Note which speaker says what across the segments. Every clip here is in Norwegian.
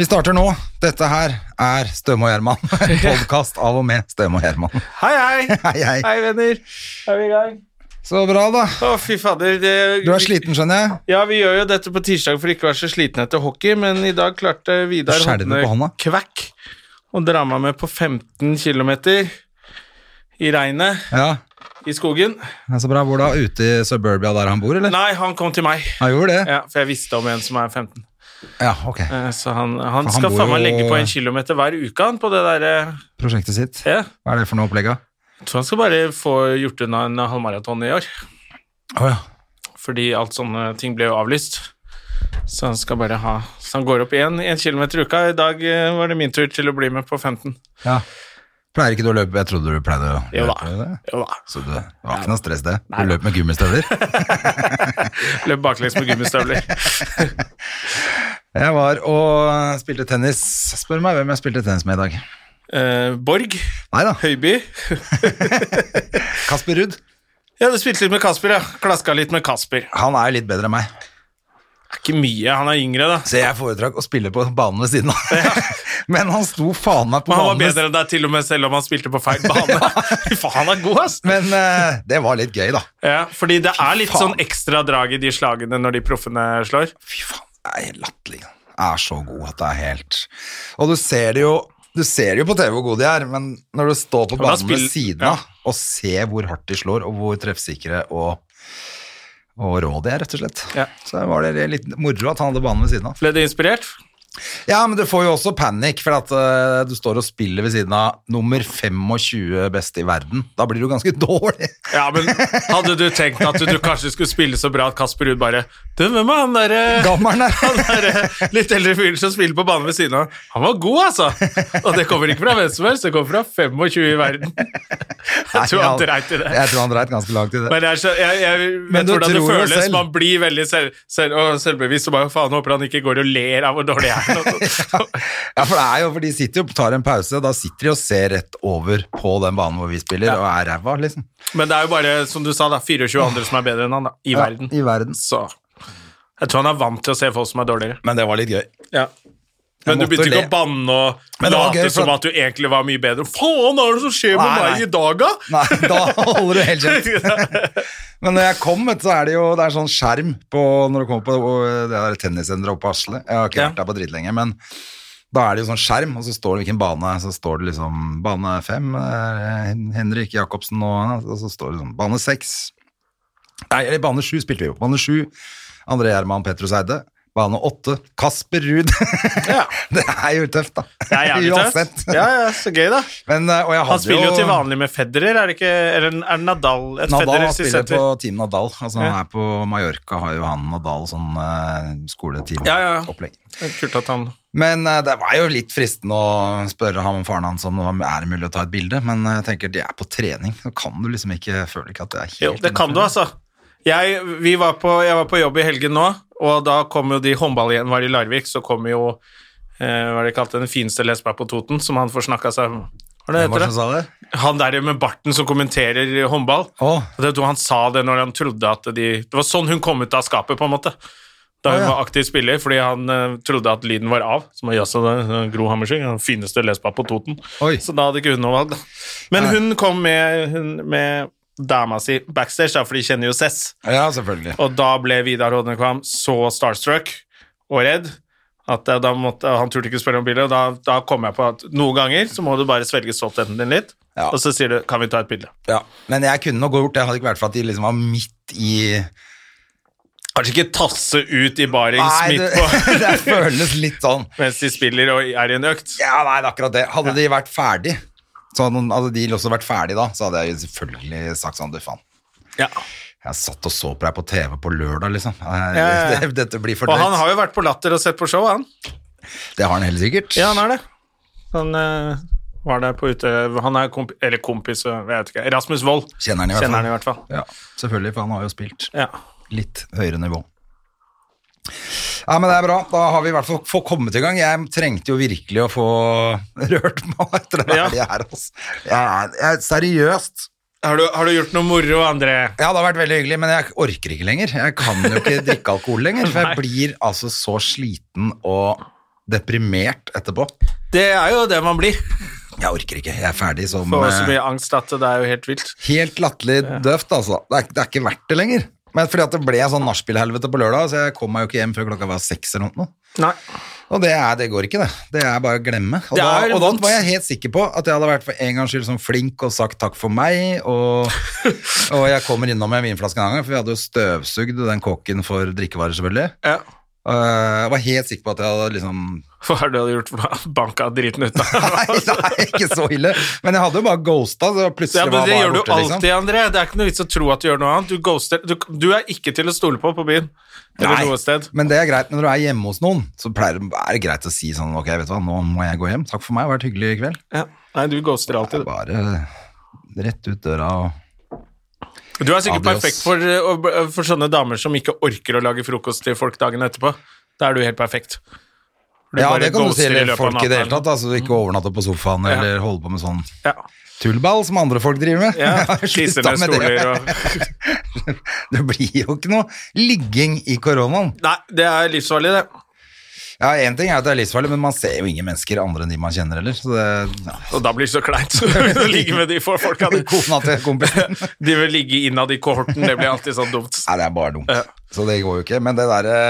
Speaker 1: Vi starter nå. Dette her er Støme og Gjerman. Podkast av og med Støme og Gjerman.
Speaker 2: Hei, hei.
Speaker 1: Hei, hei.
Speaker 2: Hei, venner. Er vi i gang?
Speaker 1: Så bra, da.
Speaker 2: Å, fy fader. Det,
Speaker 1: Du er sliten, skjønner jeg.
Speaker 2: Ja, vi gjør jo dette på tirsdag for ikke å være så sliten etter hockey, men i dag klarte Vidar
Speaker 1: Skjelver på hånda.
Speaker 2: Kvekk å dra meg med på 15 km i regnet
Speaker 1: Ja,
Speaker 2: i skogen.
Speaker 1: det er Så bra. Hvor da? Ute i suburbia der han bor, eller?
Speaker 2: Nei, han kom til meg.
Speaker 1: Han gjorde det?
Speaker 2: Ja, for jeg visste om en som er 15.
Speaker 1: Ja, ok.
Speaker 2: Eh, Så han, han
Speaker 1: For han
Speaker 2: skal
Speaker 1: bor
Speaker 2: faen meg
Speaker 1: jo-
Speaker 2: legge på en kilometer hver uke, han, på det derre
Speaker 1: Prosjektet sitt.
Speaker 2: ja.
Speaker 1: Hva er det for noe opplegg av?
Speaker 2: Jeg tror han skal bare få gjort unna en halvmaraton i år.
Speaker 1: Å ja.
Speaker 2: fordi alt sånne ting ble jo avlyst. Så han skal bare ha Så han går opp igjen én kilometer i uka. I dag eh, var det min tur til å bli med på 15.
Speaker 1: ja. Pleier ikke du å løpe? Jeg trodde du pleide å
Speaker 2: Jo da.
Speaker 1: løpe. det.
Speaker 2: Jo da.
Speaker 1: Så det var ikke noe stress, det. Du løp med gummistøvler.
Speaker 2: Løp baklengs med gummistøvler.
Speaker 1: Jeg var og spilte tennis. Spør meg hvem jeg spilte tennis med i dag.
Speaker 2: Eh, Borg.
Speaker 1: Nei da.
Speaker 2: Høiby.
Speaker 1: Kasper Ruud.
Speaker 2: Ja, du spilte litt med Kasper, ja. Klaska litt med Kasper.
Speaker 1: Han er jo litt bedre enn meg.
Speaker 2: Det er ikke mye. Han er yngre, da.
Speaker 1: Så jeg foretrakk å spille på banen ved siden av. Men han sto faen meg på
Speaker 2: Men han var
Speaker 1: banen. ved-
Speaker 2: bedre enn deg til og med, selv om han spilte på feil bane. Fy faen, han er god, ass!
Speaker 1: Men eh, det var litt gøy, da.
Speaker 2: Ja, fordi det er litt
Speaker 1: faen.
Speaker 2: sånn ekstra drag i de slagene når de proffene slår.
Speaker 1: Fy faen, det er helt latterlig. Er så god at det er helt Og du ser det jo Du ser det jo på TV hvor gode de er, men når du står på
Speaker 2: Men da
Speaker 1: banen ved
Speaker 2: spill-
Speaker 1: siden
Speaker 2: ja.
Speaker 1: av og ser hvor hardt de slår, og hvor treffsikre og og rå de er, rett og slett.
Speaker 2: Ja.
Speaker 1: Så var det litt moro at han hadde banen ved siden av.
Speaker 2: Ble du inspirert?
Speaker 1: Ja, men du får jo også panikk, for at eh, du står og spiller ved siden av nummer 25 beste i verden. Da blir du ganske dårlig.
Speaker 2: Ja, men hadde du tenkt at du kanskje skulle spille så bra at Kasper Ruud bare Du, hvem er han derre
Speaker 1: Gammeren der.
Speaker 2: han derre litt eldre fyren som spiller på banen ved siden av? Han var god, altså! Og det kommer ikke fra hvem som helst, det kommer fra 25 i verden. Jeg tror han dreit i det.
Speaker 1: Jeg tror han dreit ganske langt i det.
Speaker 2: Men jeg, skjø- jeg, jeg
Speaker 1: Men
Speaker 2: vet
Speaker 1: du
Speaker 2: hvordan det
Speaker 1: tror jo
Speaker 2: føles.
Speaker 1: selv.
Speaker 2: Man blir veldig selv, selv, og selvbevisst og bare faen håper han ikke går og ler av hvor dårlig jeg er.
Speaker 1: Ja, for det er jo, for de sitter jo tar en pause, da sitter de og ser rett over på den banen hvor vi spiller, og er ræva, liksom.
Speaker 2: Men det er jo bare, som du sa, da, 24 andre som er bedre enn han da, i
Speaker 1: Ja,
Speaker 2: verden.
Speaker 1: I verden.
Speaker 2: Så jeg tror han er vant til å se folk som er dårligere.
Speaker 1: Men det var litt gøy.
Speaker 2: Ja. Men du
Speaker 1: måtte
Speaker 2: begynte ikke
Speaker 1: le.
Speaker 2: å banne og
Speaker 1: Men det var
Speaker 2: late
Speaker 1: gøy, for
Speaker 2: som
Speaker 1: at-
Speaker 2: at du egentlig var mye bedre. Faen, hva er det som skjer med
Speaker 1: Nei, nei.
Speaker 2: meg i dag, da?
Speaker 1: Nei, da holder du helt kjeft. Men når jeg kom, vet du, så er det jo det er sånn skjerm på, når du kommer på og det der tennissenteret oppe på Asle. Jeg har ikke
Speaker 2: Ja.
Speaker 1: vært der på dritlenge, men da er det jo sånn skjerm, og så står det hvilken bane. Så står det liksom bane fem, eh, Hen- Henrik Jacobsen og Og så står det sånn bane seks. Nei, eller bane sju spilte vi jo. Bane sju, André Gjerman Petrus Eide. Bane åtte, Kasper Ruud.
Speaker 2: Ja.
Speaker 1: det er jo tøft, da.
Speaker 2: Det er jævlig tøft.
Speaker 1: Uansett.
Speaker 2: Ja, ja, så gøy, da.
Speaker 1: Men, eh, og jeg
Speaker 2: Han
Speaker 1: hadde
Speaker 2: spiller jo til vanlig med Federer, er det ikke? Eller er det Nadal? Et
Speaker 1: Nadal
Speaker 2: Federer
Speaker 1: han
Speaker 2: sitt
Speaker 1: spiller
Speaker 2: senter.
Speaker 1: på Team Nadal. Altså, han
Speaker 2: Ja.
Speaker 1: er på Mallorca, har jo han Nadal sånn uh, skoleteam-opplegg.
Speaker 2: Ja, ja, ja. Det er Kult at han
Speaker 1: Men eh, det var jo litt fristende å spørre ham og faren hans om det var- er det mulig å ta et bilde, men eh, jeg tenker de er på trening. Så kan du liksom ikke føle ikke at det er helt
Speaker 2: Jo, det kan
Speaker 1: innenfor.
Speaker 2: du, altså. Jeg, vi var på, jeg var på jobb i helgen nå, og da kom jo de håndball igjen, var i Larvik, så kom jo eh, hva er det kalt, den fineste lesba på Toten, som han får snakka seg Hva er det
Speaker 1: Hvem
Speaker 2: heter
Speaker 1: var det som
Speaker 2: det?
Speaker 1: sa det?
Speaker 2: Han der med barten som kommenterer håndball.
Speaker 1: Å,
Speaker 2: Og det tror han sa det når han trodde at de Det var sånn hun kom ut av skapet, på en måte. Da hun
Speaker 1: Å, ja.
Speaker 2: var aktiv spiller, fordi han eh, trodde at lyden var av. Som var jaså, det er Gro Hammerseng, den fineste lesba på Toten.
Speaker 1: Oi.
Speaker 2: Så da hadde ikke hun noe valg, da. Men
Speaker 1: Nei.
Speaker 2: hun kom med, hun, med dama si backstage, da, for de kjenner jo Cess.
Speaker 1: ja, selvfølgelig.
Speaker 2: Og da ble Vidar Hodnekvam så starstruck og redd at eh, da måtte, han turte ikke spørre om bilde. Og da, da kom jeg på at noen ganger så må du bare svelge stoltheten din litt,
Speaker 1: Ja.
Speaker 2: og så sier du 'kan vi ta et bilde'?
Speaker 1: Ja. Men jeg kunne nok gjort det, hadde ikke vært for at de liksom var midt i
Speaker 2: Kanskje ikke tasse ut i barings
Speaker 1: Nei,
Speaker 2: midt
Speaker 1: det,
Speaker 2: på
Speaker 1: det føles litt sånn.
Speaker 2: mens de spiller og er i en økt.
Speaker 1: Ja, nei, det er akkurat det. Hadde de vært ferdig, så hadde, hadde de også vært ferdig da, så hadde jeg selvfølgelig sagt sånn, du faen.
Speaker 2: Ja.
Speaker 1: Jeg satt og så på deg på TV på lørdag, liksom. Jeg,
Speaker 2: Ja, ja, ja.
Speaker 1: Det, dette blir for
Speaker 2: Og han
Speaker 1: drøyt.
Speaker 2: har jo vært på Latter og sett på show, han.
Speaker 1: Det har han helt sikkert.
Speaker 2: Ja, han er det. Han eh, var der på ute... Han er komp eller kompis, jeg vet ikke. Rasmus Wold.
Speaker 1: Kjenner han i hvert fall.
Speaker 2: Kjenner han i hvert fall.
Speaker 1: Ja, selvfølgelig, for han har jo spilt
Speaker 2: Ja.
Speaker 1: litt høyere nivå. Ja, men det er bra. Da har vi i hvert fall fått kommet i gang. Jeg trengte jo virkelig å få rørt meg etter det
Speaker 2: Ja.
Speaker 1: her. her, altså. Jeg er, jeg er seriøst.
Speaker 2: Har, du, har du gjort noe moro, André?
Speaker 1: Ja, det har vært veldig hyggelig, men jeg orker ikke lenger. Jeg kan jo ikke drikke alkohol lenger, for jeg blir altså så sliten og deprimert etterpå.
Speaker 2: Det er jo det man blir.
Speaker 1: Jeg orker ikke. Jeg er ferdig som
Speaker 2: Får så
Speaker 1: eh,
Speaker 2: mye angst at det er jo helt vilt.
Speaker 1: Helt latterlig døvt, altså. Det er, det er ikke verdt det lenger. Men fordi at det ble sånn nachspielhelvete på lørdag, så jeg kom meg jo ikke hjem før klokka var seks eller noe.
Speaker 2: Nei.
Speaker 1: Og det, er, det går ikke, det. Det er bare å glemme. Og,
Speaker 2: Det
Speaker 1: da,
Speaker 2: er
Speaker 1: og da
Speaker 2: vondt.
Speaker 1: var jeg helt sikker på at jeg hadde vært for en gangs skyld sånn flink og sagt takk for meg, og, og jeg kommer innom med en vinflaske en gang, for vi hadde jo støvsugd den kåken for drikkevarer, selvfølgelig.
Speaker 2: Ja.
Speaker 1: Og Jeg var helt sikker på at jeg hadde liksom
Speaker 2: Hva har du hadde gjort for noe? Banka driten ut av
Speaker 1: Nei, nei ikke så ille. Men jeg hadde jo bare ghosta, så plutselig
Speaker 2: Ja, men
Speaker 1: var
Speaker 2: Det
Speaker 1: var jeg
Speaker 2: gjør du
Speaker 1: borte, liksom.
Speaker 2: alltid, André. Det er ikke noe vits å tro at du gjør noe annet. Du ghoster. Du, du er ikke til å stole på på byen. Eller
Speaker 1: Nei,
Speaker 2: noe sted.
Speaker 1: Men det er greit når du er hjemme hos noen, så pleier, det- er det greit å si sånn Ok, vet du hva, nå må jeg gå hjem. Takk for meg, det har vært hyggelig i kveld.
Speaker 2: Ja. Nei, du ghoster
Speaker 1: Det er
Speaker 2: alltid.
Speaker 1: bare rett ut døra og
Speaker 2: Du er sikkert
Speaker 1: Adios.
Speaker 2: perfekt for, eh, å- for sånne damer som ikke orker å lage frokost til folk dagen etterpå. Da er du helt perfekt. Du
Speaker 1: Ja,
Speaker 2: bare
Speaker 1: det kan du si
Speaker 2: ghoster
Speaker 1: til
Speaker 2: løpet av
Speaker 1: folk i det hele
Speaker 2: natten.
Speaker 1: tatt. Altså, ikke overnatte på sofaen eller holde på med sånn
Speaker 2: Ja.
Speaker 1: tullball som andre folk driver med.
Speaker 2: Ja,
Speaker 1: Slutt
Speaker 2: Tisser
Speaker 1: da
Speaker 2: ned
Speaker 1: med det.
Speaker 2: stoler og
Speaker 1: Det blir jo ikke noe ligging i koronaen.
Speaker 2: Nei, det er livsfarlig, det.
Speaker 1: Ja, Én ting er at det er livsfarlig, men man ser jo ingen mennesker andre enn de man kjenner heller. Så det, ja.
Speaker 2: Og da blir det så kleint å ligge med de få folka.
Speaker 1: Kona til kompisen.
Speaker 2: De vil ligge innad i kohorten, det blir alltid sånn dumt.
Speaker 1: Nei, det er bare dumt. Så det går jo ikke. Men det derre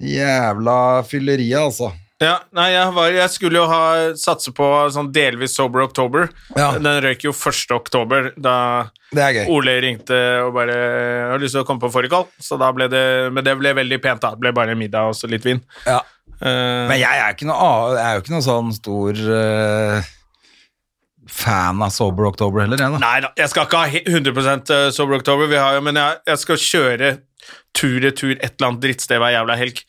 Speaker 1: jævla fylleriet, altså.
Speaker 2: Ja, nei, jeg, var, jeg skulle jo ha satse på sånn delvis Sober October.
Speaker 1: Ja.
Speaker 2: Den røyk jo 1. oktober, da
Speaker 1: Det er gøy.
Speaker 2: Ole ringte og bare «Jeg har lyst til å komme på fårikål. Så da ble det Men det ble veldig pent, da. Det ble bare middag og så litt vin.
Speaker 1: Ja.
Speaker 2: Eh,
Speaker 1: Men jeg er, ikke noe, a- jeg er jo ikke noe sånn stor eh, fan av Sober October heller, jeg, da.
Speaker 2: nei da, jeg skal ikke ha he- 100 Sober October, vi har, jo- men jeg, jeg skal kjøre tur-retur et eller annet drittsted hver jævla helg.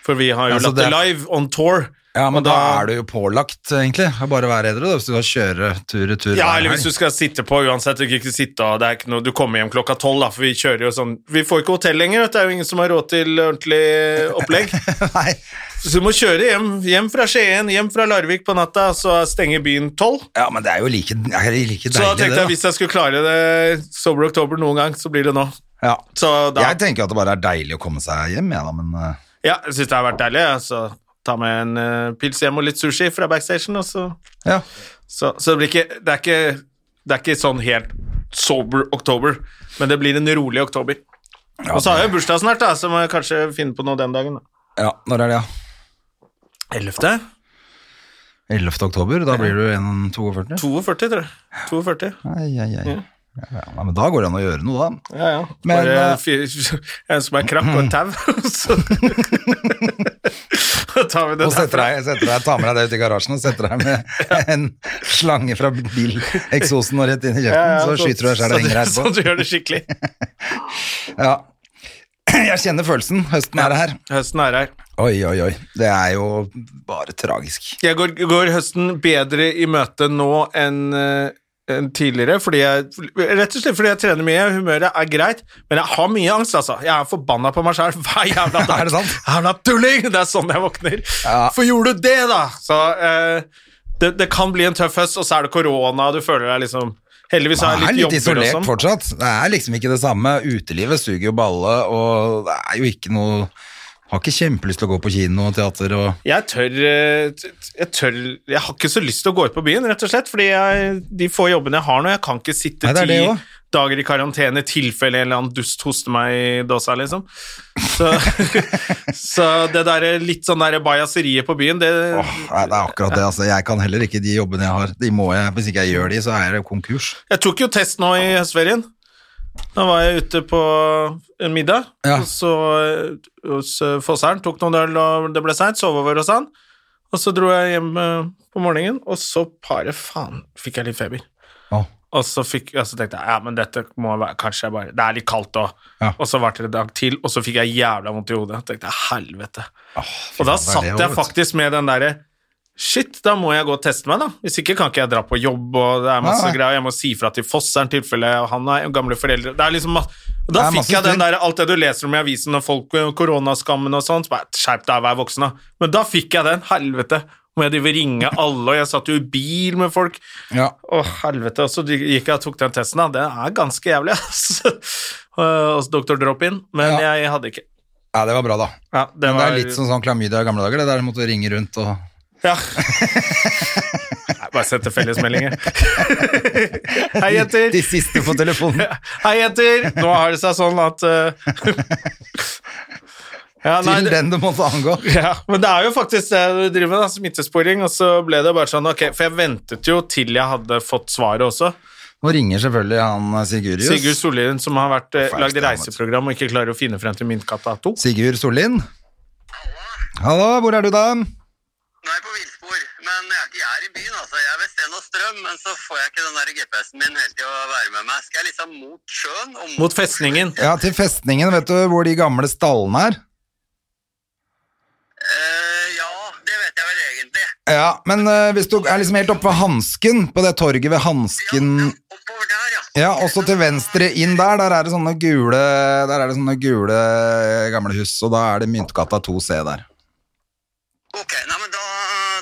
Speaker 2: For vi har jo
Speaker 1: Altså,
Speaker 2: Latter
Speaker 1: det er-
Speaker 2: Live on tour.
Speaker 1: Ja, men
Speaker 2: og
Speaker 1: da, er du jo pålagt, egentlig. å Bare være edru, da, hvis du skal kjøre tur-retur.
Speaker 2: Ja, eller hvis du skal sitte på uansett. Du, kan ikke sitte, og det er ikke noe, du kommer hjem klokka tolv, da, for vi kjører jo sånn Vi får ikke hotell lenger, vet du, det er jo ingen som har råd til ordentlig opplegg.
Speaker 1: Nei.
Speaker 2: Så du må kjøre hjem, hjem fra Skien, hjem fra Larvik på natta, så stenger byen tolv.
Speaker 1: Ja, men det er jo like, det er like deilig,
Speaker 2: Så da tenkte
Speaker 1: det.
Speaker 2: jeg hvis jeg skulle klare det Sober Oktober noen gang, så blir det nå.
Speaker 1: Da. Ja.
Speaker 2: Så da
Speaker 1: Jeg tenker at det bare er deilig å komme seg hjem, jeg, da, men eh,
Speaker 2: Ja, jeg syns det har vært deilig. jeg, Så ta med en eh, pils hjem og litt sushi fra backstation, og så
Speaker 1: ja.
Speaker 2: Så, så det, blir ikke, det, er ikke, det er ikke sånn helt sober oktober, men det blir en rolig oktober. og så har jeg bursdag snart, da, så må jeg kanskje finne på noe den dagen. Da.
Speaker 1: ja. Når er det, ja?
Speaker 2: 11.?
Speaker 1: 11. oktober? Da blir du 1,42?
Speaker 2: 42, tror jeg. 42.
Speaker 1: Ai, ai, ai. Ja. Ja, men da går det an å gjøre noe, da.
Speaker 2: Ja, ja.
Speaker 1: Men,
Speaker 2: Bare
Speaker 1: eh,
Speaker 2: fyr, en som er krakk og tau, så Da tar vi det
Speaker 1: Og setter deg, setter deg, tar med deg det ut i garasjen og setter deg med en slange fra bileksosen og rett inn i kjeften, så skyter du deg selv og henger her
Speaker 2: Så
Speaker 1: på.
Speaker 2: du gjør det skikkelig.
Speaker 1: Ja. Jeg kjenner følelsen. Høsten er her.
Speaker 2: Høsten er her.
Speaker 1: Oi, oi, oi. Det er jo bare tragisk.
Speaker 2: Jeg går, går høsten bedre i møte nå enn eh, enn tidligere, fordi jeg, rett og slett fordi jeg trener mye, humøret er greit, men jeg har mye angst, altså. Jeg er forbanna på meg sjøl hver jævla dag.
Speaker 1: Er det sant?
Speaker 2: Jævla tulling! Det er sånn jeg våkner.
Speaker 1: Ja.
Speaker 2: For gjorde du det, da? Så eh, det, det kan bli en tøff høst, og så er det korona, du føler deg liksom Heldigvis har
Speaker 1: Man
Speaker 2: jeg litt
Speaker 1: er litt
Speaker 2: jobber og
Speaker 1: isolert
Speaker 2: sånn.
Speaker 1: fortsatt. Det er liksom ikke det samme. Utelivet suger jo balle, og det er jo ikke noe Har ikke kjempelyst til å gå på kino og teater og
Speaker 2: Jeg tør, eh, t- t- jeg tør Jeg har ikke så lyst til å gå ut på byen, rett og slett. Fordi jeg, de få jobbene jeg har nå, jeg kan ikke sitte
Speaker 1: Nei, det er
Speaker 2: ti
Speaker 1: det også.
Speaker 2: dager i karantene i tilfelle en eller annen dust hoster meg i dåsa, liksom. Så, så det derre litt sånn derre bajaseriet på byen, det
Speaker 1: Åh, nei, det er akkurat det. altså. Jeg kan heller ikke de jobbene jeg har. De må jeg, Hvis ikke jeg gjør de, så er det konkurs.
Speaker 2: Jeg tok jo test nå i høstferien. Da var jeg ute på en middag
Speaker 1: Ja.
Speaker 2: og så eh, hos eh, Fosseren. Tok noen øl, og det ble seint. Sov over hos han. Og så dro jeg hjem eh, på morgenen, og så bare faen fikk jeg litt feber.
Speaker 1: Åh.
Speaker 2: Og så, fikk, og så tenkte jeg ja, men dette må være, kanskje jeg bare Det er litt kaldt òg.
Speaker 1: Ja.
Speaker 2: Og så var det en dag til, og så fikk jeg jævla vondt i hodet. tenkte jeg, helvete. og da
Speaker 1: faen, det er
Speaker 2: satt
Speaker 1: det
Speaker 2: jeg
Speaker 1: også, vet du.
Speaker 2: faktisk med den derre Shit, da må jeg gå og teste meg, da. Hvis ikke kan ikke jeg dra på jobb, og det er masse
Speaker 1: Nei, nei.
Speaker 2: greier. Jeg må si fra til Fosseren tilfelle han har gamle foreldre Det er liksom ma- og Da
Speaker 1: Det er
Speaker 2: fikk
Speaker 1: masse
Speaker 2: jeg den
Speaker 1: styr.
Speaker 2: der, alt det du leser om i avisen og folk og koronaskammen og sånn. Så bare skjerp deg, vær voksen, da. Men da fikk jeg den. Helvete. Må jeg drive og ringe alle, og jeg satt jo i bil med folk.
Speaker 1: Ja.
Speaker 2: Å, helvete. Og så gikk jeg og tok den testen, da. Det er ganske jævlig, altså. Og så doktor drop-in. Men
Speaker 1: Ja.
Speaker 2: jeg hadde ikke
Speaker 1: ja, det var bra, da.
Speaker 2: ja, det,
Speaker 1: Men det
Speaker 2: var,
Speaker 1: er litt sånn, sånn klamydia i gamle dager, det der du måtte ringe rundt og
Speaker 2: Ja. Nei, bare sette fellesmeldinger. Hei, jenter.
Speaker 1: De siste på telefonen.
Speaker 2: Hei, jenter. Nå har det seg sånn at eh, ja, nei,
Speaker 1: Til
Speaker 2: det-
Speaker 1: den du måtte angå.
Speaker 2: Ja, men det er jo faktisk det du driver med, da, smittesporing. Og så ble det bare sånn, ok, for jeg ventet jo til jeg hadde fått svaret også.
Speaker 1: Nå ringer selvfølgelig han eh, Sigurius.
Speaker 2: Sigurd Sollien, som har vært, eh,
Speaker 1: Faen,
Speaker 2: lagd
Speaker 1: det er
Speaker 2: reiseprogram og ikke klarer å finne frem til Myntkatta 2.
Speaker 1: Sigurd Sollien. Hallo, hvor er du da?
Speaker 3: Nå er jeg på villspor, men jeg er ikke jeg er i byen, altså. Jeg er ved Sten og Strøm, men så får jeg ikke den der GPS-en min hele tida være med meg. Skal jeg liksom mot sjøen? Og
Speaker 2: Mot festningen.
Speaker 1: Ja, til festningen, vet du hvor de gamle stallene er?
Speaker 3: Eh, ja, det vet jeg vel egentlig.
Speaker 1: Ja, men eh, hvis du er liksom helt oppe ved Hansken, på det torget ved
Speaker 3: Ja, ja,
Speaker 1: Hansken
Speaker 3: oppover der, ja.
Speaker 1: Ja, også til venstre inn der, der er det sånne gule Der er det sånne gule eh, gamle hus, og da er det Myntgata 2C der.
Speaker 3: Ok, nei, men da,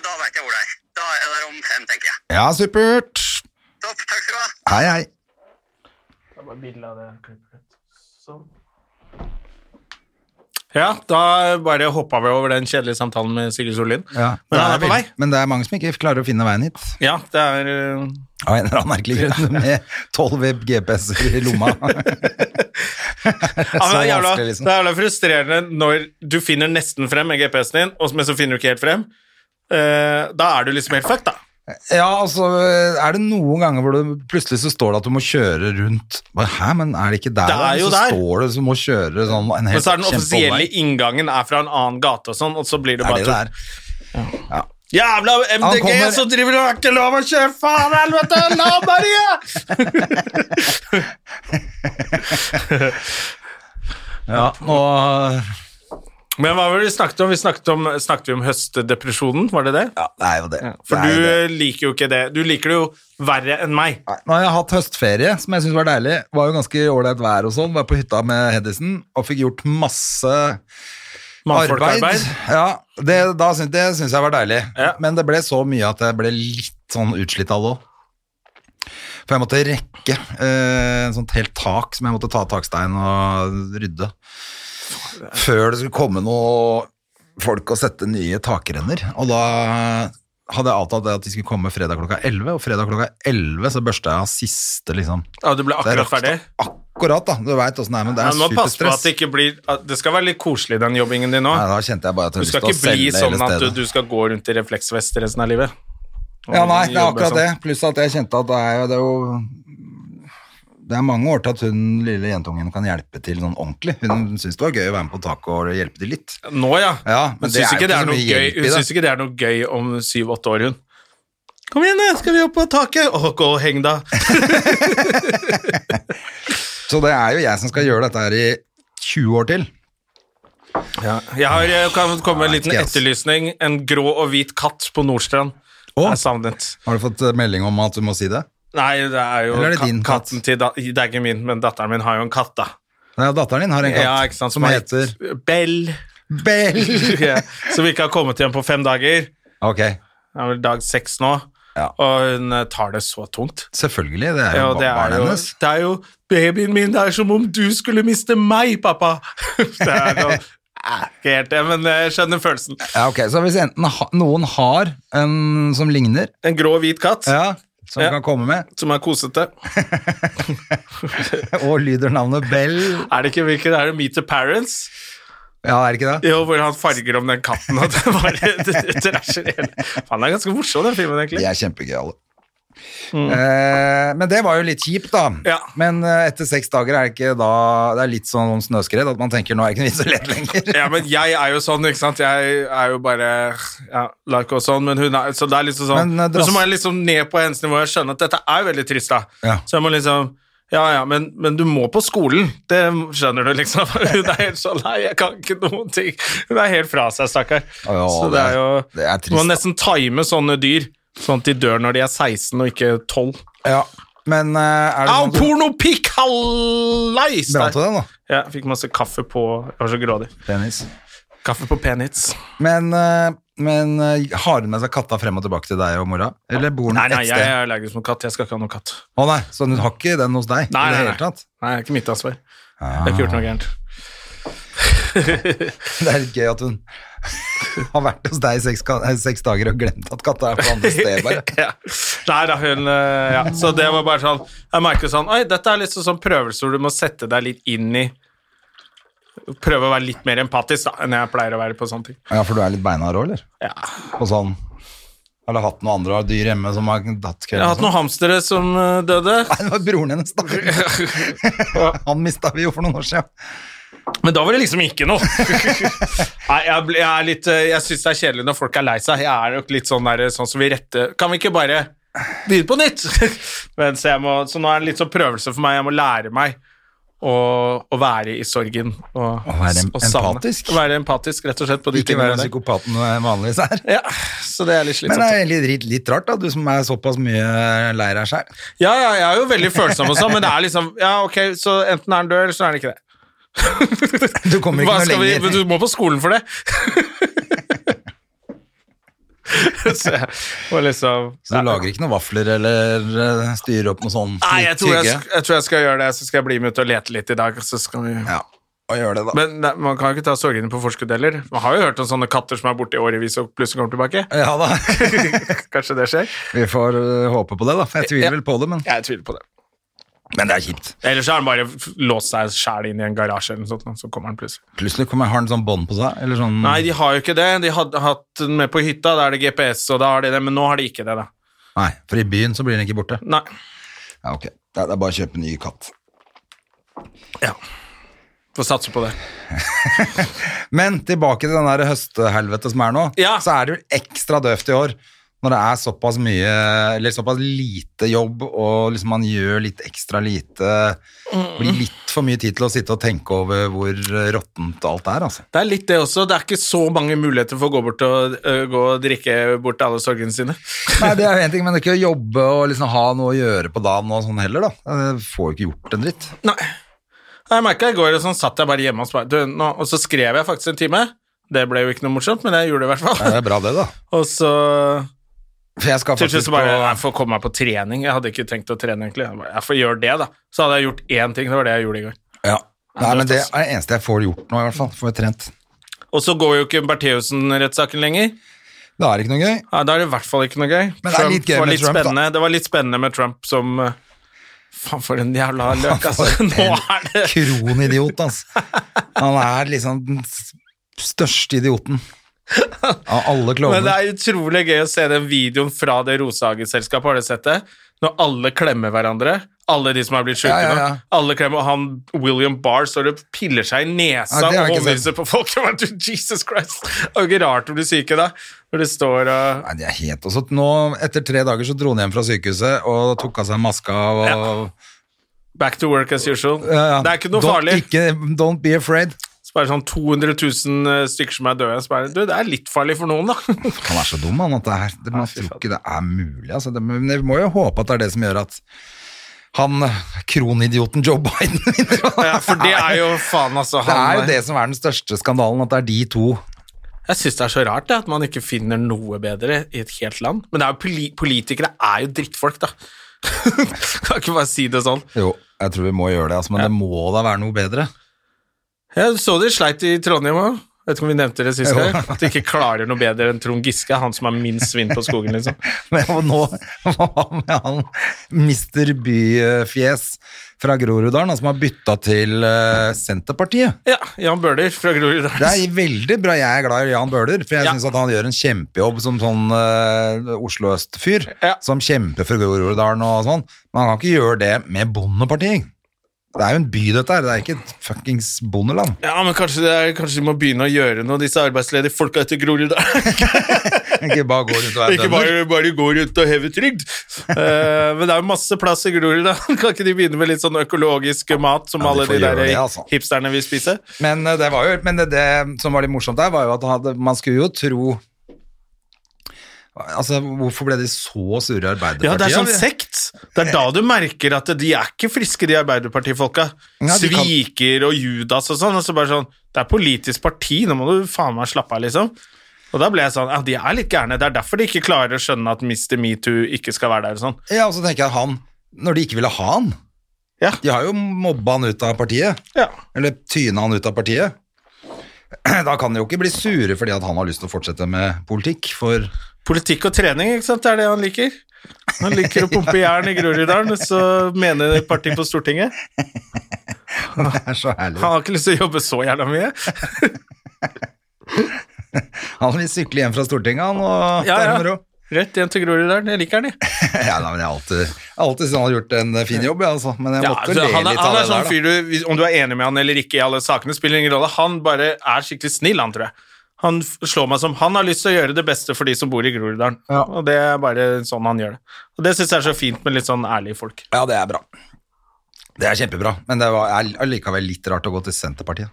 Speaker 3: da veit jeg hvor det er. Da er jeg der om fem, tenker jeg.
Speaker 1: Ja, supert!
Speaker 3: Topp, takk skal du ha.
Speaker 1: Hei, hei.
Speaker 2: Ja, da bare hoppa vi over den kjedelige samtalen med Sigurd Sollien.
Speaker 1: Ja,
Speaker 2: Men
Speaker 1: det
Speaker 2: han er på
Speaker 1: vel-
Speaker 2: vei.
Speaker 1: Men det er mange som ikke klarer å finne veien hit.
Speaker 2: Ja, det er eh,
Speaker 1: Av en eller annen merkelig grunn, med 12 web GPS-er i lomma.
Speaker 2: ja, men det, er jævla,
Speaker 1: vanskelig, liksom.
Speaker 2: det er jævla frustrerende når du finner nesten frem med GPS-en din, og- men så finner du ikke helt frem. Eh, da er du liksom helt fucked, da.
Speaker 1: Ja, altså, er det noen ganger hvor du plutselig så står det at du må kjøre rundt Hva, Hæ, men er det ikke der?
Speaker 2: Det er
Speaker 1: da?
Speaker 2: jo
Speaker 1: så
Speaker 2: der.
Speaker 1: står det så må kjøre sånn en
Speaker 2: Men
Speaker 1: helt
Speaker 2: så er den offisielle
Speaker 1: kjempeomvei.
Speaker 2: inngangen er fra en annen gate og sånn, og så blir det
Speaker 1: Det
Speaker 2: bare
Speaker 1: er det det er.
Speaker 2: Jævla
Speaker 1: Han
Speaker 2: MDG
Speaker 1: kommer-
Speaker 2: som driver og har ikke lov å kjøre! Faen, helvete! La Maria!
Speaker 1: Ja, og,
Speaker 2: Men hva var det vi snakket om? Vi snakket om, snakket vi om høstdepresjonen, var det det?
Speaker 1: ja, det er jo det.
Speaker 2: For
Speaker 1: det er jo det.
Speaker 2: du eh, liker jo ikke det. Du liker det jo verre enn meg.
Speaker 1: Nei, Nå har jeg hatt høstferie, som jeg syns var deilig. Var jo ganske ålreit vær og sånn. Var på hytta med Hedisen og fikk gjort masse
Speaker 2: Mannfolkarbeid.
Speaker 1: arbeid. Ja, det, da syns, det syns jeg var deilig.
Speaker 2: Ja.
Speaker 1: Men det ble så mye at jeg ble litt sånn utslitt av det òg. For jeg måtte rekke eh, en sånt helt tak som jeg måtte ta takstein og rydde. Før det skulle komme noe folk og sette nye takrenner. Og da hadde jeg avtalt det at de skulle komme fredag klokka 11, og fredag klokka 11 så børsta jeg av siste, liksom.
Speaker 2: Ja, du ble
Speaker 1: Det er
Speaker 2: akkurat
Speaker 1: rakk-
Speaker 2: ferdig.
Speaker 1: Akkurat, da. Du veit åssen det er, men det
Speaker 2: Ja,
Speaker 1: er
Speaker 2: du må passe på
Speaker 1: superstress.
Speaker 2: at det ikke blir at Det skal være litt koselig, den jobbingen din nå.
Speaker 1: Nei, da kjente jeg bare at
Speaker 2: Du
Speaker 1: jeg hadde lyst
Speaker 2: skal
Speaker 1: til å
Speaker 2: ikke bli
Speaker 1: selge
Speaker 2: sånn at
Speaker 1: hele
Speaker 2: du,
Speaker 1: stedet.
Speaker 2: du skal gå rundt i refleksvest resten av livet. Og
Speaker 1: Ja, nei, det er
Speaker 2: jobbe
Speaker 1: akkurat
Speaker 2: sånn.
Speaker 1: det. Pluss at jeg kjente at det er, jo- det er jo Det er mange år til at hun lille jentungen kan hjelpe til sånn ordentlig. Hun syns det var gøy å være med på taket og hjelpe til litt.
Speaker 2: sånn. Nå, ja.
Speaker 1: Ja,
Speaker 2: Hun syns ikke, det er
Speaker 1: så
Speaker 2: noe
Speaker 1: mye
Speaker 2: gøy-
Speaker 1: hjelp i
Speaker 2: hun
Speaker 1: det.
Speaker 2: syns ikke det er noe gøy om syv-åtte år, hun. Kom igjen, da, skal vi opp på taket? Å, gå og heng, da.
Speaker 1: Så det er jo jeg som skal gjøre dette her i 20 år til.
Speaker 2: Jeg har, eh, kan komme med en
Speaker 1: Nei,
Speaker 2: liten
Speaker 1: ikke, ass.
Speaker 2: etterlysning. En grå og hvit katt på Nordstrand
Speaker 1: Å.
Speaker 2: er savnet.
Speaker 1: Har du fått eh, melding om at du må si det?
Speaker 2: Nei, det er jo
Speaker 1: Eller er det
Speaker 2: ka-
Speaker 1: din katt?
Speaker 2: katten til da, Det er ikke min, men datteren min har jo en katt, da.
Speaker 1: Nei, datteren din har en katt
Speaker 2: Ja, ikke sant,
Speaker 1: som
Speaker 2: er-
Speaker 1: heter
Speaker 2: Bell.
Speaker 1: Bell.
Speaker 2: Ja, Som ikke har kommet hjem på fem dager.
Speaker 1: Ok,
Speaker 2: Det er vel dag seks nå.
Speaker 1: Ja.
Speaker 2: Og hun eh, tar det så tungt.
Speaker 1: selvfølgelig. Det er jo
Speaker 2: Ja, det, er
Speaker 1: barnet
Speaker 2: jo,
Speaker 1: hennes.
Speaker 2: det er jo babyen min, det er som om du skulle miste meg, pappa! Det er jo, eh, ikke helt det, men eh, jeg skjønner følelsen.
Speaker 1: Ja, ok, Så hvis enten ha, noen har en som ligner,
Speaker 2: En grå og hvit katt
Speaker 1: ja, som
Speaker 2: Ja.
Speaker 1: kan komme med,
Speaker 2: som er kosete.
Speaker 1: og lyder navnet Bell
Speaker 2: Er det ikke hvilken? Er det Meet the Parents?
Speaker 1: Ja, er det ikke det?
Speaker 2: Jo, hvor han farger om den katten og det bare det trasher hele. Faen, det er ganske morsom, den filmen,
Speaker 1: De
Speaker 2: egentlig.
Speaker 1: er kjempegøyale. Eh, men det var jo litt kjipt, da.
Speaker 2: Mm. Ja.
Speaker 1: Men eh, etter seks dager er det ikke da Det er litt sånn snøskred at man tenker nå er det ikke noe vits å lete lenger.
Speaker 2: Ja, men jeg er jo sånn, ikke sant? Jeg er jo bare ja, like og sånn, men hun er Så det er liksom sånn.
Speaker 1: Men, eh, drass-
Speaker 2: Og så må jeg liksom ned på hennes nivå. Jeg skjønner at dette er veldig trist, da.
Speaker 1: Ja.
Speaker 2: Så jeg må liksom Ja, ja, men, men du må på skolen. Det skjønner du, liksom. Hun er helt sånn Nei, jeg kan ikke noen ting. Hun er helt fra seg, stakkar.
Speaker 1: Ja,
Speaker 2: Så det er jo
Speaker 1: det er trist,
Speaker 2: Du må
Speaker 1: da.
Speaker 2: nesten time sånne dyr, sånn at de dør når de er 16 og ikke 12.
Speaker 1: Ja. Men eh, er det
Speaker 2: Au,
Speaker 1: sånn at du-
Speaker 2: pornopikk! Hallais!
Speaker 1: Bra til den, da.
Speaker 2: Ja, fikk masse kaffe på Jeg var så grådig.
Speaker 1: Penis.
Speaker 2: Kaffe på peanuts.
Speaker 1: Men, eh, men eh, har hun med seg katta frem og tilbake til deg og mora? Eller bor hun
Speaker 2: Nei, nei,
Speaker 1: et
Speaker 2: jeg
Speaker 1: sted?
Speaker 2: er allergisk mot katt. Jeg skal ikke ha noen katt.
Speaker 1: Å nei, Så hun har ikke den hos
Speaker 2: Nei,
Speaker 1: deg? i det
Speaker 2: nei,
Speaker 1: hele
Speaker 2: nei.
Speaker 1: tatt?
Speaker 2: nei det er ikke mitt ansvar. Jeg har ikke gjort noe gærent.
Speaker 1: Det er litt gøy at hun har vært hos deg i seks, ka- eh, seks dager og glemt at katta er på andre sted. bare.
Speaker 2: ja. Nei da, hun eh, Ja, så det var bare sånn Jeg merker sånn Oi, dette er litt sånn sånn prøvelse hvor du må sette deg litt inn i Prøve å være litt mer empatisk da enn jeg pleier å være på sånne ting.
Speaker 1: Ja, For du er litt beinhard òg, eller?
Speaker 2: Ja.
Speaker 1: Og sånn Eller hatt noen andre dyr hjemme som har datt
Speaker 2: Jeg
Speaker 1: køller?
Speaker 2: har hatt noen hamstere som eh, døde,
Speaker 1: Nei, det var broren hennes, da. Han mista vi jo for noen år siden.
Speaker 2: men da var det liksom ikke noe. Nei, jeg, ble- jeg, er litt, eh, jeg syns det er kjedelig når folk er lei seg. Jeg er nok litt sånn der, sånn som vi rette Kan vi ikke bare begynne på nytt? men, så, jeg må, så nå er det litt sånn prøvelse for meg. Jeg må lære meg å, å være i sorgen. Og,
Speaker 1: Å være em-
Speaker 2: og savne.
Speaker 1: empatisk?
Speaker 2: Være empatisk, rett og slett. På de
Speaker 1: Ikke
Speaker 2: tingene
Speaker 1: være
Speaker 2: der.
Speaker 1: psykopaten du vanligvis er.
Speaker 2: Ja, så det er eh, litt sånn slitsomt.
Speaker 1: Men det er egentlig litt, litt rart, da, du som er såpass mye eh, lei deg sjæl.
Speaker 2: Ja, ja, jeg er jo veldig følsom og sånn, men det er liksom Ja, ok, så enten er han død, eller så er han ikke det.
Speaker 1: Du kommer ikke
Speaker 2: Hva
Speaker 1: noe
Speaker 2: skal vi,
Speaker 1: lenger.
Speaker 2: men du må på skolen for det. så jeg må liksom
Speaker 1: Så du lager ikke noen vafler eller eh, styrer opp noe sånn
Speaker 2: Nei, jeg tror jeg,
Speaker 1: hygge?
Speaker 2: sk- jeg tror jeg skal gjøre det. Så skal jeg bli med ut og lete litt i dag. Så skal vi...
Speaker 1: Ja, og gjør det, da.
Speaker 2: Men nei, man kan jo ikke ta sorgene på forskudd heller. Man har jo hørt om sånne katter som er borte i årevis og plutselig kommer tilbake.
Speaker 1: ja da.
Speaker 2: Kanskje det skjer?
Speaker 1: Vi får eh, håpe på det, da. Jeg tviler vel på det, men,
Speaker 2: Jeg tviler på det.
Speaker 1: men det er kjipt.
Speaker 2: Ellers så har han bare f- låst seg sjæl inn i en garasje, eller noe sånt, og så kommer han plutselig.
Speaker 1: Plutselig kommer har han sånn bånd på seg, eller sånn
Speaker 2: Nei, de har jo ikke det. De hadde hatt den med på hytta, da er det GPS, og da har de det, men nå har de ikke det, da.
Speaker 1: Nei, for i byen så blir den ikke borte.
Speaker 2: Nei.
Speaker 1: Ja, ok. Ja, det er bare å kjøpe ny katt.
Speaker 2: Ja. Får satse på det.
Speaker 1: Men tilbake til den der høsthelvete som er nå,
Speaker 2: Ja.
Speaker 1: så er det vel ekstra døvt i år. Når det er såpass mye, eller såpass lite jobb, og liksom man gjør litt ekstra lite Blir litt for mye tid til å sitte og tenke over hvor eh, råttent alt er, altså.
Speaker 2: Det er litt det også. Det er ikke så mange muligheter for å gå bort og, øh, gå og drikke bort alle sorgene sine.
Speaker 1: Nei, det er jo en ting, men det er ikke å jobbe og liksom ha noe å gjøre på dagen og sånn heller, da. Jeg får jo ikke gjort en dritt.
Speaker 2: Nei. Jeg merka i går og sånn satt jeg bare hjemme og sparte, du, nå, og så skrev jeg faktisk en time. Det ble jo ikke noe morsomt, men jeg gjorde det i hvert
Speaker 1: Ja,
Speaker 2: fall.
Speaker 1: det er bra det, da.
Speaker 2: Og så
Speaker 1: For jeg skal
Speaker 2: til slutt
Speaker 1: faktisk
Speaker 2: så bare
Speaker 1: på
Speaker 2: Jeg får komme meg på trening. Jeg hadde ikke tenkt å trene, egentlig. Jeg, bare, jeg får gjøre det, da. Så hadde jeg gjort én ting. Det var det jeg gjorde i går.
Speaker 1: ja. Nei, men det er det eneste jeg får gjort nå, i hvert fall. Får jeg trent.
Speaker 2: Og så går jo ikke Bertheussen-rettssaken lenger.
Speaker 1: Da er det ikke noe gøy.
Speaker 2: Ja, da er det i hvert fall ikke noe gøy.
Speaker 1: Men det er litt gøy
Speaker 2: var
Speaker 1: med Trump, da.
Speaker 2: spennende. Det var litt spennende med Trump som eh, Faen, for en jævla løk, altså. Nå er det
Speaker 1: Kronidiot, altså. Han er liksom den s- største idioten av alle
Speaker 2: Men det
Speaker 1: klovner.
Speaker 2: er utrolig gøy å se den videoen fra det Rosehagen-selskapet, har du sett det? Når alle klemmer hverandre. Alle de som har blitt sjuke
Speaker 1: Ja, ja, ja.
Speaker 2: nå. Alle klemmer, Og han William Barr står og piller seg i nesa
Speaker 1: Ja, det har
Speaker 2: og
Speaker 1: jeg ikke
Speaker 2: overbeviser på folk. Jeg bare, du, Jesus Christ! Det er jo ikke rart du blir syk i dag, når det står eh, og
Speaker 1: Nei, det er helt også. Nå, etter tre dager så dro han hjem fra sykehuset og tok av seg maska og
Speaker 2: Back to work as usual.
Speaker 1: Ja, ja.
Speaker 2: Det er ikke noe
Speaker 1: don't,
Speaker 2: farlig.
Speaker 1: Ikke, don't be afraid.
Speaker 2: Så bare sånn 200 000 eh, stykker som er døde. Så bare, du, det er litt farlig for noen, da.
Speaker 1: Han er så dum, han, at det er, det, man tror ikke det er mulig. Altså, det, men vi må jo håpe at det er det som gjør at han kronidioten Joe Biden vinner.
Speaker 2: Ja, for det er jo faen, altså.
Speaker 1: Det er
Speaker 2: Han,
Speaker 1: jo det som er den største skandalen, at det er de to.
Speaker 2: Jeg syns det er så rart det, at man ikke finner noe bedre i et helt land. Men det er jo poli politikere er jo drittfolk, da. kan ikke bare si det sånn.
Speaker 1: Jo, jeg tror vi må gjøre det, altså, men det må da være noe bedre.
Speaker 2: Jeg så de sleit i Trondheim òg. Vet ikke om vi nevnte det sist
Speaker 1: Jo.
Speaker 2: gang. At de ikke klarer noe bedre enn Trond Giske, han som har minst svinn på skogen, liksom.
Speaker 1: Men nå, hva med han mister byfjes fra Groruddalen, han som har bytta til eh, Senterpartiet.
Speaker 2: Ja, Jan Bøhler fra Groruddalen.
Speaker 1: Det er veldig bra. Jeg er glad i Jan Bøhler, for jeg
Speaker 2: Ja.
Speaker 1: synes syns han gjør en kjempejobb som sånn eh, Oslo Øst-fyr.
Speaker 2: Ja.
Speaker 1: Som kjemper for Groruddalen og sånn. Men han kan ikke gjøre det med Bondepartiet. Det er jo en by, dette her. Det er ikke et fuckings bondeland.
Speaker 2: Ja, men kanskje, det er, kanskje de må begynne å gjøre noe, disse arbeidsledige folka etter Groruddalen.
Speaker 1: Ikke bare gå rundt og være
Speaker 2: Ikke
Speaker 1: bønder.
Speaker 2: bare, bare gå rundt og heve trygd. Eh, men det er jo masse plass i Groruddalen. Kan ikke de begynne med litt sånn økologisk mat som
Speaker 1: Ja, de
Speaker 2: alle
Speaker 1: får
Speaker 2: de
Speaker 1: gjøre
Speaker 2: der
Speaker 1: det, altså.
Speaker 2: hipsterne vil spise?
Speaker 1: Men eh, det, var jo, men det, det som var litt morsomt der, var jo at han hadde, man skulle jo tro Altså, Hvorfor ble de så sure i Arbeiderpartiet?
Speaker 2: Ja, det er sånn sekt. Det er da du merker at de er ikke friske, de Arbeiderpartifolka.
Speaker 1: Ja, de kan-
Speaker 2: Sviker og Judas og sånn. Og så bare sånn Det er politisk parti, nå må du faen meg slappe av, liksom. Og da ble jeg sånn Ja, de er litt gærne. Det er derfor de ikke klarer å skjønne at Mr. Metoo ikke skal være der og sånn.
Speaker 1: Ja, og så tenker jeg han, Når de ikke ville ha han
Speaker 2: Ja.
Speaker 1: De har jo mobba han ut av partiet,
Speaker 2: Ja.
Speaker 1: eller tyna han ut av partiet. Da kan de jo ikke bli sure fordi at han har lyst til å fortsette med politikk, for
Speaker 2: Politikk og trening, ikke sant, det er det han liker. Han liker å pumpe jern i Groruddalen, så mener partiet på Stortinget.
Speaker 1: det er så herlig.
Speaker 2: Han har ikke lyst til å jobbe så jævla mye.
Speaker 1: Han vil sykle hjem fra Stortinget, han, og
Speaker 2: Ja,
Speaker 1: ta det
Speaker 2: ja.
Speaker 1: med ro.
Speaker 2: Rett hjem til Groruddalen. Jeg liker han, jeg.
Speaker 1: Ja, nei, men jeg har alltid, jeg har alltid syntes han har gjort en fin jobb, jeg, altså. Men jeg
Speaker 2: Ja,
Speaker 1: måtte
Speaker 2: altså,
Speaker 1: le
Speaker 2: han, er,
Speaker 1: litt av
Speaker 2: han
Speaker 1: det
Speaker 2: er sånn
Speaker 1: der, da.
Speaker 2: fyr du, hvis- Om du er enig med han eller ikke i alle sakene, spiller ingen rolle. Han bare er skikkelig snill, han, tror jeg. Han f- slår meg som Han har lyst til å gjøre det beste for de som bor i Groruddalen.
Speaker 1: Ja.
Speaker 2: Og det er bare sånn han gjør det. Og det syns jeg er så fint med litt sånn ærlige folk.
Speaker 1: Ja, det er bra. Det er kjempebra, men det var er likevel litt rart å gå til Senterpartiet.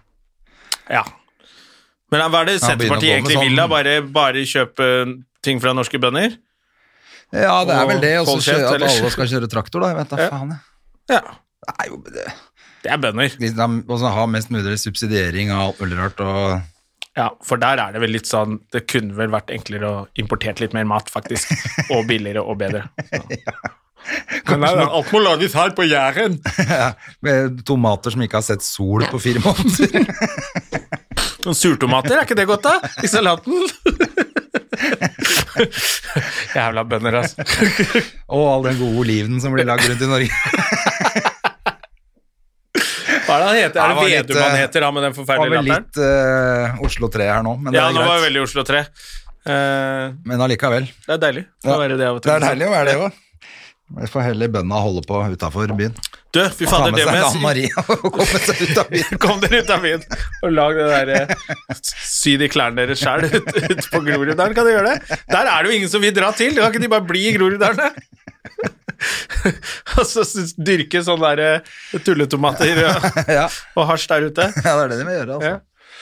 Speaker 2: Ja. Men hva er det
Speaker 1: Ja, begynner å
Speaker 2: Senterpartiet
Speaker 1: gå med
Speaker 2: egentlig vil, da?
Speaker 1: sånn-
Speaker 2: Bare, bare kjøpe ting fra norske bønder?
Speaker 1: Ja, det er
Speaker 2: Og
Speaker 1: vel det, og så
Speaker 2: hold kjeft,
Speaker 1: kjø- at
Speaker 2: ellers.
Speaker 1: alle skal kjøre traktor, da. Jeg vet da
Speaker 2: Ja.
Speaker 1: faen, jeg.
Speaker 2: Ja.
Speaker 1: Det er jo det.
Speaker 2: Det er bønder.
Speaker 1: Hvis de også har mest mulig subsidiering av alt mulig rart, og
Speaker 2: Ja, For der er det vel litt sånn Det kunne vel vært enklere å importert litt mer mat, faktisk. Og billigere og bedre. Men nei, da, alt må lages her på Jæren.
Speaker 1: med tomater som ikke har sett sol på fire måneder.
Speaker 2: Noen surtomater, er ikke det godt, da? I salaten? Jævla bønder, altså.
Speaker 1: Og all den gode olivenen som blir lagd rundt i Norge.
Speaker 2: Hva er det han heter?
Speaker 1: Det var
Speaker 2: Er det
Speaker 1: litt,
Speaker 2: Vedum han
Speaker 1: eh,
Speaker 2: heter, da, med den
Speaker 1: Det var
Speaker 2: forferdelige
Speaker 1: vel
Speaker 2: latteren?
Speaker 1: litt eh, Oslo 3 her nå, men det
Speaker 2: Ja,
Speaker 1: er
Speaker 2: nå var jeg
Speaker 1: greit.
Speaker 2: veldig i Oslo 3. Eh,
Speaker 1: Men allikevel.
Speaker 2: det er deilig å
Speaker 1: Ja.
Speaker 2: være det av og til.
Speaker 1: Det er deilig å være det òg. Vi får heller bøndene holde på utafor byen.
Speaker 2: Du, fy
Speaker 1: Ta
Speaker 2: fader,
Speaker 1: med
Speaker 2: det må
Speaker 1: seg Dan
Speaker 2: jeg si.
Speaker 1: Maria og komme seg ut av byen.
Speaker 2: Kom dere ut av byen og lag det derre Sy de klærne deres sjæl ute ut på Groruddalen, kan dere gjøre det? Der er det jo ingen som vil dra til, kan ikke de bare bli i Groruddalen? da? og så s- dyrke sånne derre tulletomater og,
Speaker 1: Ja.
Speaker 2: og hasj der ute.
Speaker 1: Ja, det er det de må gjøre, altså.
Speaker 2: Ja.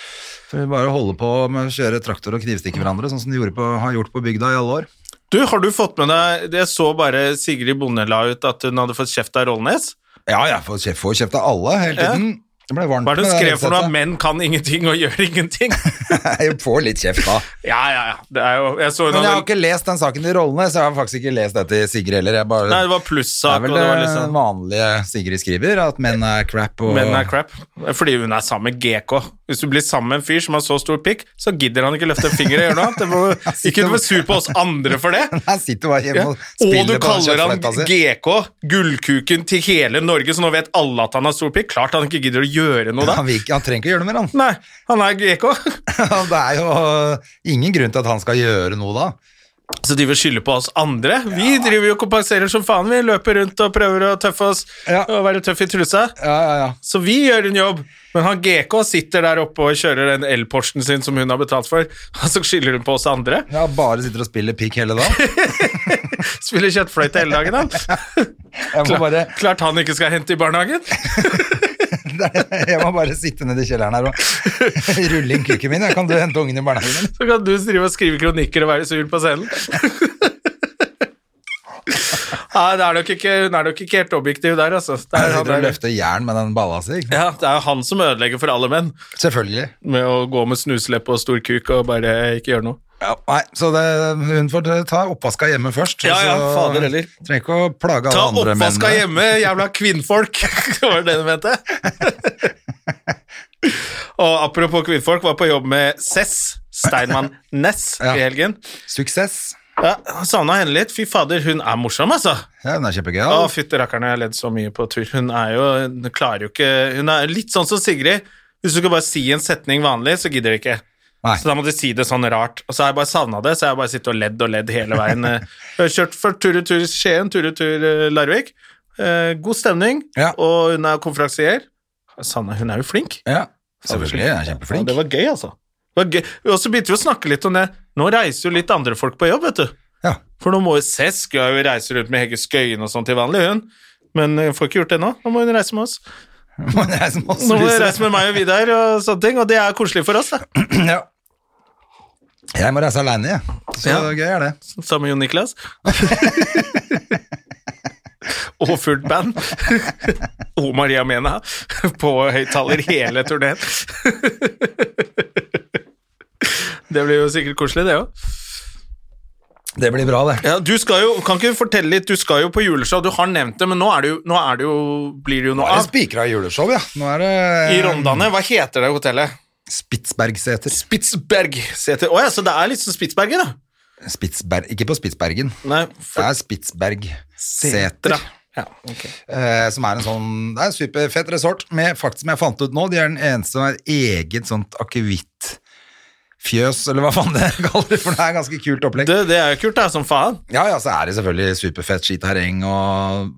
Speaker 1: For vi bare holde på med å kjøre traktor og knivstikke hverandre, sånn som de gjorde på, har gjort på bygda i alle år.
Speaker 2: Du, har du fått med deg Jeg så bare Sigrid Bonde la ut at hun hadde fått kjeft av Rollnes.
Speaker 1: Ja, jeg får kjeft, får kjeft av alle hele
Speaker 2: Ja.
Speaker 1: tiden. Det ble varmt
Speaker 2: Hva er det hun
Speaker 1: med det
Speaker 2: skrev for noe?
Speaker 1: headsetet.
Speaker 2: 'Menn kan ingenting og gjør ingenting'.
Speaker 1: Jeg får litt kjeft da.
Speaker 2: Ja, ja, ja. Det er jo Jeg så hun
Speaker 1: Men jeg har
Speaker 2: hadde
Speaker 1: ikke lest den saken til rollene, så jeg har faktisk ikke lest det til Sigrid heller. Jeg bare,
Speaker 2: Nei, det var
Speaker 1: det er
Speaker 2: plussak, og
Speaker 1: vel
Speaker 2: det
Speaker 1: det
Speaker 2: var liksom
Speaker 1: vanlige Sigrid skriver, at menn er crap og
Speaker 2: Men er crap. Fordi hun er sammen med GK. Hvis du blir sammen med en fyr som har så stor pikk, så gidder han ikke løfte en finger og gjøre noe annet. Det må- Ikke du er sur på oss andre for det.
Speaker 1: Han sitter bare
Speaker 2: Ja.
Speaker 1: hjemme
Speaker 2: Og
Speaker 1: og
Speaker 2: du
Speaker 1: spiller på den
Speaker 2: kaller han
Speaker 1: kjøttfletta si.
Speaker 2: GK, gullkuken til hele Norge, så nå vet alle at han har stor pikk. Klart han ikke gidder å gjøre noe da.
Speaker 1: Han, vil ikke- han trenger ikke gjøre noe mer, han.
Speaker 2: Nei, han er GK.
Speaker 1: Det er jo ingen grunn til at han skal gjøre noe da.
Speaker 2: Så de vil skylde på oss andre. Vi driver jo og kompenserer som faen, vi. Løper rundt og prøver å tøffe oss
Speaker 1: Ja.
Speaker 2: og være tøff i trusa.
Speaker 1: Ja, ja, ja.
Speaker 2: Så vi gjør en jobb, men han GK sitter der oppe og kjører den elporsen sin som hun har betalt for, og så skylder hun på oss andre.
Speaker 1: Ja, bare sitter og spiller pikk hele dagen.
Speaker 2: Spiller kjøttfløyte hele dagen, han.
Speaker 1: Jeg må bare,
Speaker 2: Klart han ikke skal hente i barnehagen.
Speaker 1: jeg må bare sitte nede i kjelleren her og rulle inn kukken min. Jeg kan du hente ungen i barnehagen? min?
Speaker 2: Så kan du drive og skrive kronikker og være sur på scenen. Nei, det er nok ikke, hun er nok ikke helt objektiv der, altså. Det
Speaker 1: Jeg
Speaker 2: er, han
Speaker 1: sitter og
Speaker 2: der,
Speaker 1: løfter jern med den balla si.
Speaker 2: ja, det er han som ødelegger for alle menn,
Speaker 1: Selvfølgelig.
Speaker 2: med å gå med snuslepp og stor kuk og bare ikke gjøre noe.
Speaker 1: Nei, så det, hun får ta oppvaska hjemme først.
Speaker 2: Ja, ja,
Speaker 1: så
Speaker 2: fader heller.
Speaker 1: Trenger ikke å plage
Speaker 2: Ta
Speaker 1: alle andre
Speaker 2: oppvaska
Speaker 1: mennene.
Speaker 2: hjemme, jævla kvinnfolk! det var det du mente? Og apropos kvinnfolk, var på jobb med Cess Steinmann Ness
Speaker 1: Ja.
Speaker 2: i helgen.
Speaker 1: Suksess.
Speaker 2: Ja, Savna henne litt. Fy fader, hun er morsom, altså.
Speaker 1: Ja, hun er
Speaker 2: Å,
Speaker 1: kjempegøy.
Speaker 2: fytti rakkeren, jeg har ledd så mye på tur. Hun er jo Hun klarer jo ikke Hun er litt sånn som Sigrid. Hvis du skal bare si en setning vanlig, så gidder de ikke.
Speaker 1: Nei.
Speaker 2: Så da må de si det sånn rart. Og så har jeg bare savna det, så jeg har bare sittet og ledd og ledd hele veien. Eh, Jeg har kjørt for tur-retur Skien, tur-retur Larvik. Eh, god stemning,
Speaker 1: Ja.
Speaker 2: og hun er konferansier. Savna- Hun er jo flink.
Speaker 1: Ja, selvfølgelig. Hun er
Speaker 2: Ja,
Speaker 1: kjempeflink.
Speaker 2: det var gøy, altså. Det var gøy. Og så begynte vi å snakke litt om det. Nå reiser jo litt andre folk på jobb, vet du.
Speaker 1: Ja.
Speaker 2: For nå må jo Cess skal jo reise rundt med Hege Skøyen og sånn til vanlig, hun. Men hun får ikke gjort det nå. Nå må hun reise med oss.
Speaker 1: Men jeg som også
Speaker 2: Nå må hun
Speaker 1: lyser.
Speaker 2: reise med meg og Vidar og sånne ting, og det er koselig for oss, da.
Speaker 1: Ja. Jeg må reise aleine, jeg. Så
Speaker 2: Ja.
Speaker 1: gøy er det.
Speaker 2: Sammen med Jon Niklas. og fullt band. og Maria Mena på høyttaler hele turneen. det blir jo sikkert koselig, det òg.
Speaker 1: Det blir bra, det.
Speaker 2: Ja, du skal jo, Kan ikke du fortelle litt? Du skal jo på juleshow, du har nevnt det, men nå, er det jo, nå er det jo, blir det jo
Speaker 1: Nå
Speaker 2: noe
Speaker 1: er det
Speaker 2: av.
Speaker 1: spikra juleshow, ja. Nå er det
Speaker 2: I Rondane, hva heter det hotellet?
Speaker 1: Spitsbergseter.
Speaker 2: Spitsberg heter Å ja, så det er litt som Spitsberget, da?
Speaker 1: Spitsberg. Ikke på Spitsbergen.
Speaker 2: Nei,
Speaker 1: Det
Speaker 2: for-
Speaker 1: er Spitsbergseter.
Speaker 2: Ja, ok.
Speaker 1: Eh, som er en sånn Det er en superfett resort med faktisk som jeg fant ut nå. De er den eneste som har eget sånt akevittfjøs, eller hva faen det kaller det, for det er ganske kult opplegg.
Speaker 2: Det, det er jo kult, da, som faen.
Speaker 1: Ja, ja, så er det selvfølgelig superfett skiterreng og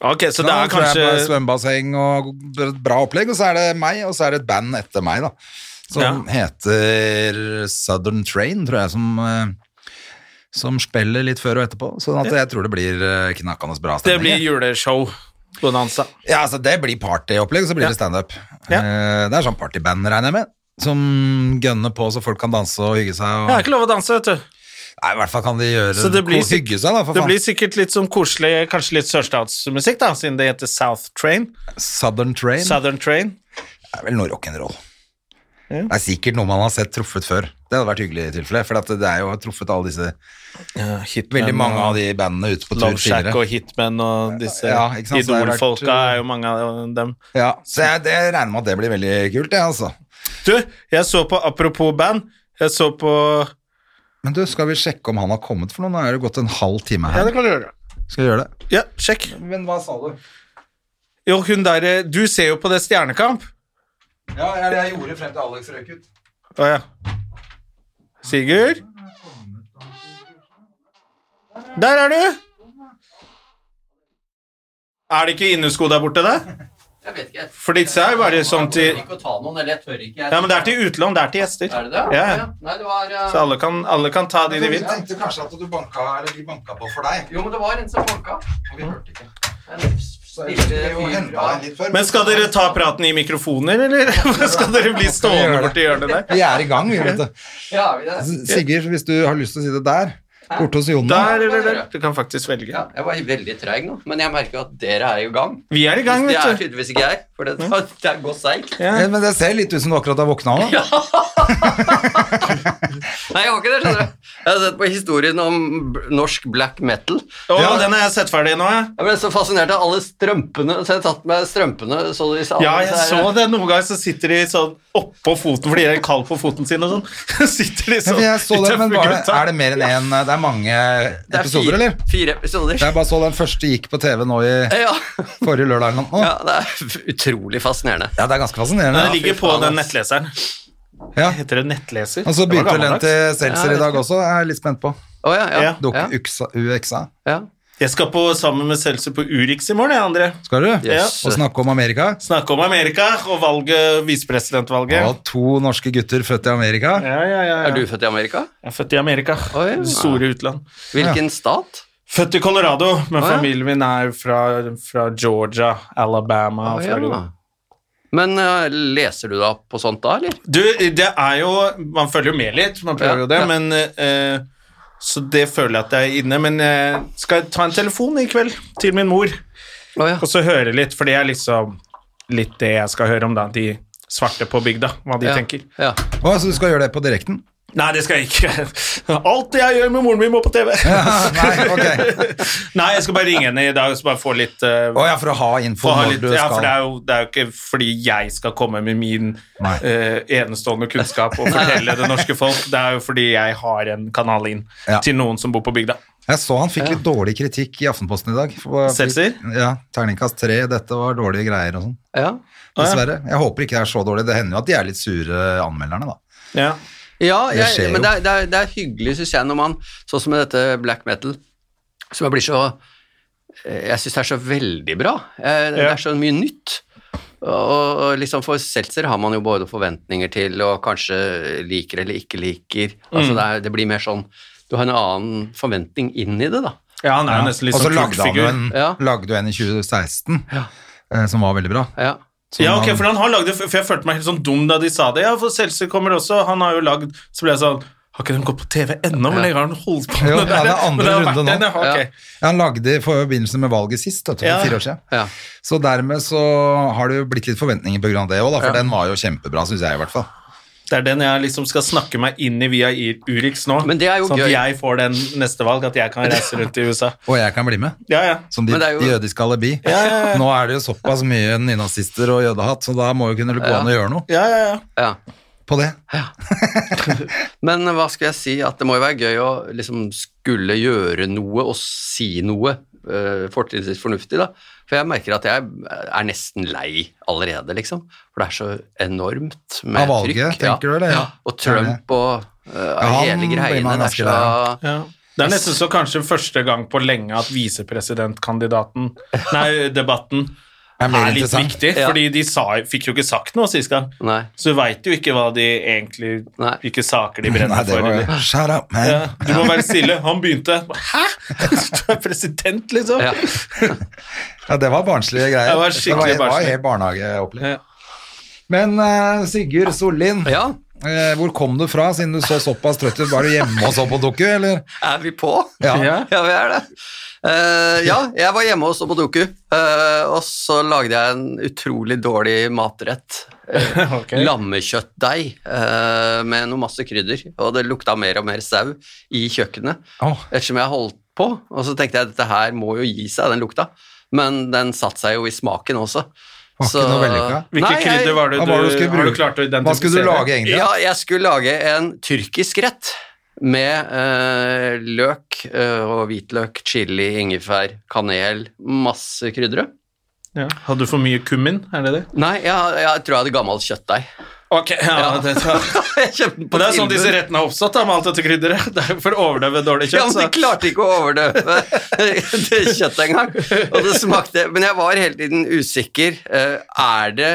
Speaker 2: Ok, Så det
Speaker 1: Ja,
Speaker 2: er
Speaker 1: tror jeg på
Speaker 2: kanskje
Speaker 1: svømmebasseng og bra opplegg, og så er det meg, og så er det et band etter meg, da. Som
Speaker 2: Ja.
Speaker 1: heter Southern Train, tror jeg, som eh, som spiller litt før og etterpå, sånn at jeg tror det blir eh, knakkende bra
Speaker 2: Det blir
Speaker 1: stemning.
Speaker 2: juleshow. Bonanza.
Speaker 1: Ja, altså det blir partyopplegg, og så blir
Speaker 2: Ja.
Speaker 1: det standup.
Speaker 2: Ja.
Speaker 1: Eh, Det er sånn partyband, regner jeg med, som gønner på så folk kan danse og hygge seg. Og...
Speaker 2: Jeg har ikke lov å danse, vet du.
Speaker 1: Nei, i hvert fall kan de gjøre
Speaker 2: Så det blir
Speaker 1: ko-
Speaker 2: sikk-
Speaker 1: hygge seg, da, for
Speaker 2: Det
Speaker 1: faen.
Speaker 2: blir sikkert litt sånn koselig, kanskje litt sørstatsmusikk, da, siden det heter South Train.
Speaker 1: Southern Train
Speaker 2: Southern Train.
Speaker 1: er vel noe rock'n'roll. Det er sikkert noe man har sett truffet før. Det hadde vært hyggelig i tilfelle, for at det er jo truffet alle disse Veldig mange av de bandene ute på tur
Speaker 2: eh, Love Shack
Speaker 1: tidligere.
Speaker 2: og Hitman og disse
Speaker 1: Ja, ikke sant, så det har vært,
Speaker 2: idolfolka
Speaker 1: uh,
Speaker 2: er jo mange av dem.
Speaker 1: Ja, så jeg det regner med at det blir veldig kult, det, altså.
Speaker 2: Du, jeg så på Apropos band, jeg så på
Speaker 1: Men du, skal vi sjekke om han har kommet for noe? Nå er det gått en halv time
Speaker 2: Ja,
Speaker 1: her.
Speaker 2: det kan du gjøre.
Speaker 1: Skal vi gjøre det?
Speaker 2: Ja, sjekk.
Speaker 1: Men hva sa du?
Speaker 2: Jo, hun der eh, Du ser jo på det Stjernekamp.
Speaker 1: Ja, jeg, jeg gjorde frem til Alex røk ut.
Speaker 2: Å ja. Sigurd? Der er du! Er det ikke Innusko der borte, da?
Speaker 4: Jeg vet ikke. jeg-
Speaker 2: For disse er jo bare sånn
Speaker 4: Jeg
Speaker 2: til
Speaker 4: tør ikke å ta noen, eller jeg tør ikke. Jeg
Speaker 2: Ja, men det er til utlån, det er til gjester.
Speaker 4: Er det det?
Speaker 2: Ja, ja.
Speaker 4: ja. Nei, det var eh,
Speaker 2: Så alle kan, alle kan ta de de vil.
Speaker 1: tenkte kanskje at du banka, eller vi banka på for deg.
Speaker 4: Jo, men det var en som banka. Og vi hørte ikke. En stille fyr fra
Speaker 1: litt før.
Speaker 2: Men skal dere ta praten i mikrofoner, eller skal dere bli stående borti hjørnet der?
Speaker 1: Vi er i gang, vi, vet du.
Speaker 4: Ja, er vi det?
Speaker 1: Sigurd, hvis du har lyst til å si det der, borte hos Jonna
Speaker 2: Der eller der? Du kan faktisk velge.
Speaker 4: Ja, jeg var veldig treig nå, men jeg merker jo at dere er i gang.
Speaker 2: Vi er i gang,
Speaker 4: Det er
Speaker 2: vet du.
Speaker 4: tydeligvis ikke jeg, for det, det går seigt.
Speaker 1: ja, Men det ser litt ut som du akkurat har våkna nå.
Speaker 4: Nei, jeg har ikke det, skjønner du. Jeg har sett på historien om b- norsk black metal.
Speaker 2: Å,
Speaker 1: Ja.
Speaker 2: den har jeg sett ferdig nå, jeg.
Speaker 4: Jeg ble så fascinert av alle strømpene, så jeg tatt med strømpene. Så de sa
Speaker 2: Ja, jeg så det. Noen ganger så sitter de sånn oppå foten fordi de er kald på foten sin og sånn. Sitter de
Speaker 1: Ja,
Speaker 2: sånn
Speaker 1: for jeg så
Speaker 2: i
Speaker 1: det, men var det,
Speaker 2: tøffegutta.
Speaker 1: er det mer enn én Det er mange
Speaker 4: Det er
Speaker 1: episoder,
Speaker 4: fire,
Speaker 1: eller?
Speaker 4: Fire episoder.
Speaker 1: Jeg bare så den første gikk på TV nå i
Speaker 4: Ja.
Speaker 1: forrige lørdag. eller noe.
Speaker 4: ja, det er utrolig fascinerende.
Speaker 1: Ja, det er ganske
Speaker 2: Men
Speaker 1: fascinerende.
Speaker 2: det ligger på
Speaker 4: faen,
Speaker 2: den
Speaker 4: ass.
Speaker 2: nettleseren.
Speaker 1: Ja.
Speaker 2: Heter det nettleser?
Speaker 1: Og så
Speaker 2: Det var
Speaker 1: begynte vel den
Speaker 2: gammeldags.
Speaker 1: til Seltzer
Speaker 4: Ja,
Speaker 1: i dag også, jeg er litt spent på.
Speaker 4: Å ja, ja.
Speaker 2: Ja.
Speaker 1: Dok
Speaker 4: ja.
Speaker 1: Uksa- UXA.
Speaker 4: ja.
Speaker 2: Jeg skal på sammen med Seltzer på Urix i morgen, jeg, André.
Speaker 1: Skal du?
Speaker 4: Yes.
Speaker 1: Og snakke om Amerika?
Speaker 2: Snakke om Amerika og valget, visepresidentvalget.
Speaker 1: Og to norske gutter født i Amerika.
Speaker 2: Ja, ja, ja,
Speaker 4: Er
Speaker 2: ja.
Speaker 4: du født i Amerika?
Speaker 2: Jeg er født i Amerika.
Speaker 4: Oi.
Speaker 2: Det Store utland.
Speaker 4: Hvilken stat?
Speaker 2: Født i Colorado, men
Speaker 4: Å, ja.
Speaker 2: familien min er fra, fra Georgia, Alabama
Speaker 4: Å,
Speaker 2: Florida.
Speaker 4: ja. Men eh, leser du da på sånt da, eller?
Speaker 2: Du, det er jo Man følger jo med litt, man prøver
Speaker 4: Ja,
Speaker 2: jo det,
Speaker 4: ja.
Speaker 2: men eh, Så det føler jeg at jeg er inne, men eh, skal jeg ta en telefon i kveld til min mor og
Speaker 4: Å ja.
Speaker 2: så høre litt, for det er liksom litt det jeg skal høre om, da. De svarte på bygda, hva de
Speaker 4: ja.
Speaker 2: tenker.
Speaker 4: Ja.
Speaker 1: Å, så du skal gjøre det på direkten?
Speaker 2: Nei, det skal jeg ikke. Alt jeg gjør med moren min, må på TV.
Speaker 1: Nei, ok.
Speaker 2: Nei, jeg skal bare ringe henne i dag og så bare få litt eh,
Speaker 1: Å ja, for å ha info
Speaker 2: få ha
Speaker 1: når
Speaker 2: litt,
Speaker 1: du
Speaker 2: ja, for
Speaker 1: skal
Speaker 2: det er, jo, det er jo ikke fordi jeg skal komme med min
Speaker 1: Nei.
Speaker 2: eh, enestående kunnskap og fortelle det norske folk. Det er jo fordi jeg har en kanal inn
Speaker 1: Ja.
Speaker 2: til noen som bor på bygda.
Speaker 1: Jeg så han fikk litt dårlig kritikk i Aftenposten i dag. For-
Speaker 2: Seltzer?
Speaker 1: Ja. Terningkast tre, dette var dårlige greier og sånn.
Speaker 4: Ja.
Speaker 2: Ah,
Speaker 1: Dessverre. Jeg håper ikke det er så dårlig. Det hender jo at de er litt sure, anmelderne, da.
Speaker 2: Ja.
Speaker 4: Ja,
Speaker 1: Det
Speaker 4: jeg,
Speaker 1: skjer jo.
Speaker 4: men det er, det, er, det er hyggelig, syns jeg, når man Sånn som med dette black metal, som jeg blir så eh, Jeg syns det er så veldig bra. Eh, Det
Speaker 2: Ja.
Speaker 4: er så mye nytt. Og, og liksom For Seltzer har man jo både forventninger til og kanskje liker eller ikke liker.
Speaker 1: Mm.
Speaker 4: Altså det, er, det blir mer sånn Du har en annen forventning inn i det, da.
Speaker 2: ja, han er jo nesten litt
Speaker 1: og så
Speaker 2: sånn
Speaker 1: lagde han jo
Speaker 2: kultfigur.
Speaker 1: en,
Speaker 4: Ja.
Speaker 1: lagde jo en i 2016 eh, som var veldig bra.
Speaker 4: Ja.
Speaker 1: Som
Speaker 2: Ja, ok,
Speaker 1: han-
Speaker 2: for han har lagd det, for jeg følte meg helt sånn dum da de sa det. Ja, for Seltzer kommer også, han har jo lagd Så ble jeg sånn Har ikke den gått på TV ennå? Hvor lenge har den holdt på med
Speaker 1: Jo,
Speaker 2: det
Speaker 1: ja,
Speaker 2: der?
Speaker 1: det er andre
Speaker 2: Men det har
Speaker 1: runde
Speaker 2: vært
Speaker 1: nå.
Speaker 2: en, ja, ok.
Speaker 1: Ja, han lagde i forbindelse med valget sist, vet du, for
Speaker 2: Ja.
Speaker 1: fire år siden.
Speaker 4: Ja.
Speaker 1: Så dermed så har det jo blitt litt forventninger på grunn av det òg, for den var jo kjempebra, syns jeg i hvert fall.
Speaker 2: Det er den jeg liksom skal snakke meg inn i via I- Urix nå.
Speaker 4: Men det er jo
Speaker 2: sånn
Speaker 4: gøy.
Speaker 2: at jeg får den neste valg, at jeg kan reise rundt i USA.
Speaker 1: Og jeg kan bli med.
Speaker 2: Ja, ja.
Speaker 1: Som de,
Speaker 4: Men det er jo-
Speaker 1: de jødiske alibi. Nå er det jo såpass mye nynazister og jødehatt, så da må jo kunne gå an å gjøre noe
Speaker 2: Ja, ja, ja.
Speaker 4: ja.
Speaker 1: på det.
Speaker 4: Men hva skal jeg si, at det må jo være gøy å liksom skulle gjøre noe og si noe uh, fortrinnsvis fornuftig, da. For jeg merker at jeg er nesten lei allerede, liksom. For det er så enormt med
Speaker 1: Av valget,
Speaker 4: trykk.
Speaker 1: tenker du, eller?
Speaker 4: Ja. Og Trump og eh,
Speaker 1: han
Speaker 4: hele
Speaker 1: blir
Speaker 4: greien.
Speaker 1: man
Speaker 4: Det
Speaker 1: ganske
Speaker 4: er så
Speaker 1: lei
Speaker 2: ja. Det er nesten så kanskje første gang på lenge at visepresidentkandidaten Nei, debatten
Speaker 1: Er mer
Speaker 2: er litt
Speaker 1: interessant.
Speaker 2: viktig,
Speaker 4: Ja.
Speaker 2: fordi de sa, fikk jo ikke sagt noe sist gang.
Speaker 4: Nei.
Speaker 2: Så du veit jo ikke hva de egentlig
Speaker 4: Nei.
Speaker 2: Hvilke saker de brenner
Speaker 1: Nei, det
Speaker 2: for.
Speaker 1: var
Speaker 2: eller-
Speaker 1: Shut up, man.
Speaker 2: Ja, du må være stille. Han begynte. Hæ?! Du er president, liksom?
Speaker 4: Ja.
Speaker 1: Ja, det var barnslige greier.
Speaker 2: Det var
Speaker 1: det var,
Speaker 2: skikkelig
Speaker 1: det var
Speaker 2: barnslig.
Speaker 1: helt barnehageopplegg.
Speaker 2: Ja.
Speaker 1: Men eh, Sigurd Sollien,
Speaker 4: ja,
Speaker 1: eh, hvor kom du fra, siden du så såpass trøtt ut? Var du hjemme og så på Doku, eller?
Speaker 4: er vi på?
Speaker 1: Ja.
Speaker 2: Ja.
Speaker 4: Ja, vi er det. Eh, ja, jeg var hjemme hos Obodoku, eh, og så lagde jeg en utrolig dårlig matrett. Eh,
Speaker 2: Ok.
Speaker 4: Lammekjøttdeig eh, med noe masse krydder, og det lukta mer og mer sau i kjøkkenet.
Speaker 1: Åh.
Speaker 4: Ettersom jeg holdt på, og så tenkte jeg at dette her må jo gi seg, den lukta. Men den satte seg jo i smaken også.
Speaker 1: Var ikke noe vellykka?
Speaker 2: Hvilke
Speaker 4: Nei, jeg-
Speaker 2: krydder var det
Speaker 1: Hva
Speaker 2: du,
Speaker 1: var det du skulle
Speaker 2: har du
Speaker 1: bruke?
Speaker 2: klart å identifisere?
Speaker 1: Hva skulle du lage egentlig?
Speaker 4: Ja, jeg skulle lage en tyrkisk rett med eh, løk eh, og hvitløk, chili, ingefær, kanel, masse kryddere.
Speaker 2: Ja. Hadde du for mye kummin? Er det det?
Speaker 4: Nei, jeg, jeg tror jeg hadde gammel kjøttdeig.
Speaker 2: Ok, ja, det,
Speaker 4: Jeg kjøpte den på
Speaker 2: Og det er sånn
Speaker 4: tilbud.
Speaker 2: disse rettene har oppstått, da, med alt dette krydderet. Det er jo for å overdøve dårlig
Speaker 4: Ja,
Speaker 2: kjøtt.
Speaker 4: men de
Speaker 2: så.
Speaker 4: klarte ikke å overdøve det kjøttet engang. Og det smakte Men jeg var hele tiden usikker. Eh, Er det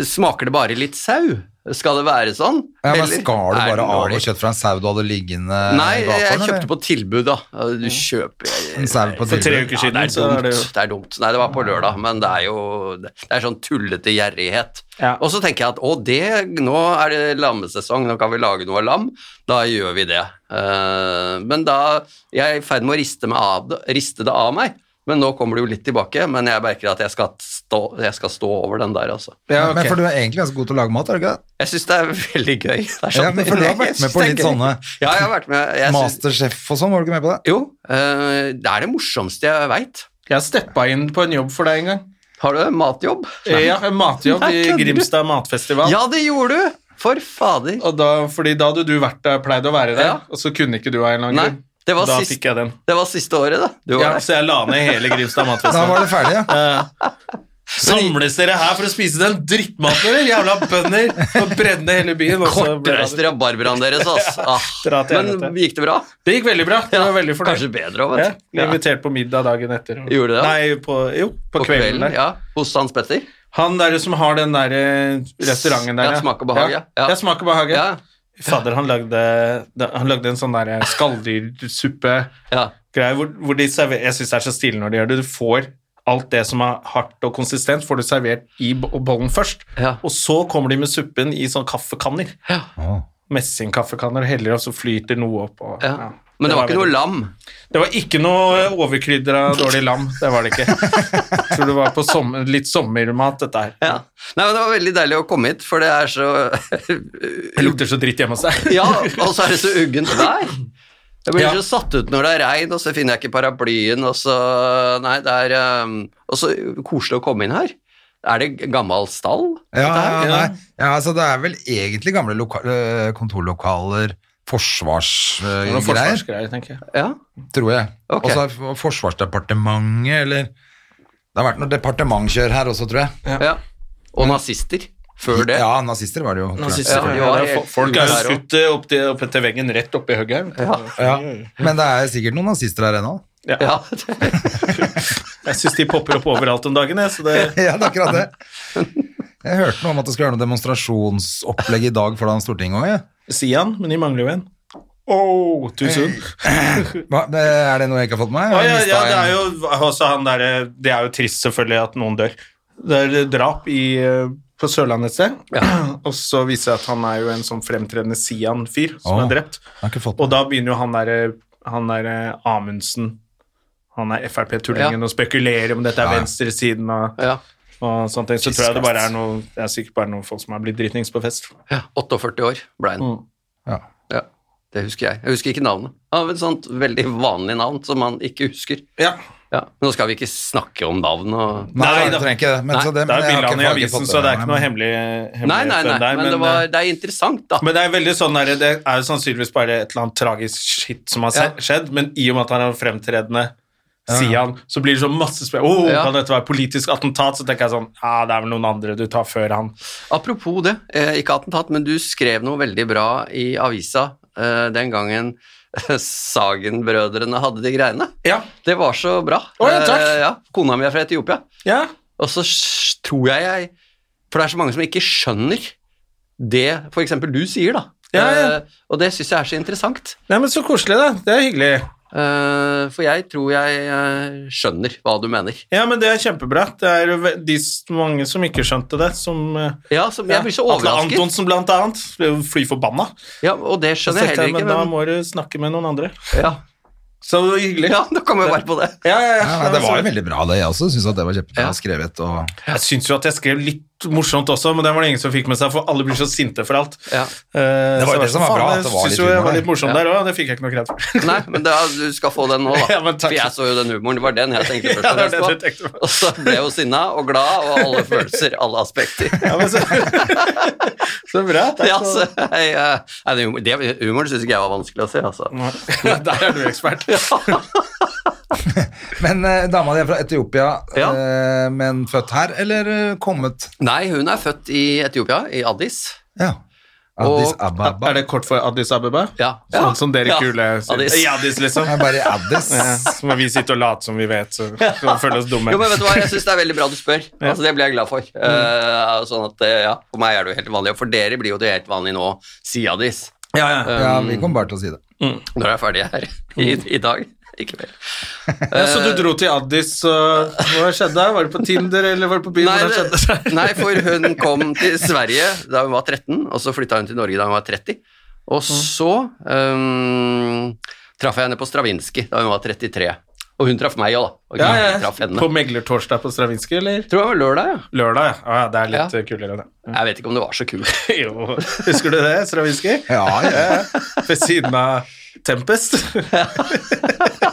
Speaker 4: Smaker det bare litt sau? Skal det være sånn?
Speaker 1: Ja, men
Speaker 4: Eller
Speaker 1: Skar du
Speaker 4: er
Speaker 1: bare
Speaker 4: den
Speaker 1: av
Speaker 4: dårlig?
Speaker 1: noe kjøtt fra en sau du hadde liggende
Speaker 4: Nei,
Speaker 1: i
Speaker 4: jeg
Speaker 1: bakgården,
Speaker 4: kjøpte
Speaker 1: eller?
Speaker 4: på tilbud, da. Du kjøper
Speaker 1: En sau på
Speaker 2: For tre
Speaker 1: tilbud.
Speaker 2: uker
Speaker 4: Ja, det
Speaker 2: siden,
Speaker 4: er
Speaker 2: så
Speaker 4: dumt.
Speaker 2: er det jo
Speaker 4: Det er dumt. Nei, det var på lørdag, men det er jo det er sånn tullete gjerrighet.
Speaker 2: Ja.
Speaker 4: Og så tenker jeg at å, det, nå er det lammesesong, nå kan vi lage noe av lam. Da gjør vi det. Eh, men da Jeg er i ferd med å riste, meg av det, riste det av meg. Men nå kommer det jo litt tilbake, men jeg merker at jeg skal stå, jeg skal stå over den der, altså.
Speaker 2: ja, ok.
Speaker 1: Men for du er egentlig ganske god til å lage mat, er du ikke det?
Speaker 4: Jeg syns det er veldig gøy. Det er sånn-
Speaker 1: Ja, men for du har vært med på litt sånne
Speaker 4: Ja, jeg har vært med. Jeg syns-
Speaker 1: Masterchef og sånn, var du ikke med på det?
Speaker 4: jo, eh, det er det morsomste jeg veit.
Speaker 2: Jeg steppa inn på en jobb for deg en gang.
Speaker 4: Har du matjobb?
Speaker 2: Ja, en matjobb
Speaker 4: Nei,
Speaker 2: i
Speaker 4: kødder du?
Speaker 2: Grimstad matfestival.
Speaker 4: Ja, det gjorde du! For fader.
Speaker 2: Og da, fordi da hadde du vært der, pleid å være der,
Speaker 4: Ja.
Speaker 2: og så kunne ikke du av en eller
Speaker 4: Nei,
Speaker 2: annen grunn.
Speaker 4: det var,
Speaker 2: Da
Speaker 4: sist,
Speaker 2: fikk jeg den.
Speaker 4: det var siste året, da. Du var
Speaker 2: Ja,
Speaker 4: der.
Speaker 2: så jeg la ned hele Grimstad
Speaker 1: Da
Speaker 2: matfestival.
Speaker 1: var det ferdig, ja.
Speaker 2: Samles dere her for å spise den drittmaten, eller? Jævla bønder! Og brenne hele byen. og så ble
Speaker 4: Kortreiste rabarbraen deres, ass.
Speaker 2: dra
Speaker 4: Ah.
Speaker 2: til helvete.
Speaker 4: Men gikk det bra?
Speaker 2: Det gikk veldig bra. Jeg var veldig fornøyd.
Speaker 4: Kanskje bedre òg,
Speaker 2: Ja,
Speaker 4: vet du.
Speaker 2: ble invitert på middag dagen etter. og-
Speaker 4: Gjorde du det?
Speaker 2: Nei, på, jo, på,
Speaker 4: På
Speaker 2: kvelden. der.
Speaker 4: ja. Hos Hans Petter.
Speaker 2: Han der som har den der eh, restauranten der.
Speaker 4: Ja, Smak og behag, ja. Ja.
Speaker 2: ja smak og behag, ja.
Speaker 4: Ja.
Speaker 2: Fader, han lagde, da- han lagde en sånn der eh, skalldyrsuppe
Speaker 4: ja.
Speaker 2: greier hvor, hvor de server, Jeg syns det er så stilig når de gjør det. Du får alt det som er hardt og konsistent, får du servert i bo- bollen først.
Speaker 4: Ja.
Speaker 2: Og så kommer de med suppen i sånn kaffekanner.
Speaker 4: Ja.
Speaker 2: Messingkaffekanner og heller, og så flyter noe opp. Og,
Speaker 4: Ja.
Speaker 2: ja.
Speaker 4: Men det var
Speaker 2: Det
Speaker 4: ikke
Speaker 2: var
Speaker 4: noe lam.
Speaker 2: Det var ikke noe overkrydra dårlig lam. Det var det ikke. Jeg tror det var på sommer, litt sommermat, dette her.
Speaker 4: Ja. Nei, men Det var veldig deilig å komme hit, for det er så
Speaker 2: Det lukter så dritt hjemme hos deg.
Speaker 4: Ja, og så er det så uggent vær. Jeg blir
Speaker 2: Ja.
Speaker 4: så satt ut når det er regn, og så finner jeg ikke paraplyen, og så Nei, det er um, Og så koselig å komme inn her. Er det gammel stall?
Speaker 1: Ja,
Speaker 4: dette her?
Speaker 1: ja, nei. ja, altså det er vel egentlig gamle loka eh, kontorlokaler,
Speaker 2: Det var noen
Speaker 1: forsvarsgreier,
Speaker 2: forsvarsgreier, tenker jeg.
Speaker 4: Ja.
Speaker 1: tror jeg.
Speaker 4: Ok.
Speaker 1: Og så er f- Forsvarsdepartementet, eller Det har vært noe departementkjør her også, tror jeg.
Speaker 4: ja. Og nazister før det.
Speaker 1: Ja, nazister var det jo. tror jeg.
Speaker 2: Nazister,
Speaker 4: Ja,
Speaker 2: ja,
Speaker 4: ja,
Speaker 2: det er fo- folk er jo skutt eh, opp, til, opp etter veggen, rett oppi hugget her.
Speaker 1: Ja. Men det er sikkert noen nazister her ennå.
Speaker 4: Ja.
Speaker 2: Jeg syns de popper opp overalt om dagen, jeg, så det
Speaker 1: Ja, det er akkurat det. Jeg hørte noe om at det skulle være noe demonstrasjonsopplegg i dag foran Stortinget òg. Ja.
Speaker 2: sier han, men de mangler jo en. Oh, too soon.
Speaker 1: Hva- Er det noe jeg ikke har fått med meg?
Speaker 2: Ja, ja,
Speaker 1: Jeg
Speaker 2: ja,
Speaker 1: mistet
Speaker 2: det er
Speaker 1: en-
Speaker 2: jo også han der, eh, Det er jo trist, selvfølgelig, at noen dør. Det er drap i, eh, på Sørlandet et sted, og så viser det seg at han er jo en sånn fremtredende Sian-fyr som
Speaker 1: Å.
Speaker 2: er drept.
Speaker 1: Jeg har ikke fått
Speaker 2: Og da begynner jo han der, han der eh, Amundsen, han er Frp-tullingen,
Speaker 4: Ja.
Speaker 2: og spekulerer om dette er
Speaker 1: Ja.
Speaker 2: venstresiden og,
Speaker 4: ja.
Speaker 2: og sånne ting. Så tror jeg det bare er noe Det er sikkert bare noen folk som har blitt dritings på fest.
Speaker 4: 48 år ble
Speaker 2: Mm.
Speaker 4: han.
Speaker 1: Ja.
Speaker 4: Ja. Det husker jeg. Jeg husker ikke navnet. Han har et sånt veldig vanlig navn som man ikke husker.
Speaker 2: Ja.
Speaker 4: Ja. Men nå skal vi ikke snakke om navn og
Speaker 1: Nei,
Speaker 2: Nei,
Speaker 1: jeg
Speaker 2: da.
Speaker 1: trenger ikke det. Men,
Speaker 4: Nei,
Speaker 1: så det,
Speaker 2: Det
Speaker 1: men
Speaker 2: er
Speaker 1: jeg har
Speaker 2: bildene
Speaker 1: ikke-
Speaker 2: i
Speaker 1: jeg har ikke
Speaker 2: avisen,
Speaker 1: fått
Speaker 2: så det er ikke
Speaker 1: med
Speaker 2: noe
Speaker 1: meg.
Speaker 2: hemmelig
Speaker 4: Nei, nei, nei,
Speaker 2: hemmelighet der. eh,
Speaker 4: men det, var, det er interessant, da.
Speaker 2: Men det er veldig sånn der, det er jo sannsynligvis bare et eller annet tragisk shit som har se- skjedd, men i og med at han er fremtredende Sian, så blir det sånn masse spørsmål. Åh,
Speaker 4: Ja.
Speaker 2: Kan dette være politisk attentat? Så tenker jeg sånn Ja, det er vel noen andre du tar før han.
Speaker 4: Apropos det, eh, ikke attentat, men du skrev noe veldig bra i avisa eh, den gangen eh, Sagen-brødrene hadde de greiene.
Speaker 2: Ja.
Speaker 4: Det var så bra.
Speaker 2: Å, ja, takk.
Speaker 4: Eh, ja, kona mi er fra Etiopia.
Speaker 2: ja.
Speaker 4: Og så s- tror jeg jeg For det er så mange som ikke skjønner det f.eks. du sier, da.
Speaker 2: Ja, ja.
Speaker 4: Eh, og det syns jeg er så interessant.
Speaker 2: Nei, men så koselig, da. Det er hyggelig.
Speaker 4: Eh, for jeg tror jeg eh, skjønner hva du mener.
Speaker 2: Ja, men det er kjempebra. Det er jo ve- de s- mange som ikke skjønte det, som eh,
Speaker 4: Ja, så Jeg blir så
Speaker 2: Atle
Speaker 4: overrasket.
Speaker 2: Antonsen, blant annet, ble jo fly forbanna.
Speaker 4: Ja, og det
Speaker 2: Så
Speaker 4: skjønner jeg
Speaker 2: tenkte jeg, men,
Speaker 4: heller ikke.
Speaker 2: da
Speaker 4: Men,
Speaker 2: må du snakke med noen andre.
Speaker 4: ja,
Speaker 2: Så det var hyggelig.
Speaker 4: ja, nå kom jeg bare på det.
Speaker 2: ja, ja. ja.
Speaker 1: Ja, nei, det var jo
Speaker 2: Så-
Speaker 1: veldig bra, det. Jeg også syns det var kjempebra
Speaker 4: Ja.
Speaker 1: skrevet. Og
Speaker 2: Jeg syns jo at jeg skrev litt morsomt også, men det var det ingen som fikk med seg, for alle blir så sinte for alt.
Speaker 4: Ja.
Speaker 2: Eh,
Speaker 1: Det var jo
Speaker 2: så jeg
Speaker 1: det som var
Speaker 2: faen,
Speaker 1: bra, at
Speaker 2: Jeg
Speaker 1: det var litt
Speaker 2: syns jo jeg
Speaker 1: humor
Speaker 2: var
Speaker 1: der.
Speaker 2: litt morsom
Speaker 4: Ja.
Speaker 2: der òg, det fikk jeg ikke noe kred for.
Speaker 4: Nei, men da, du skal få den nå, da.
Speaker 2: Ja, men takk.
Speaker 4: For jeg så jo den humoren. Det var den jeg tenkte først
Speaker 2: Ja,
Speaker 4: og
Speaker 2: det var
Speaker 4: fremst
Speaker 2: det du
Speaker 4: på.
Speaker 2: tenkte på.
Speaker 4: Og så ble jeg jo sinna og glad og alle følelser, alle aspekter.
Speaker 2: Ja, men så, så bra. Takk
Speaker 4: Ja,
Speaker 2: skal
Speaker 4: så, jeg, eh, nei, det humor- det, humoren syns ikke jeg var vanskelig å se, altså.
Speaker 2: du ha. Der er du ekspert.
Speaker 1: Men eh, dama di er fra Etiopia,
Speaker 4: Ja.
Speaker 1: eh, men født her, eller eh, kommet
Speaker 4: Nei, hun er født i Etiopia, i Addis.
Speaker 1: Ja. Addis
Speaker 4: Og-
Speaker 1: Ababa.
Speaker 2: Er det kort for Addis Abeba?
Speaker 4: Ja.
Speaker 2: Sånn som dere
Speaker 4: Ja.
Speaker 2: kule sier.
Speaker 4: Addis.
Speaker 2: I Addis, liksom.
Speaker 1: Jeg er bare i Addis.
Speaker 2: Ja, så må vi sitte og late som vi vet, så så føler vi oss dumme.
Speaker 4: Jo, men vet du hva, Jeg syns det er veldig bra du spør. Altså, Det blir jeg glad for.
Speaker 2: Mm.
Speaker 4: Eh, sånn at, eh, ja, For meg er det jo helt vanlig, og for dere blir jo det helt vanlig nå, sier Addis.
Speaker 2: Ja, ja.
Speaker 4: Eh,
Speaker 1: Ja, vi kom bare til å si det.
Speaker 4: Når jeg er ferdig her i, i dag. Ikke mer.
Speaker 2: Ja, så du dro til Addis, og hva skjedde? Var det på Tinder, eller var det på byen?
Speaker 4: Nei,
Speaker 2: Hvordan skjedde det?
Speaker 4: det- nei, for hun kom til Sverige da hun var 13, og så flytta hun til Norge da hun var 30. Og så øhm, traff jeg henne på Stravinskij da hun var 33. Og hun traff meg òg, da. Og
Speaker 2: Ja,
Speaker 4: jeg traff
Speaker 2: ja.
Speaker 4: henne.
Speaker 2: På meglertorsdag på Stravinskij, eller?
Speaker 4: Tror jeg det var lørdag, ja.
Speaker 2: Lørdag, ja. Å, ja. Det er litt
Speaker 4: Ja.
Speaker 2: eh, kulere, det.
Speaker 4: Jeg vet ikke om det var så kult.
Speaker 2: Jo, husker du det, Stravinskij?
Speaker 1: Ja, ja.
Speaker 2: Ved siden av Tempest.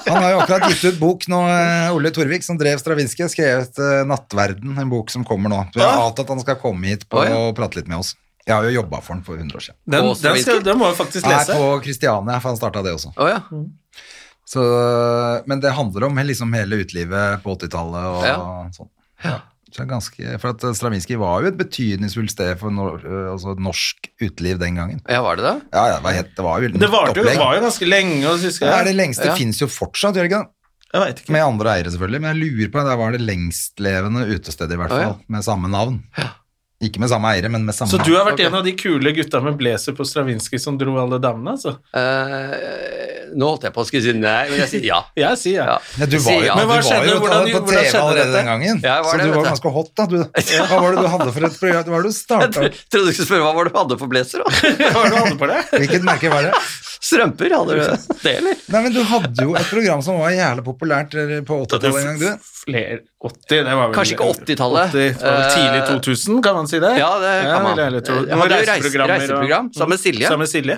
Speaker 1: Han har jo akkurat gitt ut bok nå, eh, Ole Torvik, som drev Stravinskij, skrevet eh, 'Nattverden', en bok som kommer nå. Vi har
Speaker 2: Ah.
Speaker 1: avtalt at han skal komme hit på,
Speaker 4: Å, ja.
Speaker 1: og prate litt med oss. Jeg har jo jobba for han for 100 år siden.
Speaker 2: Den,
Speaker 4: På
Speaker 2: den, skal,
Speaker 4: Stravinskij?
Speaker 2: den må jeg faktisk
Speaker 1: Nei,
Speaker 2: lese.
Speaker 1: på Kristiania, for han starta det også.
Speaker 4: Å ja.
Speaker 1: Så, men det handler om liksom hele utelivet på 80-tallet og
Speaker 4: Ja.
Speaker 1: sånn. Så det er ganske, for at eh, Stravinskij var jo et betydningsfullt sted for nor øh, altså norsk uteliv den gangen.
Speaker 4: ja, var det det?
Speaker 1: Ja, ja, det var, helt, det var jo
Speaker 2: Det
Speaker 1: nytt
Speaker 2: varte jo,
Speaker 1: opplegg.
Speaker 2: var jo ganske lenge. Og så husker
Speaker 1: det
Speaker 2: jeg
Speaker 1: er det lengste,
Speaker 4: Ja.
Speaker 1: det fins jo fortsatt, gjør det ikke det?
Speaker 2: jeg vet ikke.
Speaker 1: Med andre eiere, selvfølgelig, men jeg lurer på, der var det lengstlevende utestedet, i hvert
Speaker 4: Å,
Speaker 1: fall,
Speaker 4: ja.
Speaker 1: med samme navn. Ikke med samme eiere, men med samme
Speaker 2: Så du
Speaker 1: navn.
Speaker 2: har vært
Speaker 4: Ok.
Speaker 2: en av de kule gutta med blazer på Stravinskij som dro alle damene, altså?
Speaker 4: Eh, nå holdt jeg på å skulle si nei, men jeg sier ja.
Speaker 2: Jeg sier ja.
Speaker 4: ja.
Speaker 1: Ja, du var
Speaker 4: Sier
Speaker 1: jo,
Speaker 4: ja.
Speaker 1: du
Speaker 2: Men hva
Speaker 1: var
Speaker 2: skjedde?
Speaker 1: jo
Speaker 2: Hvordan-
Speaker 1: på
Speaker 2: hvordan
Speaker 1: TV
Speaker 2: skjedde
Speaker 1: allerede
Speaker 2: dette?
Speaker 1: den gangen,
Speaker 4: Ja, jeg var
Speaker 1: så
Speaker 4: det,
Speaker 1: du
Speaker 4: vet
Speaker 1: var
Speaker 4: jeg.
Speaker 1: ganske hot da. Du, hva var det du hadde for et program? Hva var det du
Speaker 4: Jeg
Speaker 1: starta
Speaker 4: tro- trodde du skulle spørre hva var det du hadde for blazer, da.
Speaker 2: Hva var det du hadde på deg?
Speaker 1: Hvilket merke var det?
Speaker 4: Strømper, hadde du Eh, det, eller?
Speaker 1: Nei, men du hadde jo et program som var jævlig populært eh, på 80-tallet en gang, du.
Speaker 2: Flere 80, det var vel
Speaker 4: Kanskje ikke 80-tallet.
Speaker 2: 80, det var vel
Speaker 4: Eh,
Speaker 2: tidlig 2000, kan man si det?
Speaker 4: Ja, det kan man. Eh,
Speaker 2: vil jeg heller tro.
Speaker 4: Jeg
Speaker 2: Noen
Speaker 4: hadde jo reise-
Speaker 2: reiseprogrammer og-
Speaker 4: reiseprogram, sammen med Silje.
Speaker 2: Sammen med Silje.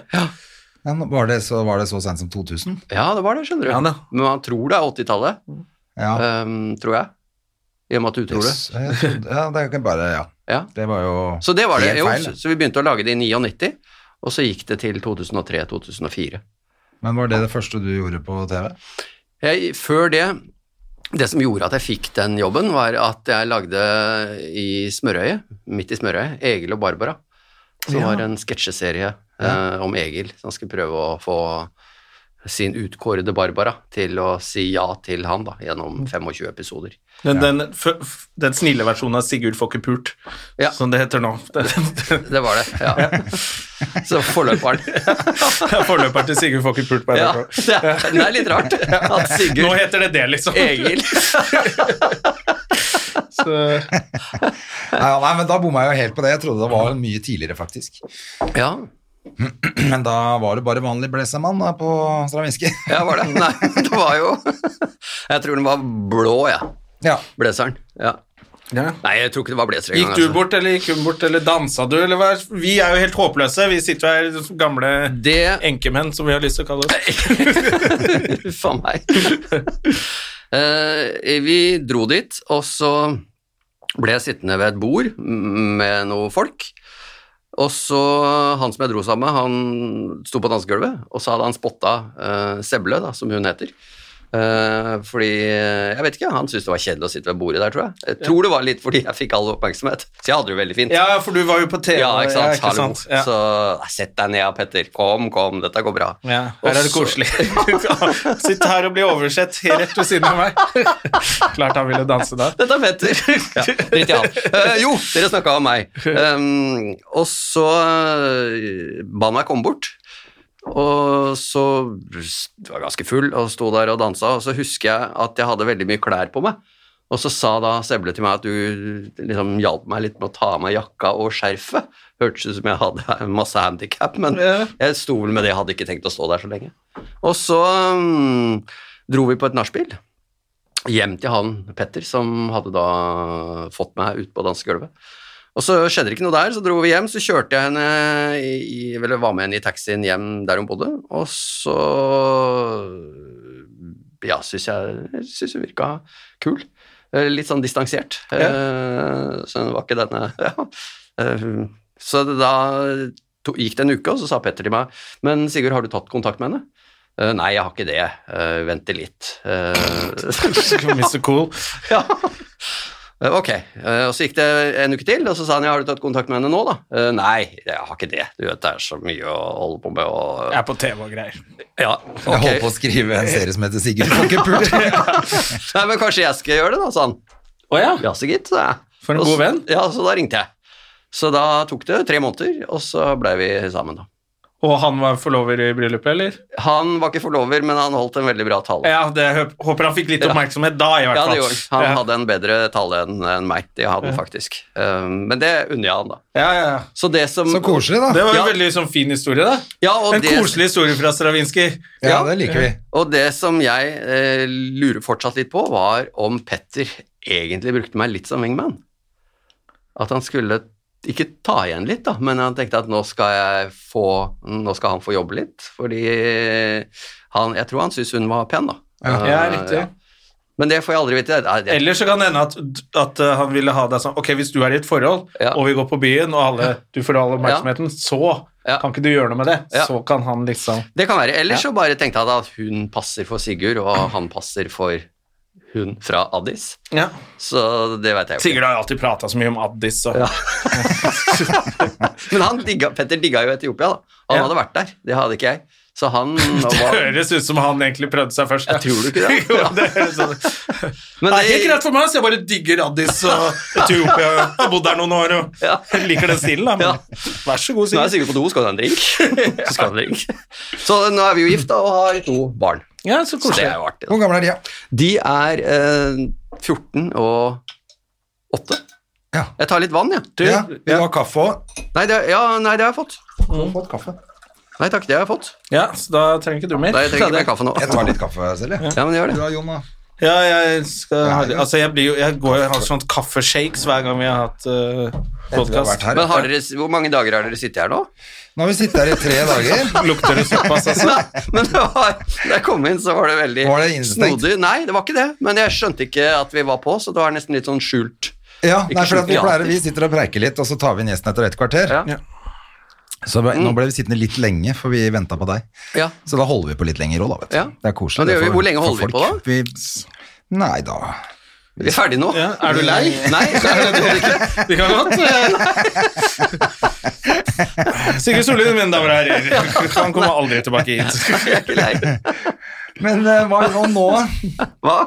Speaker 1: Ja, nå var, det så, var det så sent som 2000?
Speaker 4: Ja, det var det, skjønner du.
Speaker 2: Ja, da.
Speaker 4: Men man tror det er 80-tallet,
Speaker 1: Ja.
Speaker 4: ehm, tror jeg. I og med at du tror det.
Speaker 1: Yes, jeg trodde- Ja, det er ikke bare Ja.
Speaker 4: Ja.
Speaker 1: Det var jo
Speaker 4: Så det var det.
Speaker 1: helt
Speaker 4: Jo,
Speaker 1: feil,
Speaker 4: så, så vi begynte å lage det i 99, og så gikk det til 2003-2004.
Speaker 1: Men var det det første du gjorde på TV?
Speaker 4: Jeg, før det Det som gjorde at jeg fikk den jobben, var at jeg lagde i Smørøyet, midt i Smørøyet, Egil og Barbara. Som var en sketsjeserie eh, om Egil, som skulle prøve å få sin utkårede Barbara til å si ja til han da, gjennom 25 episoder.
Speaker 2: Den, den, f f den snille versjonen av Sigurd får ikke pult,
Speaker 4: Ja.
Speaker 2: som det heter nå. Det-
Speaker 4: Det var det, ja. Så forløperen.
Speaker 2: Forløperen til Sigurd får ikke pult på
Speaker 4: Ja,
Speaker 2: NRK.
Speaker 4: det er, det er litt rart at
Speaker 2: Nå
Speaker 4: Sigurd
Speaker 2: heter det det, liksom.
Speaker 4: Egil
Speaker 2: Så-
Speaker 1: Nei, nei, men da bomma jeg jo helt på det. Jeg trodde det var mye tidligere, faktisk.
Speaker 4: Ja,
Speaker 1: Men da var det bare vanlig blesemann da, på Stravinskij.
Speaker 4: ja var det. Nei, det var jo Jeg tror den var blå, jeg. Ja.
Speaker 1: Ja.
Speaker 4: Blazeren. Ja.
Speaker 2: Ja.
Speaker 4: Nei, jeg tror ikke det var blazer altså.
Speaker 2: Gikk du bort, eller gikk hun bort, eller dansa du, eller hva? Vi er jo helt håpløse. Vi sitter jo her som gamle
Speaker 4: Det
Speaker 2: enkemenn, som vi har lyst til å kalle oss.
Speaker 4: Faen meg. Eh, vi dro dit, og så ble jeg sittende ved et bord m- med noen folk. Og så han som jeg dro sammen med, han sto på dansegulvet, og så hadde han spotta eh, Seble, da, som hun heter. Eh, fordi eh, jeg vet ikke, han syntes det var kjedelig å sitte ved bordet der, tror jeg. Jeg tror det var litt fordi jeg fikk all oppmerksomhet, så jeg hadde det jo veldig fint.
Speaker 2: Ja, for du var jo på TV.
Speaker 4: Ja, ikke sant.
Speaker 2: Ja,
Speaker 4: Hallo.
Speaker 2: Ja.
Speaker 4: Så nei, sett deg ned, Petter. Kom, kom, dette går bra.
Speaker 2: Ja, her er det
Speaker 4: Og så-
Speaker 2: koselig. Sitt her og bli oversett helt rett ved siden av meg. Klart han ville danse da.
Speaker 4: Dette er Petter. ja, dritt i han. Eh, jo, dere snakka om meg. Um, og så eh, ba han meg komme bort. Og så jeg var ganske full og sto der og dansa, og så husker jeg at jeg hadde veldig mye klær på meg. Og så sa da Seble til meg at du liksom hjalp meg litt med å ta av meg jakka og skjerfet. Hørtes ut som jeg hadde masse handikap, men jeg sto vel med det, jeg hadde ikke tenkt å stå der så lenge. Og så mm, dro vi på et nachspiel hjem til han Petter, som hadde da fått meg ut på dansegulvet. Og så skjedde det ikke noe der, så dro vi hjem, så kjørte jeg henne i, i, eller var med henne i taxien hjem der hun bodde, og så ja, syns jeg synes hun virka kul. Eh, Litt sånn distansert. Eh, Så hun var ikke denne ja. Eh, Så da to, gikk det en uke, og så sa Petter til meg Men Sigurd, har du tatt kontakt med henne? «Eh, Nei, jeg har ikke det. Eh, Vente litt. Eh,
Speaker 2: Mr. Cool.
Speaker 4: ja. Eh, Ok, Eh, og så gikk det en uke til, og så sa han ja, har du tatt kontakt med henne nå da? «Eh, Nei, jeg har ikke det. Du vet, det er så mye å holde på med og...
Speaker 2: Jeg er på TV og greier.
Speaker 4: Ja,
Speaker 1: Jeg holdt
Speaker 4: ok.
Speaker 1: på å skrive en serie som heter Sigurd Folkepult.
Speaker 4: Nei, men kanskje jeg skal gjøre det da, sa han.
Speaker 2: Å ja.
Speaker 4: Ja, så gitt, sa jeg.
Speaker 2: For en
Speaker 4: Og
Speaker 2: god
Speaker 4: så-
Speaker 2: venn.
Speaker 4: Ja, så da ringte jeg. Så da tok det tre måneder, og så ble vi sammen da.
Speaker 2: Og han var forlover i bryllupet, eller?
Speaker 4: Han var ikke forlover, men han holdt en veldig bra tale.
Speaker 2: Ja, det, jeg håper han fikk litt oppmerksomhet da, i hvert
Speaker 4: Ja,
Speaker 2: fall.
Speaker 4: det gjorde han. Han
Speaker 2: Ja.
Speaker 4: hadde en bedre tale enn enn meg, det hadde han faktisk. Eh, Men det unner jeg han da.
Speaker 2: Ja, ja, ja.
Speaker 4: Så det som...
Speaker 1: Så koselig, da.
Speaker 2: Det var jo
Speaker 4: Ja.
Speaker 2: veldig sånn fin historie, da.
Speaker 4: Ja, og
Speaker 2: en
Speaker 4: det-
Speaker 2: koselig historie fra Stravinskij.
Speaker 1: Ja, det liker vi.
Speaker 4: Og det som jeg eh, lurer fortsatt litt på, var om Petter egentlig brukte meg litt som wingman. At han skulle ikke ta igjen litt, da, men han tenkte at nå skal, jeg få, nå skal han få jobbe litt. Fordi han, jeg tror han syntes hun var pen, da.
Speaker 1: Ja.
Speaker 4: Eh,
Speaker 2: Ja, riktig.
Speaker 4: Men det får jeg aldri vite. Nei, det-
Speaker 2: Eller så kan det hende at, at eh, han ville ha deg sånn Ok, hvis du er i et forhold,
Speaker 4: Ja.
Speaker 2: og vi går på byen, og alle, du får all oppmerksomheten, så
Speaker 4: Ja.
Speaker 2: kan ikke du gjøre noe med det.
Speaker 4: Ja.
Speaker 2: Så kan han liksom
Speaker 4: Det kan være. Eller så bare tenkte han at hun passer for Sigurd, og han passer for hun fra Addis.
Speaker 2: ja.
Speaker 4: Så det vet jeg jo ikke.
Speaker 2: Sigurd har jo alltid prata så mye om Addis og
Speaker 4: Men han digga, Petter digga jo Etiopia, da. Han
Speaker 2: Ja.
Speaker 4: hadde vært der. Det hadde ikke jeg. Så han var
Speaker 2: Høres ut som han egentlig prøvde seg først. Ja.
Speaker 4: Tror du ikke det?
Speaker 2: Jo, det høres sånn ut.
Speaker 4: Men
Speaker 2: Det er helt
Speaker 4: det,
Speaker 2: greit for meg, så jeg bare digger Addis og Etiopia. Jeg har bodd der noen år og
Speaker 4: Ja.
Speaker 2: liker den stilen, da.
Speaker 4: Ja.
Speaker 2: Men vær så god,
Speaker 4: nå er
Speaker 2: Sigurd.
Speaker 4: jeg sikkert på do, skal du ha en drink? Så skal du ha en drink. Så nå er vi jo gift da, og har to barn.
Speaker 2: Ja, så
Speaker 4: Så det
Speaker 2: koselig.
Speaker 4: er jo artig.
Speaker 1: Hvor
Speaker 4: Da.
Speaker 1: gammel er de, ja?
Speaker 4: De er eh, 14 og 8.
Speaker 1: Ja.
Speaker 4: Jeg tar litt vann, jeg.
Speaker 2: Du,
Speaker 1: ja. Vil du ha kaffe òg?
Speaker 4: Nei, det, ja, nei, det har jeg fått.
Speaker 1: Fått kaffe.
Speaker 4: Nei takk, det har jeg fått.
Speaker 2: Ja, så da trenger ikke du mer.
Speaker 4: Nei, jeg trenger ikke mer kaffe nå.
Speaker 1: Jeg tar litt kaffe selv, jeg.
Speaker 4: Ja, men gjør
Speaker 1: Du
Speaker 4: det.
Speaker 1: da, Jon, da?
Speaker 2: Ja, jeg skal ha Altså, jeg blir jo Jeg går jo og har sånt kaffeshakes hver gang vi har hatt uh,
Speaker 1: Etter vi har vært
Speaker 2: podkast.
Speaker 1: her.
Speaker 4: Men har dere, hvor mange dager har dere sittet her nå?
Speaker 1: Nå har vi sittet her i tre dager.
Speaker 2: Lukter det såpass, altså?
Speaker 4: Nei, men det var, da jeg kom inn, så var det veldig
Speaker 1: Var det innestengt?
Speaker 4: snodig. Nei, det var ikke det. Men jeg skjønte ikke at vi var på, så det var nesten litt sånn skjult.
Speaker 1: Ja,
Speaker 4: Ikke
Speaker 1: nei, for at vi,
Speaker 4: skjult
Speaker 1: pleier, vi
Speaker 4: gratis.
Speaker 1: sitter og preiker litt, og så tar vi inn gjesten etter et kvarter.
Speaker 4: Ja. Mm.
Speaker 2: Ja.
Speaker 1: Så ble- nå ble vi sittende litt lenge, for vi venta på deg.
Speaker 4: Ja.
Speaker 1: Så da holder vi på litt lenger òg, da. vet du.
Speaker 4: Ja.
Speaker 1: Det er
Speaker 4: Ja,
Speaker 1: koselig.
Speaker 4: det gjør
Speaker 1: er
Speaker 4: vi.
Speaker 1: for-
Speaker 4: Hvor lenge
Speaker 1: for
Speaker 4: holder vi på
Speaker 1: folk. Vi, nei da
Speaker 4: Vi er ferdige nå.
Speaker 2: Ja, er du lei?
Speaker 4: Nei, så er det ikke.
Speaker 2: Det kan godt eh, Sigurd Sollien, mine damer og herrer. Han kommer aldri tilbake hit.
Speaker 4: Jeg er ikke lei.
Speaker 1: Men eh, hva, og, nå,
Speaker 4: Hva?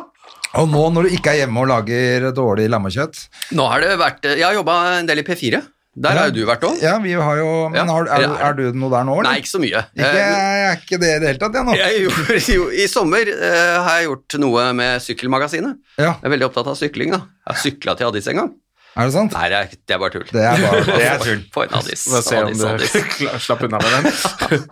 Speaker 1: og nå når du ikke er hjemme og lager dårlig lammekjøtt
Speaker 4: Nå har det vært Jeg har jobba en del i P4. Der har jo du vært òg.
Speaker 1: Ja, vi har jo Men
Speaker 4: Ja.
Speaker 1: har, er, du- er du noe der nå,
Speaker 4: Nei, Eh, ikke så mye.
Speaker 1: Ikke, jeg er ikke det i det hele tatt, jeg nå.
Speaker 4: Jeg gjorde, jo, I sommer eh, har jeg gjort noe med Sykkelmagasinet.
Speaker 1: Ja,
Speaker 4: Jeg er veldig opptatt av sykling. da. Jeg har sykla til Addis en gang.
Speaker 1: Er det sant?
Speaker 4: Nei, det er, det er bare tull.
Speaker 1: Det er bare det er tull.
Speaker 4: For en Addis.
Speaker 2: Få se om
Speaker 4: Addis, Addis.
Speaker 2: du klar- slapp unna med den.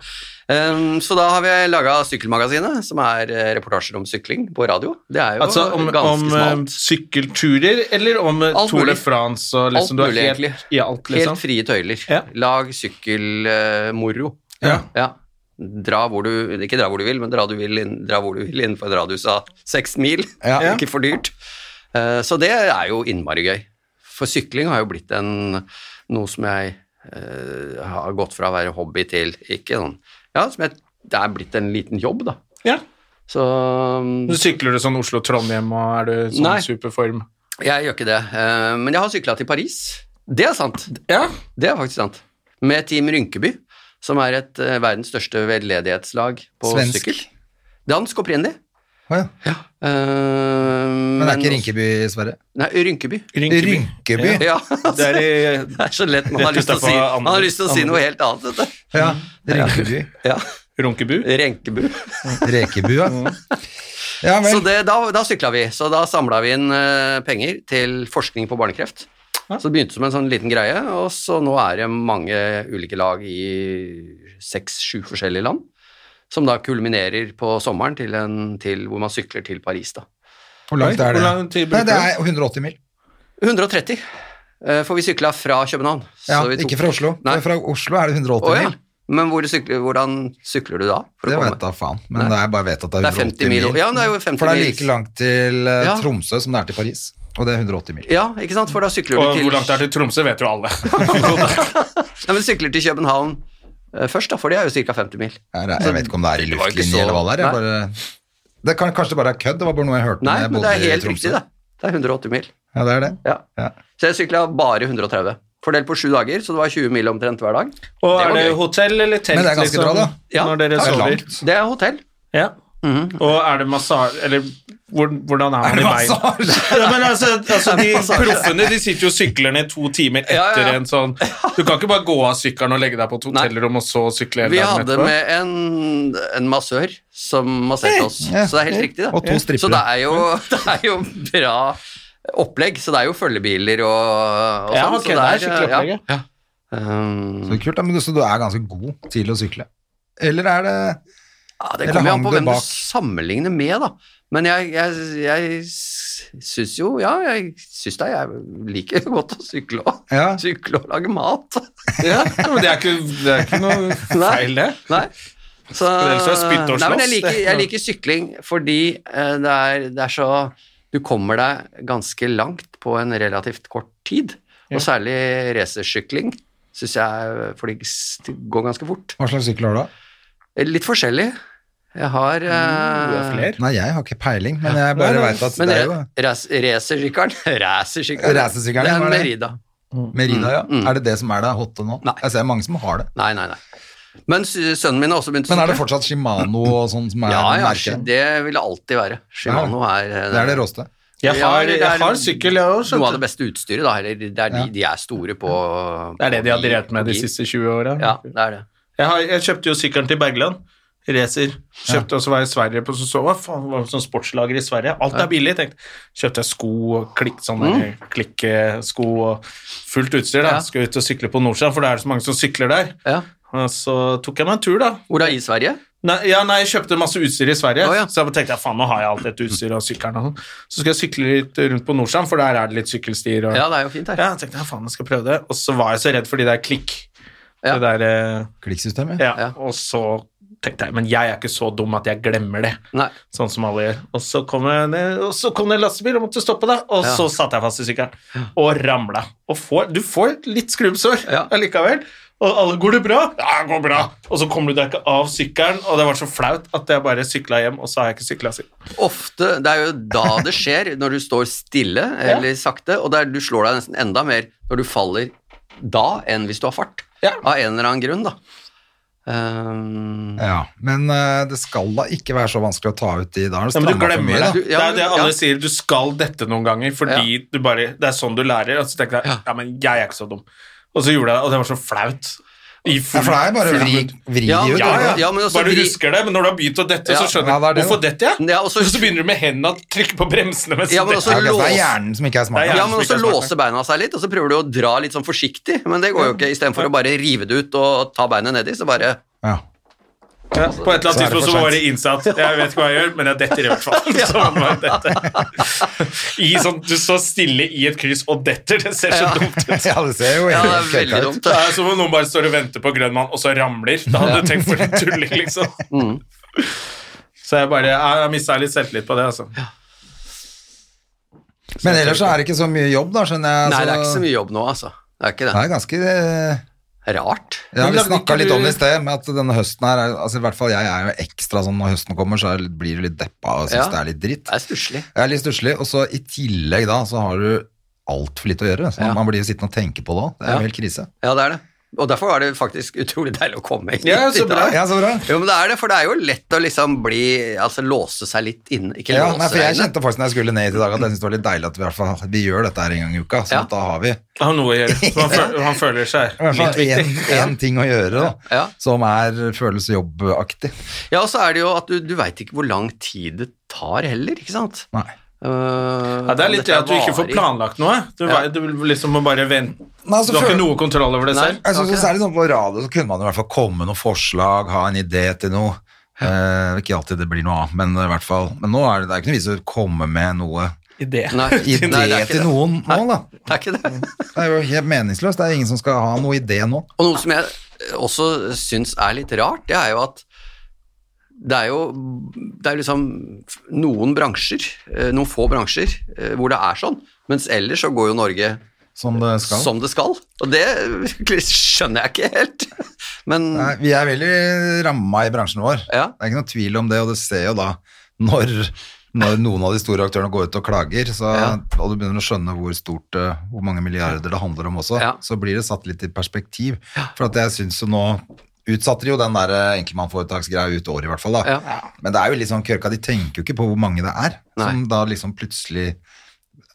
Speaker 4: Um, så da har vi laga Sykkelmagasinet, som er eh, reportasjer om sykling på radio. Det er jo
Speaker 2: Altså om,
Speaker 4: ganske
Speaker 2: om eh,
Speaker 4: smalt.
Speaker 2: sykkelturer, eller om eh,
Speaker 4: Alt
Speaker 2: Tour de
Speaker 4: mulig.
Speaker 2: France og liksom du
Speaker 4: Alt
Speaker 2: er
Speaker 4: mulig,
Speaker 2: helt,
Speaker 4: egentlig.
Speaker 2: I alt, liksom.
Speaker 4: Helt frie tøyler.
Speaker 2: Ja.
Speaker 4: Lag sykkelmoro.
Speaker 2: Ja.
Speaker 4: Dra hvor du Ikke dra hvor du vil, men dra, du vil inn, dra hvor du vil innenfor en radius av seks mil.
Speaker 1: Ja.
Speaker 4: ikke for dyrt. Eh, så det er jo innmari gøy. For sykling har jo blitt en, noe som jeg eh, har gått fra å være hobby til ikke sånn Ja, som jeg, det er blitt en liten jobb, da.
Speaker 2: Ja.
Speaker 4: Så um,
Speaker 2: Så Sykler du sånn Oslo-Trondheim, og er du sånn
Speaker 4: Nei.
Speaker 2: superform?
Speaker 4: Jeg gjør ikke det, eh, men jeg har sykla til Paris. Det er sant.
Speaker 2: Ja.
Speaker 4: Det er faktisk sant. Med Team Rynkeby, som er et eh, verdens største veldedighetslag på
Speaker 1: Svensk?
Speaker 4: sykkel. Dansk opprinnelig.
Speaker 1: Å ja.
Speaker 4: Eh, men
Speaker 1: Men det er ikke Rinkeby i Sverige?
Speaker 4: Nei, Rynkeby.
Speaker 2: Rynkeby.
Speaker 1: Rynkeby?
Speaker 4: Ja,
Speaker 2: Det er i
Speaker 4: det er så lett. Man har
Speaker 2: Rett
Speaker 4: lyst til å si,
Speaker 2: utenfor Andebu.
Speaker 4: man har lyst til å si
Speaker 2: Andebu.
Speaker 4: noe helt annet. Vet du.
Speaker 1: Ja. Rynkeby.
Speaker 4: Ja,
Speaker 2: Runkebu.
Speaker 4: Renkebu.
Speaker 1: Rekebu, ja.
Speaker 2: Mm.
Speaker 1: Ja
Speaker 4: Så
Speaker 1: vel.
Speaker 4: det, da, da sykla vi. Så da samla vi inn eh, penger til forskning på barnekreft. Så det begynte som en sånn liten greie, og så nå er det mange ulike lag i seks-sju forskjellige land, som da kulminerer på sommeren til, en, til hvor man sykler til Paris, da.
Speaker 1: Hvor langt
Speaker 2: Oi,
Speaker 1: er det?
Speaker 2: hvor lang tid
Speaker 1: Nei,
Speaker 2: bruker
Speaker 1: det er 180 mil.
Speaker 4: 130, eh, for vi sykla fra København.
Speaker 1: Ja,
Speaker 4: så vi tok-
Speaker 1: ikke fra Oslo.
Speaker 4: Nei.
Speaker 1: Fra Oslo er det 180
Speaker 4: Å, ja.
Speaker 1: mil.
Speaker 4: Men hvor sykler, hvordan sykler du da? for å
Speaker 1: Det
Speaker 4: komme?
Speaker 1: vet da faen, men det er bare vet at det er
Speaker 4: Det er
Speaker 1: 180
Speaker 4: 50 mil. Ja, men det er jo 50
Speaker 1: For det er
Speaker 4: mil.
Speaker 1: like langt til eh,
Speaker 4: Ja.
Speaker 1: Tromsø som det er til Paris, og det er 180 mil.
Speaker 4: Ja, ikke sant? For da sykler du
Speaker 2: Og
Speaker 4: til
Speaker 2: hvor langt det er til Tromsø, vet jo alle.
Speaker 4: Nei, men sykler til København eh, først, da, for det er jo ca. 50 mil.
Speaker 1: Jeg, jeg vet ikke om det er i
Speaker 4: Det var ikke
Speaker 1: luftlinje
Speaker 4: så-
Speaker 1: eller hva det er. Jeg
Speaker 4: Nei.
Speaker 1: bare, det kan, kanskje det bare er kødd, det var bare noe jeg hørte
Speaker 4: Nei,
Speaker 1: når jeg
Speaker 4: men
Speaker 1: bodde
Speaker 4: det
Speaker 1: i
Speaker 4: er helt
Speaker 1: Tromsø.
Speaker 4: riktig, det. Det er 180 mil.
Speaker 1: Ja, det er det.
Speaker 4: Ja.
Speaker 1: Ja.
Speaker 4: Så jeg sykla bare 130. Fordelt på sju dager, så det var 20 mil omtrent hver dag.
Speaker 2: Og er
Speaker 4: Det var
Speaker 2: det
Speaker 4: gøy.
Speaker 2: hotell eller telt,
Speaker 1: Men det er ganske
Speaker 2: liksom,
Speaker 1: bra, da.
Speaker 4: Ja,
Speaker 2: når dere
Speaker 1: Det er
Speaker 2: sover?
Speaker 1: langt.
Speaker 4: Det er hotell.
Speaker 2: Ja.
Speaker 4: Mhm.
Speaker 2: Og er det massasje Eller hvor, hvordan er man i beina? Ja, men altså, altså De proffene de sitter jo og sykler ned to timer etter
Speaker 4: Ja, ja, ja.
Speaker 2: en sånn Du kan ikke bare gå av sykkelen og legge deg på et hotellrom og så sykle hele
Speaker 4: Vi
Speaker 2: dagen
Speaker 4: hadde med en, en massør som masserte oss,
Speaker 1: Ja.
Speaker 4: så det er helt riktig,
Speaker 1: Og to
Speaker 4: det.
Speaker 1: strippere.
Speaker 4: Så det er jo, det er jo bra opplegg, så det er jo følgebiler og, og
Speaker 2: Ja,
Speaker 4: sånn,
Speaker 2: ok,
Speaker 4: så
Speaker 2: det er skikkelig
Speaker 4: ja.
Speaker 2: opplegg. ja.
Speaker 4: Um,
Speaker 1: Så kult, da, men du, så du er ganske god til å sykle. Eller er det
Speaker 4: ja, det
Speaker 1: Eller
Speaker 4: kommer jo
Speaker 1: hang
Speaker 4: an på
Speaker 1: det
Speaker 4: hvem
Speaker 1: bak?
Speaker 4: du sammenligner med, da. Men jeg, jeg, jeg syns jo Ja, jeg syns da jeg liker godt å sykle og,
Speaker 1: Ja.
Speaker 4: sykle og lage mat.
Speaker 2: Ja, men det er ikke, det er ikke noe feil, det.
Speaker 4: Nei. Så,
Speaker 2: ellers er det spytt og
Speaker 4: Nei, men jeg
Speaker 2: slåss,
Speaker 4: liker,
Speaker 2: det.
Speaker 4: jeg liker sykling fordi eh, det er, det er så Du kommer deg ganske langt på en relativt kort tid. Og særlig racersykling syns jeg er- For det s- det går ganske fort.
Speaker 1: Hva slags sykkel har du, da?
Speaker 4: Eh, Litt forskjellig. Jeg
Speaker 1: Mm,
Speaker 4: har eh,
Speaker 2: Flere.
Speaker 1: Nei, jeg har ikke peiling, men jeg bare
Speaker 2: Nei, nei,
Speaker 1: veit at
Speaker 4: Men
Speaker 1: det er jo
Speaker 4: ra- ras- racersykkelen Racersykkelen.
Speaker 1: Racersykkelen,
Speaker 4: Det er
Speaker 1: hva
Speaker 4: en
Speaker 1: er det?
Speaker 4: Merida.
Speaker 1: Merida, ja. Er det det som er det hotte nå?
Speaker 4: Mm. Nei.
Speaker 1: Jeg ser mange som har det.
Speaker 4: Nei, nei, nei. Men s- sønnen min har også begynt å
Speaker 1: Men er det fortsatt Shimano og sånn som er
Speaker 4: Ja, ja,
Speaker 1: merket?
Speaker 4: det vil det alltid være. Shimano er eh,
Speaker 1: Det er det råeste.
Speaker 2: Jeg
Speaker 4: Ja,
Speaker 2: har,
Speaker 4: det er
Speaker 2: jeg har sykkel, jeg òg,
Speaker 4: Noe av
Speaker 2: skjønte
Speaker 4: det beste utstyret, da. Eller det er de,
Speaker 1: Ja.
Speaker 4: de er store på
Speaker 2: Det er det de har
Speaker 4: på bil-
Speaker 2: drevet med de
Speaker 4: bil.
Speaker 2: siste 20 åra.
Speaker 4: Ja, det er det.
Speaker 2: Jeg, har- jeg kjøpte jo sykkelen til Bergland. Racer. Kjøpte også var jeg i Sverige på så så hva faen, det var sånn sportslager i Sverige. Alt er billig, tenkte jeg. Kjøpte jeg sko og klikk, sånne klikkesko og fullt utstyr. da.
Speaker 4: Mm. Ja.
Speaker 2: Skal ut og sykle på Nordsjøen, for det er så mange som sykler der.
Speaker 4: Ja.
Speaker 2: Og så tok jeg meg en tur, da.
Speaker 4: Hvor da? I Sverige?
Speaker 2: Nei, ja, nei, jeg kjøpte masse utstyr i Sverige,
Speaker 4: Å, ja.
Speaker 2: så jeg tenkte faen, nå har jeg alt dette utstyret og sykkelen. og sånn. Så skal jeg sykle litt rundt på Nordstrand, for der er det litt sykkelstier. Og...
Speaker 4: Ja, det er jo fint her.
Speaker 2: Ja, jeg tenkte, ja, faen, jeg skal prøve det. Og så var jeg så redd for de der klikk.
Speaker 4: Ja.
Speaker 2: Det der, eh,
Speaker 1: Klikksystemet?
Speaker 2: ja.
Speaker 4: Ja.
Speaker 2: Og så tenkte jeg, men jeg er ikke så dum at jeg glemmer det,
Speaker 4: Nei.
Speaker 2: sånn som alle gjør. Og så kom, jeg ned, og så kom det en lastebil og måtte stoppe deg, og
Speaker 4: Ja.
Speaker 2: så satte jeg fast i sykkelen og ramla. Og får, du får litt skrubbsår
Speaker 4: Ja.
Speaker 2: allikevel. Og alle 'Går det bra?' 'Ja, det går bra'. Og så kommer du deg ikke av sykkelen, og det var så flaut at jeg bare sykla hjem, og så har jeg ikke sykla siden.
Speaker 4: Ofte, Det er jo da det skjer, når du står stille eller sakte, og der du slår deg nesten enda mer når du faller da, enn hvis du har fart.
Speaker 2: Ja.
Speaker 4: Av en eller annen grunn, da. Ehm,
Speaker 1: Ja, men eh, det skal da ikke være så vanskelig å ta ut de da. har
Speaker 2: Ja, men du
Speaker 1: strammet for
Speaker 2: glemmer
Speaker 1: mye,
Speaker 2: det.
Speaker 1: da.
Speaker 4: Du- ja,
Speaker 2: det er jo det alle
Speaker 4: ja.
Speaker 2: sier, du skal dette noen ganger, fordi du bare, det er sånn du lærer. Og så tenker jeg, ja, men jeg er ikke så dum. Og så gjorde jeg det, og det var så flaut. I
Speaker 1: Ja, for det er bare å
Speaker 2: fri-
Speaker 1: vri, vri
Speaker 4: Ja,
Speaker 1: de ut.
Speaker 2: Ja,
Speaker 1: da.
Speaker 2: ja.
Speaker 4: Ja, men også
Speaker 2: bare du
Speaker 4: vri-
Speaker 2: husker det, men når du har begynt å dette,
Speaker 4: Ja.
Speaker 2: så skjønner du
Speaker 1: Ja, det er det,
Speaker 2: hvorfor
Speaker 1: da.
Speaker 2: detter jeg?
Speaker 4: Ja, og så-
Speaker 2: og så begynner du med hendene å trykke på bremsene mens
Speaker 4: Ja,
Speaker 2: du
Speaker 4: men altså,
Speaker 2: detter.
Speaker 4: også
Speaker 1: Ja, ok, så det er
Speaker 4: lås-
Speaker 1: hjernen som ikke er
Speaker 2: Det
Speaker 1: smart.
Speaker 2: er
Speaker 4: ja,
Speaker 2: hjernen
Speaker 4: men
Speaker 2: som
Speaker 4: også
Speaker 2: ikke er smart,
Speaker 4: låser beina seg litt, og så prøver du å dra litt sånn forsiktig, men det går jo ikke. Istedenfor å bare rive det ut og ta beinet nedi, så bare
Speaker 1: Ja.
Speaker 2: Ja, På et eller
Speaker 1: Så er
Speaker 2: annet
Speaker 1: det
Speaker 2: tidspunkt
Speaker 1: for
Speaker 2: så var
Speaker 1: sent.
Speaker 2: det innsatt. Jeg vet ikke hva jeg gjør, men jeg detter i hvert fall. Så var det bare dette. I sånn, du står stille i et kryss og detter, det ser så dumt ut.
Speaker 1: ja, det ser jo
Speaker 4: Ja, det
Speaker 1: helt
Speaker 4: er veldig
Speaker 1: kjøkka ut.
Speaker 4: dumt.
Speaker 2: Det er som om noen bare står og venter på grønn mann, og så ramler. Da hadde du tenkt for en tulling, liksom.
Speaker 4: Mm.
Speaker 2: Så jeg bare, jeg har mista litt selvtillit på det, altså.
Speaker 1: Men ellers så er det ikke så mye jobb, da, skjønner jeg.
Speaker 4: Nei, det er ikke så mye jobb nå, altså. Det er ikke
Speaker 1: Det
Speaker 4: det.
Speaker 1: er ganske eh,
Speaker 4: Rart.
Speaker 1: Ja,
Speaker 2: Men
Speaker 1: vi
Speaker 2: lagde
Speaker 1: snakka
Speaker 2: ikke
Speaker 1: litt
Speaker 2: du-
Speaker 1: om det i sted, med at denne høsten her er- altså i hvert fall Jeg er jo ekstra sånn når høsten kommer, så er, det- blir du litt deppa og syns
Speaker 4: Ja.
Speaker 1: det er litt dritt.
Speaker 4: Det er stusslig.
Speaker 1: Jeg er litt stusslig, og så i tillegg da så har du altfor lite å gjøre. Så
Speaker 4: Ja.
Speaker 1: Man blir jo sittende og tenke på det òg. Det er
Speaker 4: Ja.
Speaker 1: jo helt krise.
Speaker 4: Ja, det er det. Og derfor var det faktisk utrolig deilig å komme hit.
Speaker 2: Ja, så
Speaker 4: i
Speaker 2: bra.
Speaker 4: dag.
Speaker 1: Ja, så bra.
Speaker 4: Jo, men det er det, for det er jo lett å liksom bli Altså låse seg litt inne. Ikke
Speaker 1: Ja,
Speaker 4: låse
Speaker 1: nei, for jeg
Speaker 4: seg inne.
Speaker 1: kjente faktisk når jeg skulle ned hit i dag, at jeg syntes det var litt deilig at vi, i hvert fall, vi gjør dette her en gang i uka. Så
Speaker 4: Ja.
Speaker 1: at da har vi i
Speaker 2: Han har noe å gjøre. Så Han føler, han føler seg
Speaker 1: hvert fall
Speaker 2: litt viktig.
Speaker 1: én ting å gjøre da,
Speaker 4: Ja.
Speaker 1: som er føles jobbaktig.
Speaker 4: Ja, og så er det jo at du, du veit ikke hvor lang tid det tar heller, ikke sant. Eh,
Speaker 1: Nei.
Speaker 2: Ja, det er litt det at du ikke får
Speaker 4: planer
Speaker 2: planlagt noe. Du,
Speaker 4: Ja.
Speaker 2: vei- du liksom må bare vente.
Speaker 1: Nei, altså,
Speaker 2: Du har
Speaker 1: føl-
Speaker 2: ikke noe kontroll over det
Speaker 4: Nei.
Speaker 2: selv.
Speaker 1: Jeg synes
Speaker 4: Ok.
Speaker 1: også Særlig sånn på radio så kunne man i hvert fall komme med noen forslag, ha en idé til noe. Eh, ikke alltid det blir noe av, men i hvert fall. Men nå er det, det er ikke noe vits i å komme med noe
Speaker 2: Idé.
Speaker 4: Nei,
Speaker 1: idé
Speaker 4: nei, det er ikke
Speaker 1: til
Speaker 4: det.
Speaker 1: noen nå, da.
Speaker 4: Det er ikke det.
Speaker 1: Det er jo helt meningsløst. Det er ingen som skal ha noe idé nå.
Speaker 4: Og noe som jeg også syns er litt rart, det er jo at det er jo det er liksom noen bransjer, eh, noen få bransjer, eh, hvor det er sånn. Mens ellers så går jo Norge
Speaker 1: Som det skal.
Speaker 4: som det skal. Og det skjønner jeg ikke helt. Men
Speaker 1: Nei, vi er veldig ramma i bransjen vår.
Speaker 4: Ja.
Speaker 1: Det er ikke noe tvil om det, og det ser jo da når, når noen av de store aktørene går ut og klager, så,
Speaker 4: Ja.
Speaker 1: og du begynner å skjønne hvor stort, eh, hvor mange milliarder det handler om også,
Speaker 4: Ja.
Speaker 1: så blir det satt litt i perspektiv. For at jeg syns jo nå utsatte de jo den der eh, enkeltmannforetaksgreia ut året, i hvert fall. da.
Speaker 4: Ja.
Speaker 1: Men det er jo litt sånn kørka, de tenker jo ikke på hvor mange det er, som
Speaker 4: Nei.
Speaker 1: da liksom plutselig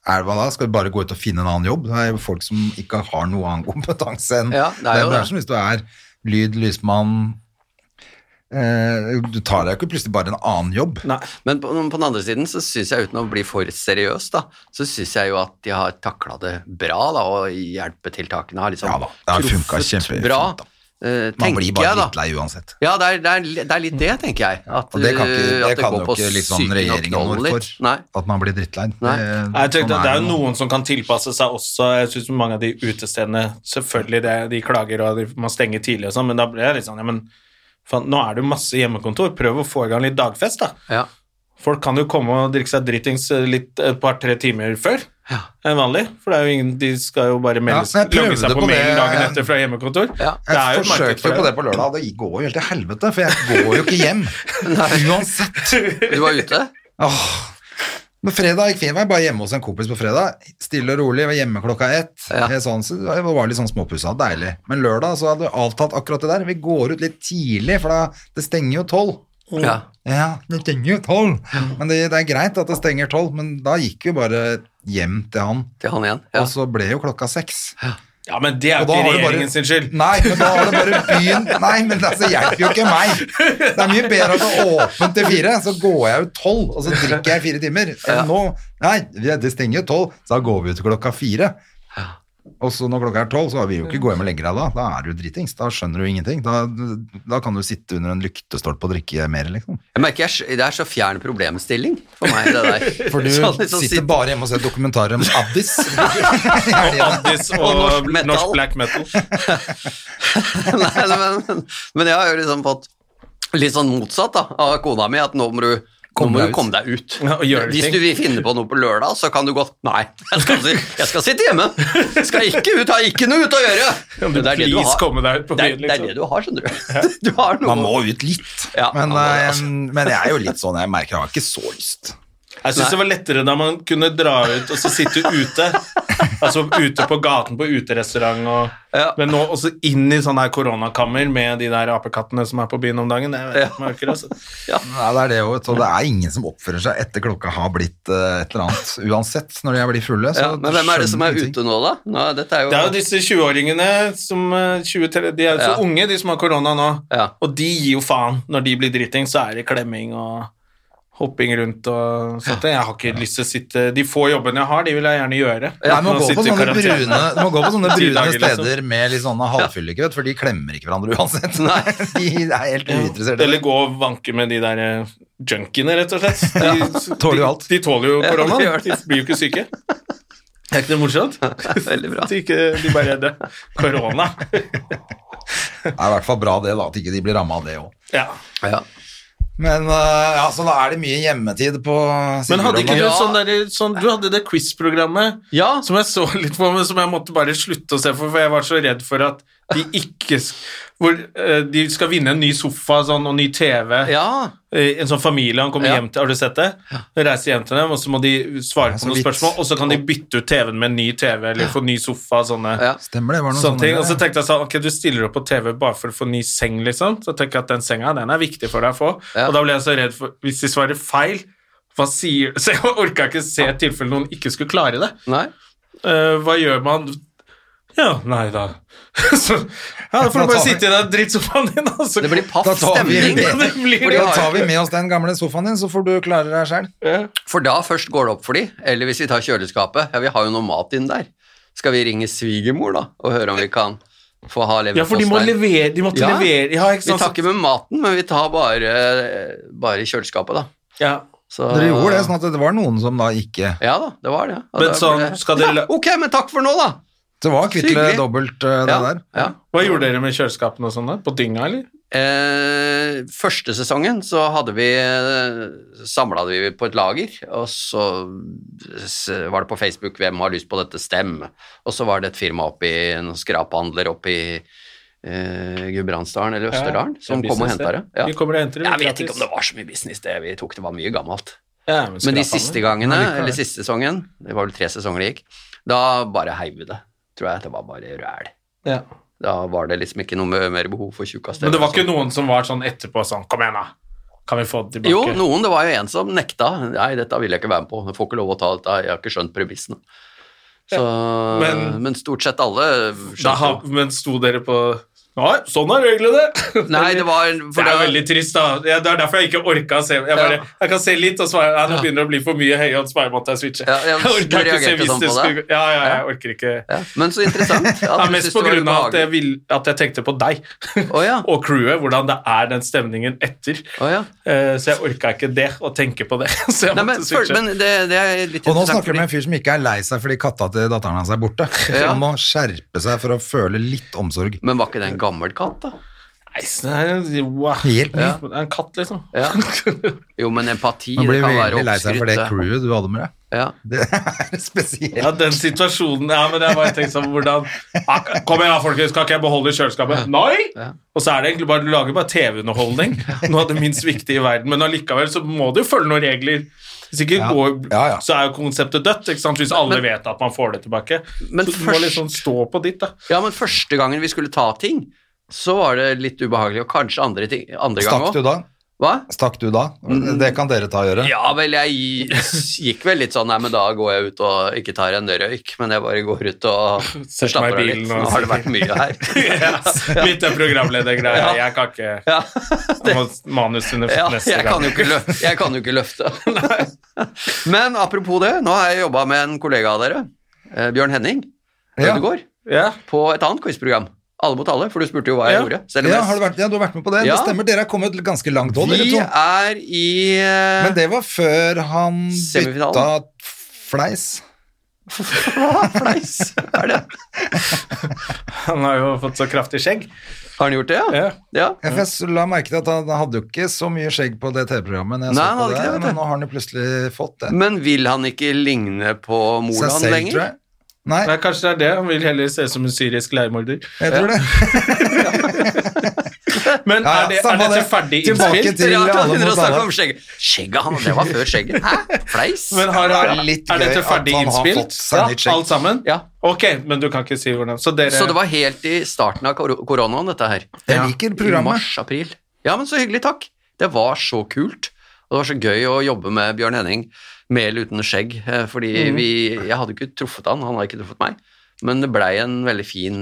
Speaker 1: er det hva da? Skal du bare gå ut og finne en annen jobb? Det er jo folk som ikke har noe annen kompetanse enn
Speaker 4: Ja, det er
Speaker 1: den
Speaker 4: jo det.
Speaker 1: bransjen. Hvis du er lyd, lysmann eh, Du tar deg jo ikke plutselig bare en annen jobb.
Speaker 2: Nei.
Speaker 4: Men på, på den andre siden så syns jeg, uten å bli for seriøs, da, så syns jeg jo at de har takla det bra, da, og hjelpetiltakene har liksom
Speaker 1: Ja da, det har
Speaker 4: truffet
Speaker 1: funket kjempefint,
Speaker 4: bra.
Speaker 1: da.
Speaker 4: eh,
Speaker 1: Man
Speaker 4: tenker
Speaker 1: blir bare
Speaker 4: jeg, da.
Speaker 1: drittlei uansett.
Speaker 4: Ja, det er, det, er, det er litt det, tenker jeg. At,
Speaker 1: Og det kan, ikke,
Speaker 4: eh,
Speaker 1: det
Speaker 4: at
Speaker 1: kan
Speaker 4: går
Speaker 1: jo
Speaker 4: på
Speaker 1: ikke liksom
Speaker 4: psyken og
Speaker 1: regjeringen
Speaker 4: knollen
Speaker 1: noe for.
Speaker 4: litt. Nei.
Speaker 1: At man blir drittlei. Det-
Speaker 4: Nei.
Speaker 2: Jeg tenkte at
Speaker 1: sånn
Speaker 2: Det er jo
Speaker 1: det nå.
Speaker 2: noen som kan tilpasse seg også. Jeg synes mange av de utestedene selvfølgelig det, de klager og de må stenge tidlig og sånn, men da ble jeg litt sånn ja, men faen, nå er det jo masse hjemmekontor. Prøv å få i gang litt dagfest, da.
Speaker 4: Ja.
Speaker 2: Folk kan jo komme og drikke seg dritings eh, litt et par-tre timer før
Speaker 4: Ja.
Speaker 2: enn vanlig. For det er jo ingen, de skal jo bare meldes,
Speaker 1: Ja, jeg prøvde
Speaker 2: logge seg på,
Speaker 1: på det.
Speaker 2: mailen dagen etter fra hjemmekontor.
Speaker 4: Ja.
Speaker 2: Det er
Speaker 1: Jeg
Speaker 2: jo et marked
Speaker 1: forsøkte jo på det
Speaker 2: for det.
Speaker 1: på lørdag, og det går jo helt til helvete, for jeg går jo ikke hjem. Uansett.
Speaker 4: Du var ute?
Speaker 1: Åh. Men fredag gikk fint. Jeg var bare hjemme hos en kompis på fredag. Stille og rolig. Jeg var hjemme klokka ett.
Speaker 4: Ja.
Speaker 1: Jeg, sånn, så jeg var litt sånn småpussa. Deilig. Men lørdag så hadde vi avtalt akkurat det der. Vi går ut litt tidlig, for da, det stenger jo tolv.
Speaker 4: Ja.
Speaker 1: Ja, det stenger jo tolv. Men det, det er greit at det stenger tolv, men da gikk vi bare hjem til han.
Speaker 4: Til han igjen? Ja.
Speaker 1: Og så ble jo klokka seks.
Speaker 2: Ja, men det er
Speaker 1: Og
Speaker 2: jo
Speaker 1: da
Speaker 2: ikke
Speaker 1: har du bare-
Speaker 2: regjeringen sin skyld.
Speaker 1: Nei, men da har det bare byen Nei, men altså, hjelper jo ikke meg. Det er mye bedre at det er åpent til fire, så går jeg ut tolv, og så drikker jeg i fire timer.
Speaker 4: Ja.
Speaker 1: Enn nå Nei, vi- det stenger jo tolv, så da går vi ut klokka fire. Og så når klokka er tolv, så vil jo ikke gå hjem og legge deg da. Da er du jo dritings. Da skjønner du ingenting. Da, da kan du sitte under en lyktestolpe og drikke mer, liksom.
Speaker 4: Jeg merker jeg, s- Det er så fjern problemstilling for meg, det der.
Speaker 1: For du
Speaker 4: Sånn, liksom,
Speaker 1: sitter
Speaker 4: sitte-
Speaker 1: bare hjemme og ser dokumentarer om Addis.
Speaker 2: Og Addis og,
Speaker 4: Og
Speaker 2: norsk,
Speaker 4: norsk metal.
Speaker 2: black metal.
Speaker 4: Nei, nei, men, men jeg har jo liksom fått litt sånn motsatt da, av kona mi, at nå må du nå
Speaker 1: Kom
Speaker 4: må
Speaker 1: deg
Speaker 4: du
Speaker 1: ut.
Speaker 4: komme deg ut.
Speaker 2: Ja, og gjøre
Speaker 4: Hvis
Speaker 2: ting.
Speaker 4: du vil finne på noe på lørdag, så kan du godt Nei, jeg skal, si- jeg skal sitte hjemme. Jeg skal ikke ut, har ikke noe ut å gjøre.
Speaker 2: Kan du
Speaker 4: Men det er det du
Speaker 2: please
Speaker 4: har.
Speaker 2: komme deg ut på
Speaker 4: Det er,
Speaker 2: byen,
Speaker 4: det er
Speaker 2: liksom?
Speaker 4: det du har, skjønner du. Du har noe.
Speaker 1: Man må ut litt.
Speaker 4: Ja,
Speaker 1: men,
Speaker 4: man må det, altså.
Speaker 1: eh, men jeg er jo litt sånn, jeg merker jeg har ikke så lyst.
Speaker 2: Jeg syns det var lettere da man kunne dra ut og så sitte ute. Altså ute på gaten på uterestaurant og
Speaker 4: Ja.
Speaker 2: Men nå også inn i sånn her koronakammer med de der apekattene som er på byen om dagen. Jeg vet,
Speaker 4: Ja.
Speaker 2: merker, altså.
Speaker 1: Nei, det er det jo, vet du. Og det er ingen som oppfører seg etter klokka har blitt eh, et eller annet. Uansett, når de blir fulle. Så
Speaker 4: Ja, men hvem er det som er
Speaker 1: skjønner du
Speaker 4: ute nå, da? Nå, dette er jo,
Speaker 2: Det er jo disse 20-åringene som eh, 20, til- De er jo så
Speaker 4: Ja.
Speaker 2: unge, de som har korona nå.
Speaker 4: Ja.
Speaker 2: Og de gir jo faen. Når de blir driting, så er det klemming og hopping rundt og sånt. Jeg har ikke lyst til å sitte De få jobbene jeg har, de vil jeg gjerne gjøre.
Speaker 1: Nei, man
Speaker 2: Uten å
Speaker 1: går på
Speaker 2: sitte i
Speaker 1: sånne
Speaker 2: karantene.
Speaker 1: brune, man går på sånne
Speaker 2: Ti
Speaker 1: brune
Speaker 2: dager, liksom.
Speaker 1: steder med litt sånne halvfylle, ikke vet, for de klemmer ikke hverandre uansett. De er helt uinteresserte.
Speaker 2: Eller gå og vanke med de der eh, junkiene, rett og slett. De,
Speaker 1: tåler jo alt.
Speaker 2: De, de tåler jo
Speaker 4: Ja, de
Speaker 2: korona.
Speaker 4: gjør
Speaker 2: de blir jo ikke syke. Er ikke det morsomt?
Speaker 4: Veldig bra.
Speaker 2: De, ikke, de bare er redde. Korona.
Speaker 1: Det er i hvert fall bra det, da, at ikke de blir ramma av det òg.
Speaker 2: Ja.
Speaker 4: ja.
Speaker 1: Men eh, ja, så da er det mye hjemmetid på
Speaker 2: Men hadde ikke du
Speaker 1: Sigurd og-
Speaker 2: sånn derre sånn, Du hadde det quiz-programmet
Speaker 4: ja,
Speaker 2: som jeg så litt på, men som jeg måtte bare slutte å se for, for jeg var så redd for at de ikke sk- Hvor eh, de skal vinne en ny sofa sånn, og ny TV.
Speaker 4: ja.
Speaker 2: Eh, En sånn familie han kommer
Speaker 4: Ja.
Speaker 2: hjem til, har du sett det? Reiser hjem til dem, og så må de svare på
Speaker 1: Det er så
Speaker 2: noen
Speaker 1: vidt.
Speaker 2: spørsmål, og så kan de bytte ut TV-en med en ny TV, eller få ny sofa, sånne,
Speaker 4: ja.
Speaker 1: Stemmer det, var det noen
Speaker 2: sånne ting. Og så
Speaker 1: greier?
Speaker 2: tenkte jeg sånn, ok, du stiller opp på TV bare for å få ny seng, liksom. Så tenker jeg at den senga, den er viktig for deg å få.
Speaker 4: Ja.
Speaker 2: Og da ble jeg så redd for, hvis de svarer feil, hva sier Så jeg orka ikke se et tilfelle noen ikke skulle klare det.
Speaker 4: Nei.
Speaker 2: Eh, hva gjør man? Ja, nei da. så, ja, da får
Speaker 1: Da
Speaker 2: du bare
Speaker 1: tar vi-
Speaker 2: sitte i den drittsofaen din, og så
Speaker 4: Det blir paff
Speaker 1: Da tar vi-
Speaker 4: stemning.
Speaker 1: det
Speaker 2: blir-
Speaker 4: For de
Speaker 1: Da
Speaker 4: har-
Speaker 1: tar vi med oss den gamle sofaen din, så får du klare deg sjøl.
Speaker 4: For da først går det opp for de, eller hvis vi tar kjøleskapet, ja, vi har jo noe mat inn der. Skal vi ringe svigermor da, og høre om vi kan få ha
Speaker 2: Ja, for de må
Speaker 4: leverpostei?
Speaker 2: levere, sånn de måtte
Speaker 4: Ja.
Speaker 2: levere. Ja, ikke
Speaker 4: Vi
Speaker 2: sant?
Speaker 4: tar ikke med maten, men vi tar bare, bare kjøleskapet da.
Speaker 2: ja.
Speaker 4: Så,
Speaker 1: Dere gjorde det, sånn at det var noen som da ikke
Speaker 4: Ja da, det var det. Og
Speaker 2: Men
Speaker 4: da
Speaker 2: sånn,
Speaker 4: ble det-
Speaker 2: skal dere
Speaker 4: ja,
Speaker 2: la-
Speaker 4: Ok, men takk for nå da.
Speaker 1: Det var kvitle
Speaker 4: Hyggelig.
Speaker 1: dobbelt, eh, det
Speaker 4: Ja,
Speaker 1: der.
Speaker 4: ja.
Speaker 2: Hva gjorde dere med kjøleskapene og sånn da? På dynga, eller?
Speaker 4: Eh, første sesongen så hadde vi samla vi på et lager, og så s- var det på Facebook 'Hvem har lyst på dette?' Stem. Og så var det et firma oppi noen skraphandler oppi eh, Gudbrandsdalen eller Østerdalen som kom og henta det. Ja.
Speaker 2: Vi kommer og henter det.
Speaker 4: Jeg vet ikke om det var så mye business det vi tok, det var mye gammelt.
Speaker 2: Ja,
Speaker 4: Men de
Speaker 2: skrapene.
Speaker 4: siste gangene, eller siste sesongen, det var vel tre sesonger det gikk, da bare heiv vi det. Tror jeg det var bare ræl.
Speaker 2: Ja.
Speaker 4: Da var det liksom ikke noe mer- mer behov for tjukkas.
Speaker 2: Men det var ikke noen som var sånn etterpå sånn Kom igjen, da. Kan vi få det tilbake?
Speaker 4: Jo, noen. Det var jo en som nekta. Nei, dette vil jeg ikke være med på. Jeg får ikke lov å ta dette. Jeg har ikke skjønt premissene. Så, men,
Speaker 2: men-
Speaker 4: stort sett
Speaker 2: Da,
Speaker 4: alle skjønte
Speaker 2: ha- men sto dere på Nei, sånn er reglene!
Speaker 4: jo. Nei, det var
Speaker 2: Det
Speaker 4: for
Speaker 2: er
Speaker 4: da-
Speaker 2: veldig trist, da. Ja, Det er derfor jeg ikke orka å se. Jeg, bare,
Speaker 4: Ja.
Speaker 2: jeg kan se litt og svare Nei, nå begynner det å bli for mye høye, og så bare måtte jeg switche.
Speaker 4: Ja, ja,
Speaker 2: jeg
Speaker 4: du
Speaker 2: orker ikke se
Speaker 4: reagerte
Speaker 2: hvis
Speaker 4: sånn
Speaker 2: det
Speaker 4: på
Speaker 2: skulle
Speaker 4: det?
Speaker 2: Ja, ja, jeg orker ikke
Speaker 4: ja. Men så interessant. At
Speaker 2: Det
Speaker 4: du
Speaker 2: er mest
Speaker 4: syntes
Speaker 2: på
Speaker 4: det var
Speaker 2: grunn av at jeg,
Speaker 4: ubehagelig.
Speaker 2: vil, at jeg tenkte på deg
Speaker 4: Å ja.
Speaker 2: og crewet, hvordan det er den stemningen etter.
Speaker 4: Å ja.
Speaker 2: Eh, Så jeg orka ikke det, å tenke på det. Så jeg
Speaker 4: Nei, men,
Speaker 2: måtte
Speaker 4: for,
Speaker 2: switche.
Speaker 4: men det, det er litt
Speaker 1: Og
Speaker 4: interessant.
Speaker 1: nå snakker
Speaker 4: fordi-
Speaker 1: du med en fyr som ikke er lei seg fordi katta til datteren hans er borte.
Speaker 4: Ja.
Speaker 1: Han må skjerpe seg for å føle litt omsorg.
Speaker 4: Men var ikke det en gammel katt, da?
Speaker 2: Nei, så det er en- wow.
Speaker 1: Helt ny.
Speaker 2: Det er en katt, liksom.
Speaker 4: Ja. Jo, men empati
Speaker 1: Man
Speaker 4: det
Speaker 1: blir
Speaker 4: kan være
Speaker 1: veldig lei seg for det
Speaker 4: oppskrytt. eh.
Speaker 1: crewet du hadde med deg.
Speaker 4: Ja.
Speaker 1: Det er spesielt.
Speaker 2: Ja, den situasjonen Ja, men jeg bare tenkte sånn hvordan Ah, Kom igjen, da, folkens, kan ikke jeg beholde kjøleskapet? Nei!
Speaker 4: Ja.
Speaker 2: Og så er det egentlig bare Du lager bare TV-underholdning. Noe av det minst viktige i verden. Men allikevel så må du jo følge noen regler. Hvis ikke
Speaker 1: Ja.
Speaker 2: går,
Speaker 1: Ja, ja.
Speaker 2: så er jo konseptet dødt, ikke sant? hvis alle vet at man får det tilbake.
Speaker 4: Men
Speaker 2: så du må
Speaker 4: først-
Speaker 2: liksom stå på ditt, da.
Speaker 4: ja, men første gangen vi skulle ta ting, så var det litt ubehagelig, og kanskje andre, ting, andre gang
Speaker 1: Stakk du
Speaker 4: òg.
Speaker 1: da?
Speaker 4: Hva?
Speaker 1: Stakk du da? Det kan dere ta og gjøre.
Speaker 4: Ja vel, jeg gi- gikk vel litt sånn Nei, men da går jeg ut og ikke tar en røyk, men jeg bare går ut og
Speaker 2: Setter meg i
Speaker 4: slapper av
Speaker 2: bilen
Speaker 4: litt.
Speaker 2: og-
Speaker 4: Nå har det vært mye her.
Speaker 2: Litt den programledergreia. Jeg kan ikke
Speaker 4: Ja,
Speaker 2: Jeg må manus under
Speaker 4: ja
Speaker 2: neste
Speaker 4: jeg, kan jo
Speaker 2: gang.
Speaker 4: ikke løfte, jeg kan jo ikke løfte. Men apropos det, nå har jeg jobba med en kollega av dere, eh, Bjørn Henning.
Speaker 1: Ja.
Speaker 4: Ødegaard
Speaker 2: Ja.
Speaker 4: på et annet quizprogram. Alle mot alle, for du spurte jo hva
Speaker 2: Ja.
Speaker 4: jeg gjorde. Selv om
Speaker 1: Ja,
Speaker 4: jeg-
Speaker 1: har du, vært, ja, du har vært med på det.
Speaker 4: Ja.
Speaker 1: Det stemmer, dere har kommet ganske langt òg, dere
Speaker 4: vi
Speaker 1: to.
Speaker 4: er i
Speaker 1: sånn?
Speaker 4: eh,
Speaker 1: Men det var før han
Speaker 4: Semifinalen.
Speaker 1: bytta fleis.
Speaker 4: fleis. Hva er det?
Speaker 2: Han har jo fått så kraftig skjegg.
Speaker 4: Har han gjort det, ja?
Speaker 2: Ja.
Speaker 4: ja.
Speaker 1: Ja, for Jeg s- la merke til at han han hadde jo ikke så mye skjegg på det TV-programmet, når jeg
Speaker 4: Nei,
Speaker 1: så
Speaker 4: han
Speaker 1: på
Speaker 4: hadde
Speaker 1: det,
Speaker 4: ikke det, vet du.
Speaker 1: men nå har han jo plutselig fått det.
Speaker 4: Men vil han ikke ligne
Speaker 1: Seg
Speaker 4: på Moland
Speaker 1: selv,
Speaker 4: lenger?
Speaker 1: tror jeg. Nei,
Speaker 2: Nei, kanskje det er det. Han vil heller se ut som en syrisk leirmorder.
Speaker 1: jeg tror det.
Speaker 2: Men
Speaker 1: Ja, ja,
Speaker 2: er, det, er
Speaker 1: samme
Speaker 2: dette
Speaker 1: det.
Speaker 2: ferdig
Speaker 1: Tilbake
Speaker 2: innspilt?
Speaker 1: til
Speaker 4: Ja, da
Speaker 1: alle
Speaker 4: begynner å
Speaker 1: mot
Speaker 4: snakke
Speaker 1: alle.
Speaker 4: om skjegget. Skjegget, han, det var før skjegget. Hæ? Fleis?
Speaker 2: Men har,
Speaker 1: Det
Speaker 2: er,
Speaker 1: er litt gøy
Speaker 2: dette
Speaker 1: at
Speaker 2: ferdig
Speaker 1: han har fått
Speaker 2: innspilt?
Speaker 1: seg nytt skjegg.
Speaker 2: alt sammen?
Speaker 4: Ja.
Speaker 2: Ok, men du kan ikke si hvordan. Så dere
Speaker 4: Så det var helt i starten av kor- koronaen, dette her.
Speaker 1: eh, Jeg liker programmet.
Speaker 4: Mars-april. Ja, men så hyggelig, takk. Det var så kult. Og det var så gøy å jobbe med Bjørn Henning med eller uten skjegg. eh, Fordi
Speaker 1: Mm.
Speaker 4: vi, jeg hadde ikke truffet han, han har ikke truffet meg. Men det blei en veldig fin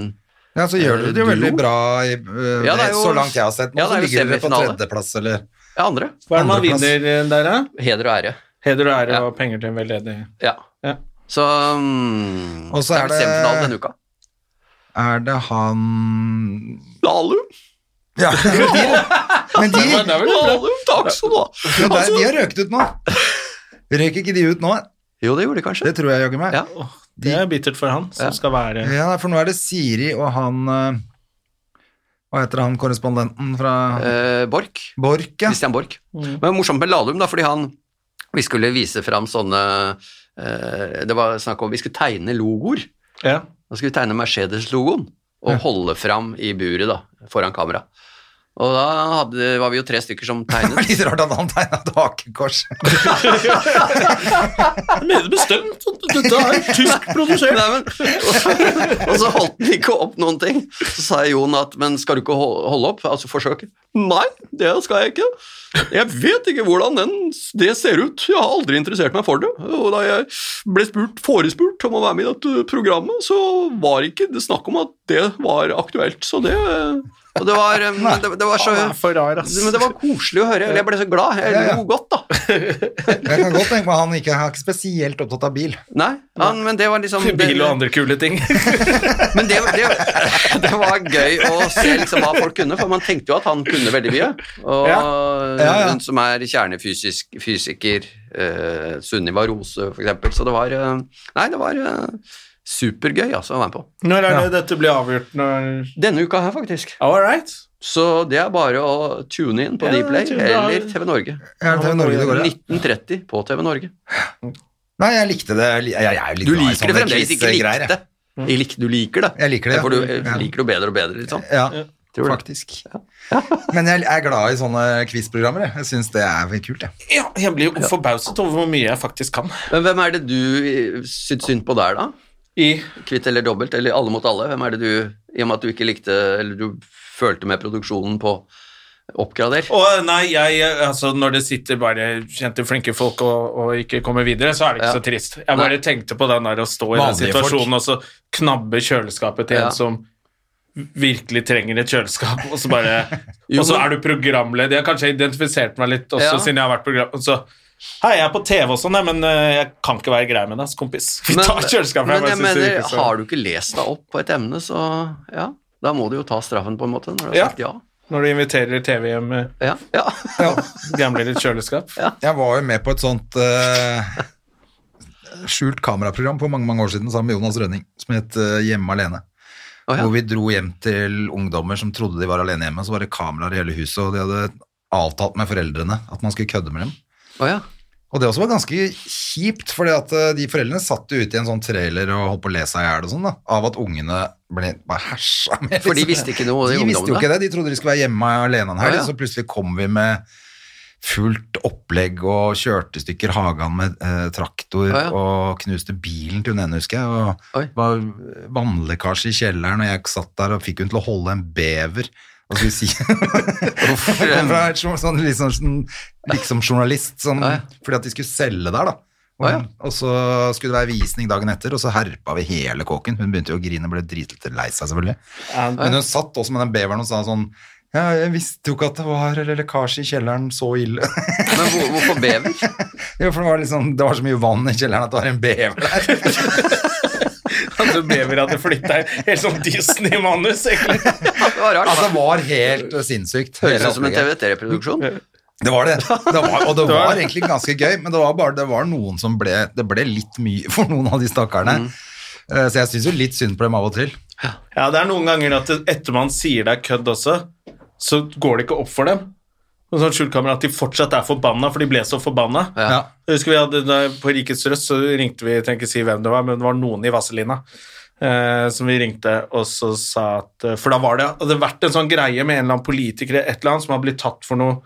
Speaker 1: Ja, så gjør dere det jo
Speaker 4: Duo.
Speaker 1: veldig bra i, øh,
Speaker 4: Eh, Ja, det er jo-
Speaker 1: så langt jeg har sett. Nå
Speaker 4: Ja, det
Speaker 1: så
Speaker 4: er jo
Speaker 1: ligger dere på
Speaker 4: semifinale.
Speaker 1: tredjeplass, eller
Speaker 4: ja, andre.
Speaker 2: Hva er det man
Speaker 1: andreplass.
Speaker 2: vinner eh, der, da?
Speaker 4: Heder og ære.
Speaker 2: Heder og ære
Speaker 4: Ja.
Speaker 2: og penger til en veldedig
Speaker 4: Ja.
Speaker 2: Ja.
Speaker 4: Så mm,
Speaker 1: Og så er
Speaker 4: det vel
Speaker 1: det-
Speaker 4: semifinale denne uka.
Speaker 1: Er det han
Speaker 4: Lalu,
Speaker 1: Ja, men de, men de,
Speaker 2: Ja, det er vel bra.
Speaker 4: Lalu, takk skal du ha.
Speaker 1: jo, der, de har røket ut nå. Røyk ikke de ut nå?
Speaker 4: Jo, det gjorde de kanskje.
Speaker 1: Det tror jeg jaggu meg.
Speaker 4: Ja.
Speaker 2: Det er bittert for han, som
Speaker 4: Ja.
Speaker 2: skal være
Speaker 1: Ja, for nå er det Siri og han eh, Hva heter han korrespondenten fra
Speaker 4: Eh, Borch.
Speaker 1: Borch, ja.
Speaker 4: Christian Borch. Men morsomt med Lahlum, da, fordi han Vi skulle vise fram sånne eh, Det var snakk om Vi skulle tegne logoer.
Speaker 2: ja.
Speaker 4: Da skulle vi tegne Mercedes-logoen og holde fram i buret da, foran kamera. Og da hadde, var vi jo tre stykker som
Speaker 1: Det var
Speaker 4: tegnet.
Speaker 1: litt rart at han tegna et hakekors.
Speaker 2: Jeg mener bestemt at dette er tysk produsert.
Speaker 4: Nei, men, og, så, og så holdt den ikke opp noen ting. Så sa Jon at Men skal du ikke hol- holde opp? Altså forsøke? Nei, det skal jeg ikke. Jeg vet ikke hvordan den, det ser ut. Jeg har aldri interessert meg for det. Og da jeg ble spurt, forespurt om å være med i dette programmet, så var ikke det snakk om at det var aktuelt. Så det Og det var, eh, det, det var så
Speaker 2: Han er for rar, ass.
Speaker 4: men det var koselig å høre. eller Jeg ble så glad. Jeg
Speaker 1: Ja, ja.
Speaker 4: lo godt, da.
Speaker 1: Jeg kan godt tenke meg han ikke han er ikke spesielt opptatt av bil.
Speaker 4: Nei, han, men det var liksom
Speaker 2: Bil og andre kule ting.
Speaker 4: Men det, det, det var gøy å se liksom hva folk kunne, for man tenkte jo at han kunne veldig mye. Og
Speaker 1: Ja, ja.
Speaker 4: hun som er kjernefysisk fysiker, eh, Sunniva Rose f.eks. Så det var eh, Nei, det var eh, supergøy altså, å være med på.
Speaker 2: Når er det dette blir avgjort? Når...
Speaker 4: Denne uka her, faktisk.
Speaker 2: All right.
Speaker 4: Så det er bare å tune inn på
Speaker 2: Ja,
Speaker 4: Dplay
Speaker 2: tune da.
Speaker 4: eller TV Norge.
Speaker 1: Er det TV Norge det går, ja?
Speaker 4: 1930 på TV Norge.
Speaker 1: Nei, jeg likte det. Sånn Jeg, jeg er jo litt
Speaker 4: Du
Speaker 1: glad i
Speaker 4: liker det
Speaker 1: sånne
Speaker 4: fremdeles, ikke
Speaker 1: quiz-greier,
Speaker 4: likte det. Jeg lik- Du liker det.
Speaker 1: Jeg liker det,
Speaker 4: For du eh,
Speaker 1: ja.
Speaker 4: liker det bedre og bedre, liksom.
Speaker 1: jeg. Ja,
Speaker 4: Tror du det?
Speaker 1: faktisk. Men jeg er glad i sånne quiz-programmer. jeg. Jeg syns det er veldig kult, jeg.
Speaker 2: Ja, jeg blir jo forbauset over hvor mye jeg faktisk kan.
Speaker 4: Men hvem er det du eh, syns synd på der, da?
Speaker 2: I
Speaker 4: Kvitt eller dobbelt, eller alle mot alle. Hvem er det du, i og med at du ikke likte, eller du følte med produksjonen på oppgrader?
Speaker 2: Og nei, jeg, altså Når det sitter bare kjente, flinke folk og, og ikke kommer videre, så er det ikke
Speaker 4: Ja.
Speaker 2: så trist. Jeg bare
Speaker 4: Nei.
Speaker 2: tenkte på den der å stå i den
Speaker 1: Vanlige folk.
Speaker 2: situasjonen og så knabbe kjøleskapet til
Speaker 4: Ja.
Speaker 2: en som virkelig trenger et kjøleskap, og så bare
Speaker 4: Jo,
Speaker 2: Og så
Speaker 4: men-
Speaker 2: er du programleder. Jeg har kanskje identifisert meg litt også
Speaker 4: Ja.
Speaker 2: siden jeg har vært program... og Så, Hei, jeg er på TV og sånn, jeg, men eh, jeg kan ikke være grei med deg, ass, kompis. Vi tar kjøleskapet.
Speaker 4: men jeg
Speaker 2: bare synes det
Speaker 4: mener,
Speaker 2: virker så-
Speaker 4: har du ikke lest deg opp på et emne, så ja, da må du jo ta straffen på en måte, når du har
Speaker 2: Ja.
Speaker 4: sagt ja.
Speaker 2: Når du inviterer TV hjem med
Speaker 4: Ja, ja.
Speaker 2: gamle litt kjøleskap.
Speaker 1: Jeg var jo med på et sånt eh, skjult kameraprogram for mange, mange år siden sammen med Jonas Rønning, som het eh, Hjemme alene.
Speaker 4: Å, ja.
Speaker 1: Hvor vi dro hjem til ungdommer som trodde de var alene hjemme, og så var det kameraer i hele huset, og de hadde avtalt med foreldrene at man skulle kødde med dem.
Speaker 4: Å, ja.
Speaker 1: Og det også var ganske kjipt, fordi at eh, de foreldrene satt jo ute i en sånn trailer og holdt på å le seg i hjel og sånn, da, av at ungene ble bare hersa med.
Speaker 4: For de
Speaker 1: liksom.
Speaker 4: visste ikke noe, de,
Speaker 1: De visste jo ikke
Speaker 4: ungdommene.
Speaker 1: det, de trodde de skulle være hjemme alene en helg,
Speaker 4: Å, ja.
Speaker 1: så plutselig kom vi med fullt opplegg og kjørte i stykker hagen med eh, traktor
Speaker 4: Å, ja.
Speaker 1: og knuste bilen til hun ene, husker jeg, og
Speaker 4: Oi.
Speaker 1: det var vannlekkasje i kjelleren, og jeg satt der og fikk hun til å holde en bever, hva skal vi si? Jeg kom fra et sånn, sånn, liksom, sånn, liksom journalist, sånn,
Speaker 4: Ja, ja.
Speaker 1: fordi at de skulle selge der, da. Og,
Speaker 4: Å, ja.
Speaker 1: og så skulle det være visning dagen etter, og så herpa vi hele kåken. Hun begynte jo å grine, ble dritlete lei seg, selvfølgelig. Men hun satt også med den beveren og sa sånn ja, jeg visste jo ikke at det var lekkasje i kjelleren så ille.
Speaker 4: Men hvor, hvorfor bever?
Speaker 1: Jo, for det var, liksom, det var så mye vann i kjelleren at det var en bever der.
Speaker 2: At babyer hadde flytta inn. Helt sånn Disney-manus, egentlig.
Speaker 4: Det var rart.
Speaker 1: Altså, det var helt sinnssykt.
Speaker 4: Høres
Speaker 1: hele
Speaker 4: ut som en
Speaker 1: opplegget.
Speaker 4: TV3-produksjon.
Speaker 1: Det var det. det var, og det var egentlig ganske gøy, men det var bare det var noen som ble Det ble litt mye for noen av de stakkarene. Eh, Så jeg syns jo litt synd på dem av og til.
Speaker 2: Ja, det er noen ganger at det- etter man sier det er kødd også, så går det ikke opp for dem. Og sånn skjulkamera at de fortsatt er forbanna, for de ble så forbanna.
Speaker 4: Ja.
Speaker 1: Ja.
Speaker 2: Jeg husker vi hadde da- På Rikets Røst så ringte vi, jeg trenger ikke si hvem det var, men det var noen i Vazelina eh, som vi ringte, og så sa at eh, For da var det, hadde det vært en sånn greie med en eller annen politiker et eller annet, som hadde blitt tatt for noe,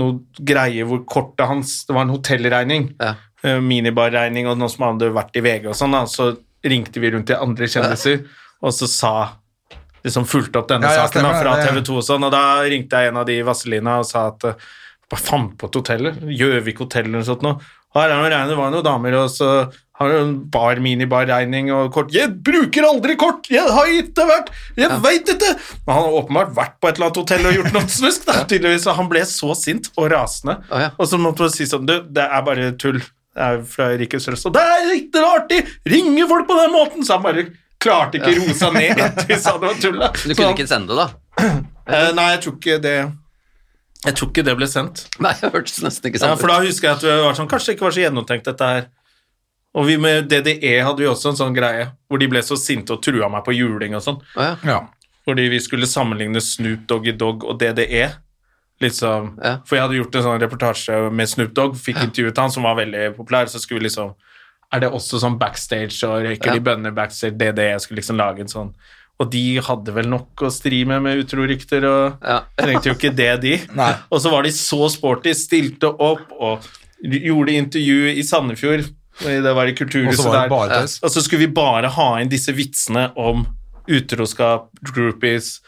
Speaker 2: noe greie hvor kortet hans Det var en hotellregning.
Speaker 4: Ja.
Speaker 2: eh, minibarregning og noe som hadde vært i VG og sånn, da, så ringte vi rundt til andre kjendiser, og så sa liksom fulgte opp denne
Speaker 1: Ja, ja,
Speaker 2: saken da,
Speaker 1: stemmer
Speaker 2: fra
Speaker 1: det, ja.
Speaker 2: TV 2 og sånn, og da ringte jeg en av de i Vazelina og sa at eh, hva faen på et hotell? Gjøvik hotell eller noe sånt nå. Og her er det noe regn, det var noen damer, og så har du en bar, minibarregning og kort. Jeg bruker aldri kort! Jeg har ikke vært Jeg vet ikke! Men han har åpenbart vært på et eller annet hotell og gjort noe snusk, da, tydeligvis. Og han ble så sint og rasende.
Speaker 4: Å, ja.
Speaker 2: Og så måtte man si sånn Du, det er bare tull. Det er fra Rikets Røst. Og det er ikke noe artig! Ringer folk på den måten! Så han bare klarte ikke roe seg ned etter vi sa det var tull. da.
Speaker 4: Du
Speaker 2: Så
Speaker 4: kunne
Speaker 2: han-
Speaker 4: ikke sende det, da?
Speaker 2: Eh, nei, jeg tror ikke det Jeg tror ikke det ble sendt.
Speaker 4: Nei, det hørtes nesten ikke
Speaker 2: Ja,
Speaker 4: sånn
Speaker 2: for
Speaker 4: ut.
Speaker 2: da husker jeg at vi var sånn Kanskje det ikke var så gjennomtenkt, dette her. Og vi med DDE hadde vi også en sånn greie hvor de ble så sinte og trua meg på juling og sånn.
Speaker 4: Å, ja.
Speaker 1: Ja.
Speaker 2: Fordi vi skulle sammenligne Snoop Doggy Dogg og DDE. Liksom,
Speaker 4: Ja.
Speaker 2: For jeg hadde gjort en sånn reportasje med Snoop Dogg, fikk intervjuet han, som var veldig populær. Så skulle vi liksom Er det også sånn backstage og røyker
Speaker 4: Ja.
Speaker 2: de bønner backstage? DDE skulle liksom lage en sånn Og de hadde vel nok å stri med med utrorykter og
Speaker 4: Ja.
Speaker 2: Trengte jo ikke det, de.
Speaker 1: Nei.
Speaker 2: Og så var de så sporty, stilte opp og gjorde intervju i Sandefjord. Det var i
Speaker 1: Og
Speaker 2: kulturhuset
Speaker 1: så var det
Speaker 2: der.
Speaker 1: bare tøys.
Speaker 2: Og så Altså, skulle vi bare ha inn disse vitsene om utroskap, groupies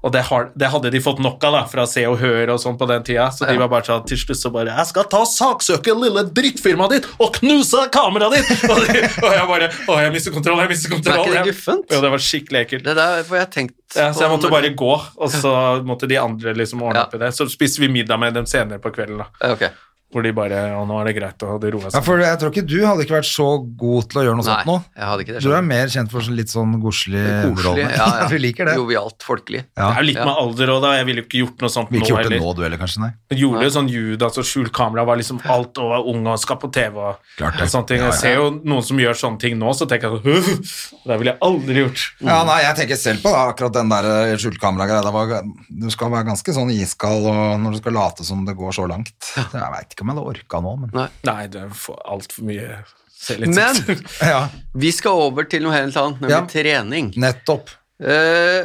Speaker 2: Og det, har, det hadde de fått nok av da, fra Se og Hør og sånn på den tida. Så de var bare sånn til slutt så bare 'Jeg skal ta og saksøke lille drittfirmaet ditt og knuse kameraet ditt!' og, de, og jeg bare 'Å, jeg mister kontroll, jeg mister kontroll'.
Speaker 4: det
Speaker 2: Jeg-
Speaker 4: guffent?
Speaker 2: Jo, det var skikkelig ekkelt.
Speaker 4: Det der får jeg tenkt
Speaker 2: Ja, så jeg
Speaker 4: på
Speaker 2: måtte
Speaker 4: når-
Speaker 2: bare gå, og så måtte de andre liksom ordne
Speaker 4: Ja.
Speaker 2: opp i det. Så spiste vi middag med dem senere på kvelden, da.
Speaker 4: Ja, Ok.
Speaker 2: Hvor de bare Ja, nå er det greit, og det roa
Speaker 1: Ja,
Speaker 2: seg.
Speaker 1: for jeg tror ikke du hadde ikke vært så god til å gjøre noe sånt
Speaker 4: Nei,
Speaker 1: nå.
Speaker 4: jeg hadde ikke det.
Speaker 1: Du er
Speaker 4: skjønner
Speaker 1: mer kjent for sånn litt sånn godslig
Speaker 4: du. Koselig.
Speaker 1: underholdende.
Speaker 4: Ja, ja.
Speaker 1: Vi liker det.
Speaker 4: Jovialt, folkelig.
Speaker 2: Det
Speaker 1: Ja.
Speaker 2: er jo litt
Speaker 4: Ja.
Speaker 2: med alder òg, da. Jeg ville jo ikke gjort noe sånt
Speaker 1: Vi
Speaker 2: nå
Speaker 1: ikke gjort det
Speaker 2: heller.
Speaker 1: nå, du heller, kanskje? Nei.
Speaker 2: Jeg gjorde jo sånn Judas og skjult kamera var liksom alt og var ung og skal på TV og,
Speaker 1: Klart det.
Speaker 2: og sånne ting.
Speaker 1: Ja, ja.
Speaker 2: Jeg ser jo noen som gjør sånne ting nå, så tenker jeg sånn «Hø, Det ville jeg aldri gjort.
Speaker 1: Ja, nei, jeg tenker selv på da, akkurat den der eh, skjultkamera-greia. Det var- Du skal være ganske sånn iskald og når du skal late som det går så langt. Jeg veit ikke om jeg hadde orka nå, men
Speaker 2: Nei, det er for- altfor mye
Speaker 4: Men
Speaker 2: selvinnsikt.
Speaker 1: ja,
Speaker 4: vi skal over til noe helt annet, nemlig
Speaker 1: Ja.
Speaker 4: trening.
Speaker 1: nettopp.
Speaker 4: Eh,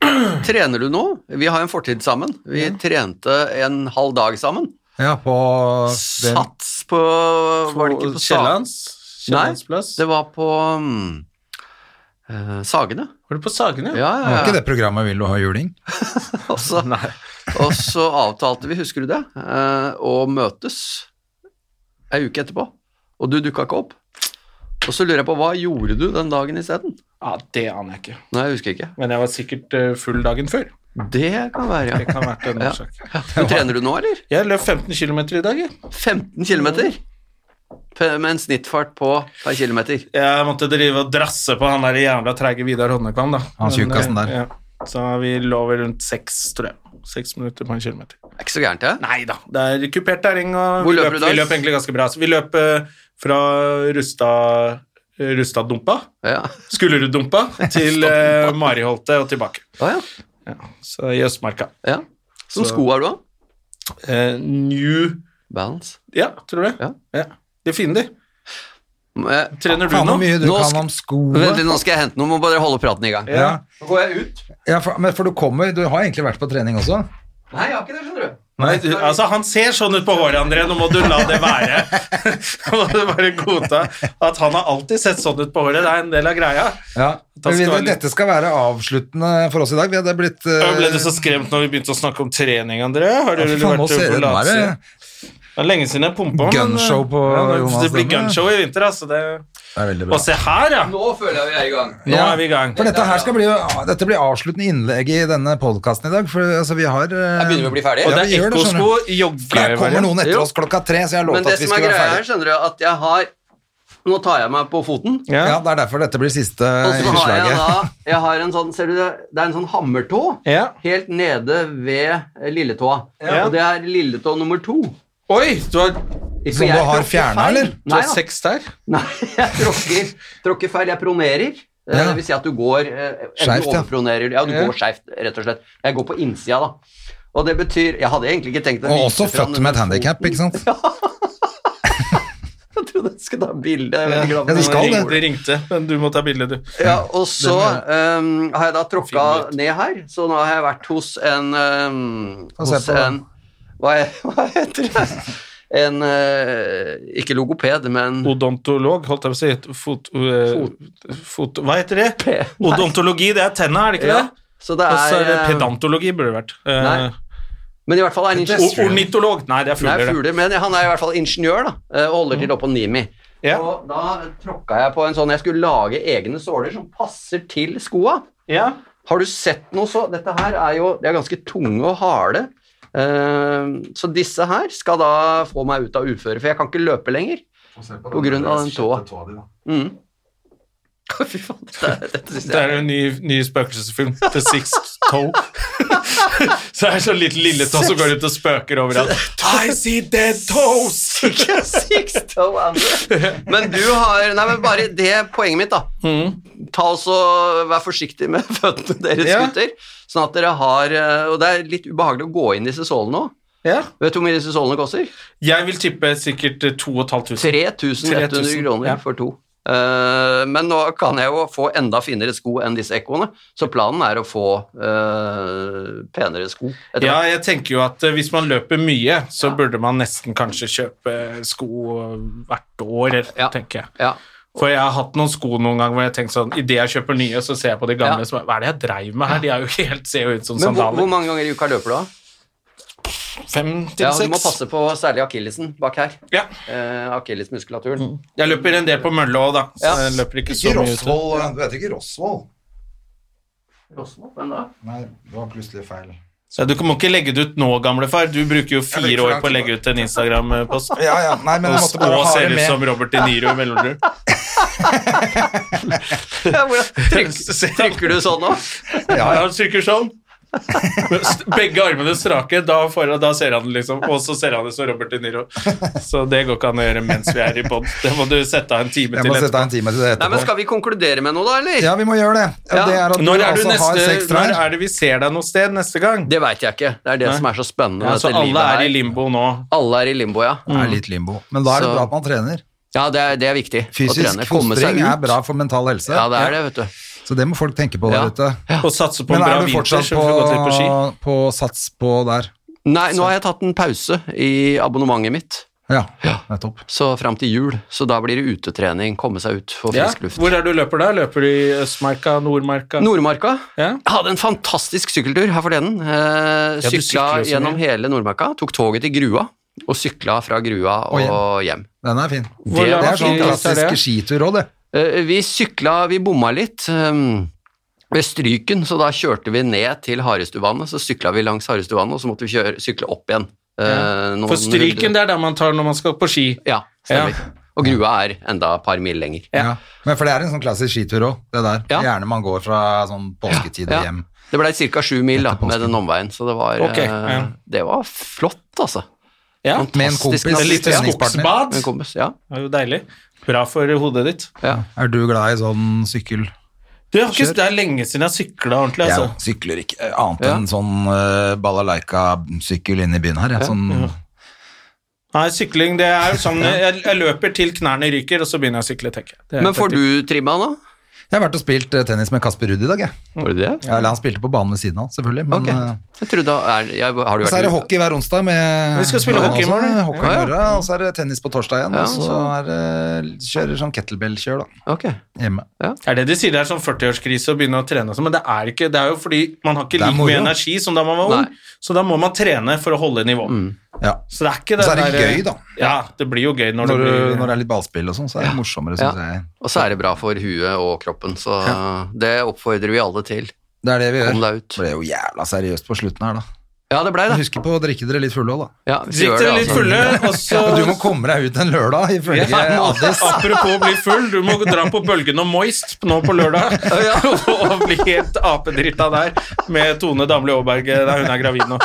Speaker 4: trener du nå? Vi har en fortid sammen. Vi trente en halv dag sammen.
Speaker 1: Ja, på den,
Speaker 4: Sats på Var det ikke på Sa-
Speaker 2: Kiellands?
Speaker 4: Nei,
Speaker 2: Kiellands plass?
Speaker 4: det var på mm, eh, Sagene.
Speaker 2: Var det på Sagene?
Speaker 4: Ja, ja,
Speaker 1: Var
Speaker 4: ja.
Speaker 1: ikke det programmet 'Vil du ha juling'?
Speaker 4: Og så, og så avtalte vi, husker du det, eh, å møtes ei uke etterpå. Og du dukka ikke opp. Og så lurer jeg på, hva gjorde du den dagen isteden?
Speaker 2: Ja, det aner jeg ikke.
Speaker 4: Nei, jeg husker ikke.
Speaker 2: Men jeg var sikkert eh, full dagen før.
Speaker 4: Det kan være,
Speaker 2: Det
Speaker 4: ja.
Speaker 2: kan ha vært en
Speaker 4: Ja.
Speaker 2: årsak.
Speaker 4: Men trener du nå, eller?
Speaker 2: Jeg løp 15 km i dag, jeg.
Speaker 4: 15 km? Med en snittfart på per kilometer.
Speaker 2: Jeg måtte drive og drasse på han der jævla treige Vidar Hodnekvam, da.
Speaker 1: Han
Speaker 2: Men, eh,
Speaker 1: tjukkasen der.
Speaker 2: Ja. Så vi lå vel rundt seks, tror jeg. Seks minutter på en kilometer.
Speaker 4: Det er ikke så gærent, det.
Speaker 2: Nei da, det er kupert terreng, og
Speaker 4: Hvor
Speaker 2: vi
Speaker 4: løper
Speaker 2: løp,
Speaker 4: du da?
Speaker 2: vi løp egentlig ganske bra. Så vi løp eh, fra Rustad Rustad-dumpa,
Speaker 4: Ja.
Speaker 2: Skulleruddumpa, til eh, Mariholte og tilbake.
Speaker 4: Å, ja.
Speaker 2: Så i Østmarka.
Speaker 4: ja. Som
Speaker 2: Så-
Speaker 4: sko har du, da?
Speaker 2: Eh, new
Speaker 4: Balance.
Speaker 2: Ja, tror du det?
Speaker 4: Ja.
Speaker 2: De er fine, de.
Speaker 4: Eh,
Speaker 2: Trener du
Speaker 1: Faen
Speaker 2: nå?
Speaker 1: hvor mye du
Speaker 4: Nå
Speaker 1: kan
Speaker 4: skal-
Speaker 1: om skoene.
Speaker 4: Vent litt, nå skal jeg hente noe. Må bare holde praten i gang.
Speaker 1: Ja.
Speaker 4: Nå går jeg ut.
Speaker 1: Ja, for, men for du kommer Du har egentlig vært på trening også?
Speaker 4: Nei, jeg har ikke det, skjønner du.
Speaker 2: Nei, du, altså Han ser sånn ut på håret, André. Nå må du la det være. Nå må du bare godta at han har alltid sett sånn ut på håret. Det er en del av greia.
Speaker 1: Ja.
Speaker 2: Da skal
Speaker 1: Men vi,
Speaker 2: jeg litt-
Speaker 1: dette skal være avsluttende for oss i dag. Vi hadde blitt eh,
Speaker 2: Da ble du så skremt når vi begynte å snakke om trening, André. Har du
Speaker 1: ja, fy faen, nå
Speaker 2: vært
Speaker 1: ser
Speaker 2: på
Speaker 1: det, nå er
Speaker 2: latsida?
Speaker 1: det,
Speaker 2: Det er lenge siden jeg pumpa.
Speaker 1: Gunshow på Jonas
Speaker 2: Det blir
Speaker 1: Demme.
Speaker 2: gunshow i vinter, altså. Det...
Speaker 1: det er veldig bra.
Speaker 2: Og se her, ja!
Speaker 4: Nå føler jeg vi er i gang.
Speaker 2: Nå er vi i gang.
Speaker 1: For dette her skal bli, ah, dette blir avsluttende innlegg i denne podkasten i dag. For altså, vi har eh,
Speaker 4: Jeg begynner vi å bli ferdig.
Speaker 2: Og
Speaker 1: Ja,
Speaker 2: det
Speaker 1: vi
Speaker 2: er
Speaker 1: gjør det, skjønner
Speaker 2: ekkosko,
Speaker 1: For Der kommer
Speaker 2: joggevariant.
Speaker 1: noen etter
Speaker 4: Jo.
Speaker 1: oss klokka tre, så jeg har
Speaker 4: Men
Speaker 1: lovt
Speaker 4: det
Speaker 1: at vi
Speaker 4: som
Speaker 1: skal
Speaker 4: er
Speaker 1: være
Speaker 4: greia her,
Speaker 1: ferdig.
Speaker 4: skjønner du, at jeg har Nå tar jeg meg på foten.
Speaker 1: Ja.
Speaker 2: Ja.
Speaker 1: det er derfor dette blir siste
Speaker 4: Og så har jeg da
Speaker 1: innslaget.
Speaker 4: jeg har en sånn, Ser du det? Det er en sånn hammertå
Speaker 2: Ja.
Speaker 4: helt nede ved eh, lilletåa.
Speaker 2: Ja.
Speaker 4: Og det er lilletå nummer to.
Speaker 2: Oi, du har,
Speaker 1: Som du har fjerna, eller?
Speaker 2: du har
Speaker 4: Nei, da.
Speaker 2: sex der?
Speaker 4: Nei, jeg tråkker, tråkker feil. Jeg pronerer. Eh,
Speaker 1: Ja.
Speaker 4: Det vil si at du går eh,
Speaker 1: Skjevt,
Speaker 4: Skjevt,
Speaker 1: ja.
Speaker 4: ja. Overpronerer. Ja, du
Speaker 2: Ja.
Speaker 4: går skjevt, rett og slett. Jeg går på innsida, da. Og det betyr Jeg hadde egentlig ikke tenkt å
Speaker 1: Og
Speaker 4: vise
Speaker 1: også
Speaker 4: fram
Speaker 1: født
Speaker 4: denne
Speaker 1: med et handikap,
Speaker 4: foten.
Speaker 1: ikke sant?
Speaker 4: Jeg trodde jeg skulle ta bilde. Jeg er veldig glad for
Speaker 1: Ja, du
Speaker 4: det.
Speaker 1: skal
Speaker 2: det.
Speaker 1: det.
Speaker 2: ringte, men du må ta bilde, du.
Speaker 4: Ja, og så ehm, har jeg da tråkka
Speaker 2: Fin litt.
Speaker 4: ned her, så nå har jeg vært hos en ehm,
Speaker 1: Få se
Speaker 4: Hos
Speaker 1: på den.
Speaker 4: en hva, he- hva heter det? En eh, Ikke logoped, men
Speaker 2: Odontolog, holdt jeg på å si. Fot, øh, fot, hva heter det?
Speaker 4: P- Nei.
Speaker 2: Odontologi, det er tenna, er det ikke
Speaker 4: Ja,
Speaker 2: det?
Speaker 4: så det
Speaker 2: Og så
Speaker 4: er,
Speaker 2: er det
Speaker 4: eh,
Speaker 2: pedantologi, burde det vært. Eh,
Speaker 4: Nei, Men i hvert fall er han
Speaker 2: o-
Speaker 4: ingeniør.
Speaker 2: ornitolog. Nei, det er
Speaker 4: Nei,
Speaker 2: fugler, det. Mm.
Speaker 4: fugler, men han er i hvert fall ingeniør, da, eh, og holder til oppå Nimi.
Speaker 2: Ja.
Speaker 4: Og da tråkka jeg på en sånn Jeg skulle lage egne såler som passer til skoa.
Speaker 2: Ja.
Speaker 4: Har du sett noe så Dette her er jo De er ganske tunge og harde. Eh, så disse her skal da få meg ut av uføret, for jeg kan ikke løpe lenger. På grunn av den tåa. Mm. Fy faen, dette, er- dette synes
Speaker 2: Det
Speaker 4: jeg
Speaker 2: er jo en ny, ny spøkelsesfilm, The Sixth Toe. så er det sånn liten lilletå som går ut og spøker overalt. I see dead toes!
Speaker 4: Six toe under. Men du har Nei, men bare det er poenget mitt, da. Ta også, Vær forsiktig med føttene deres,
Speaker 2: Ja.
Speaker 4: gutter. Sånn at dere har eh, Og det er litt ubehagelig å gå inn i disse sålene òg.
Speaker 2: ja.
Speaker 4: Vet du hvor mye disse sålene koster?
Speaker 2: Jeg vil tippe sikkert eh, 2500.
Speaker 4: 3100
Speaker 2: 3000,
Speaker 4: kroner
Speaker 2: ja.
Speaker 4: for to. Eh, men nå kan jeg jo få enda finere sko enn disse ekkoene, så planen er å få eh, penere sko. etter
Speaker 2: Ja,
Speaker 4: hvert.
Speaker 2: jeg tenker jo at eh, hvis man løper mye, så burde man nesten kanskje kjøpe sko eh, hvert år, eller,
Speaker 4: Ja.
Speaker 2: tenker jeg.
Speaker 4: ja.
Speaker 2: For jeg har hatt noen sko noen ganger hvor jeg tenker sånn, idet jeg kjøper nye, så ser jeg på de gamle
Speaker 4: Ja.
Speaker 2: som er, hva er det jeg dreiv med her? De er jo ikke helt, ser jo ut som
Speaker 4: Men hvor, hvor
Speaker 2: sandaler.
Speaker 4: mange ganger i uka løper du, da?
Speaker 2: Fem til
Speaker 4: Ja, du må
Speaker 2: seks.
Speaker 4: passe på særlig akillesen bak her.
Speaker 2: Ja.
Speaker 4: Eh, akillesmuskulaturen.
Speaker 2: Jeg løper en del på mølle òg, da. Så
Speaker 4: Ja.
Speaker 2: jeg løper ikke så
Speaker 1: Ikke
Speaker 2: mye ute.
Speaker 1: Rosvoll
Speaker 4: eh,
Speaker 1: Du heter ikke Rosvoll?
Speaker 4: Rosmo, hvem da?
Speaker 1: Nei, det var plutselig feil.
Speaker 2: Så du må ikke legge det ut nå, gamlefar. Du bruker jo
Speaker 1: bruker
Speaker 2: fire år
Speaker 1: lang
Speaker 2: på å
Speaker 1: tid
Speaker 2: legge ut en Instagram-post.
Speaker 1: Ja, ja. Nei, men
Speaker 2: Og
Speaker 1: jeg måtte bare
Speaker 2: og
Speaker 1: ha
Speaker 2: ser
Speaker 1: det
Speaker 2: ut som
Speaker 1: med.
Speaker 2: Robert De Niro i mellomtiden.
Speaker 4: Ja, hvordan- trykker, trykker du sånn nå?
Speaker 2: Ja, han trykker sånn. St- Begge armene strake, da, får han, da ser han det liksom. Og så ser han det som Robert De Niro. Så det går ikke an å gjøre mens vi er i pod. Det må du sette av en time
Speaker 1: Jeg
Speaker 2: til
Speaker 1: må sette
Speaker 2: etterpå.
Speaker 1: av en time til det
Speaker 4: Nei, men Skal
Speaker 1: etterpå.
Speaker 4: vi konkludere med noe, da, eller?
Speaker 1: Ja, vi må gjøre det.
Speaker 4: Ja.
Speaker 1: Det er at du
Speaker 2: Når er, du
Speaker 1: altså har sex
Speaker 2: neste,
Speaker 1: trær.
Speaker 2: når er det vi ser deg noe sted neste gang?
Speaker 4: Det veit jeg ikke. Det er det som er så spennende.
Speaker 2: Ja,
Speaker 4: med
Speaker 2: så alle
Speaker 4: dette livet
Speaker 2: er i Mm.
Speaker 4: her.
Speaker 2: limbo nå.
Speaker 4: alle er i limbo, ja.
Speaker 1: Det er litt limbo. Men da er det
Speaker 4: Så-
Speaker 1: bra at man trener.
Speaker 4: Ja, det er, det er viktig. å
Speaker 1: Fysisk
Speaker 4: trene. Komme seg
Speaker 1: fostring
Speaker 4: ut.
Speaker 1: er bra for mental helse.
Speaker 4: Ja, det er det, vet du.
Speaker 1: Så det må folk tenke på der
Speaker 4: Ja.
Speaker 1: ute.
Speaker 2: Og satse på en
Speaker 1: Men
Speaker 2: bra
Speaker 1: er du
Speaker 2: vinter,
Speaker 1: fortsatt
Speaker 2: så vi
Speaker 1: på,
Speaker 2: får gått litt på ski.
Speaker 1: på sats på der?
Speaker 4: Nei, nå har jeg tatt en pause i abonnementet mitt,
Speaker 1: Ja, nettopp.
Speaker 4: så fram til jul. Så da blir det utetrening, komme seg ut, få
Speaker 2: Ja.
Speaker 4: frisk luft.
Speaker 2: Hvor er det du løper da? Løper du i Østmarka, Nordmarka?
Speaker 4: Nordmarka.
Speaker 2: Ja.
Speaker 4: Jeg hadde en fantastisk sykkeltur her forleden. Eh,
Speaker 2: du
Speaker 4: sykla
Speaker 2: sykler jo så mye.
Speaker 4: gjennom hele Nordmarka, tok toget til Grua, og sykla fra Grua
Speaker 1: Og
Speaker 4: og,
Speaker 1: hjem.
Speaker 4: hjem.
Speaker 1: Den er fin.
Speaker 2: Hvor
Speaker 4: Det
Speaker 1: Det
Speaker 2: lang
Speaker 1: er sånn
Speaker 2: tid tar det?
Speaker 1: klassisk skitur òg, det.
Speaker 4: Eh, vi sykla, vi bomma litt eh, ved Stryken, så da kjørte vi ned til Harestuvannet, så sykla vi langs Harestuvannet, og så måtte vi kjøre, sykle opp igjen. Eh, noen
Speaker 2: For stryken,
Speaker 4: runder.
Speaker 2: det er der man tar når man skal på ski.
Speaker 4: Ja,
Speaker 2: Ja.
Speaker 4: stemmer. Og Grua er enda et par mil lenger.
Speaker 1: Ja. Men for det er en sånn klassisk skitur òg, det der.
Speaker 4: Ja.
Speaker 1: Gjerne man går fra sånn påsketid og
Speaker 4: Ja.
Speaker 1: hjem.
Speaker 4: Det blei ca. sju mil da,
Speaker 1: Etter påsken.
Speaker 4: med den omveien, så det var,
Speaker 2: Ok,
Speaker 4: eh,
Speaker 2: ja.
Speaker 4: det var flott, altså.
Speaker 2: Ja.
Speaker 1: Med en
Speaker 4: Fantastisk
Speaker 1: kompis,
Speaker 4: natur.
Speaker 2: Et lite
Speaker 1: treningspartner.
Speaker 2: skogsbad.
Speaker 4: En kompis, ja.
Speaker 2: Det er jo deilig. Bra for hodet ditt.
Speaker 4: ja.
Speaker 1: Er du glad i sånn sykkel?
Speaker 2: Du, jeg har ikke, det er lenge siden jeg har sykla ordentlig.
Speaker 1: Jeg
Speaker 2: Altså.
Speaker 1: sykler ikke eh, annet
Speaker 4: Ja.
Speaker 1: enn sånn eh, balalaika-sykkel inne i byen her. jeg. Sånn,
Speaker 2: Nei, sykling det er jo sånn jeg, jeg løper til knærne ryker, og så begynner jeg å sykle, tenker jeg. Det er
Speaker 4: Men får du trimma nå?
Speaker 1: Jeg har vært og spilt eh, tennis med Kasper Ruud i dag, jeg.
Speaker 4: Var det det?
Speaker 1: Ja, Eller han spilte på banen ved siden av, selvfølgelig. Men
Speaker 4: Ok.
Speaker 1: eh,
Speaker 4: Jeg trodde er, jeg, Har du vært
Speaker 1: så er det hockey hver onsdag med
Speaker 2: Vi skal spille
Speaker 1: Ja,
Speaker 2: hockey i
Speaker 1: altså,
Speaker 2: morgen.
Speaker 1: hockey i
Speaker 4: Ja, ja.
Speaker 1: morgen, Og så er det tennis på torsdag igjen,
Speaker 4: Ja,
Speaker 1: og så er det, kjører sånn kettlebell-kjør da,
Speaker 4: Ok.
Speaker 1: hjemme.
Speaker 2: Er det de sier det er sånn 40-årskrise å begynne å trene og sånn, men det er ikke Det er jo fordi man har ikke
Speaker 1: Det er
Speaker 2: like
Speaker 1: moro.
Speaker 2: mye energi som da man var ung,
Speaker 4: Nei.
Speaker 2: så da må man trene for å holde nivå.
Speaker 1: Mm. Ja.
Speaker 2: Så det er ikke
Speaker 1: Og
Speaker 2: det
Speaker 1: så er det
Speaker 2: der-
Speaker 1: gøy, da.
Speaker 2: Ja, det blir jo gøy når,
Speaker 1: Når,
Speaker 2: det
Speaker 1: du,
Speaker 2: blir
Speaker 1: når det er litt ballspill og sånn, så er det morsommere, synes
Speaker 4: Ja.
Speaker 1: jeg.
Speaker 4: Og så er det bra for huet og kroppen, så det oppfordrer vi alle til.
Speaker 1: Det er det vi gjør.
Speaker 4: Kom deg ut.
Speaker 1: Det ble jo jævla seriøst på slutten her, da.
Speaker 4: Ja, det blei det.
Speaker 1: Husk på å drikke dere litt fulle òg, da.
Speaker 4: Ja, hvis du
Speaker 2: Drikk
Speaker 4: gjør
Speaker 2: dere
Speaker 4: det,
Speaker 2: litt
Speaker 4: altså.
Speaker 2: fulle, og så
Speaker 1: Du må komme deg ut en lørdag, ifølge
Speaker 4: Ja, må-
Speaker 1: Addis.
Speaker 2: Apropos bli full, du må dra på Bølgen og Moist nå på lørdag og bli helt apedritta der med Tone Damli Aaberge. Nei, hun er gravid nå,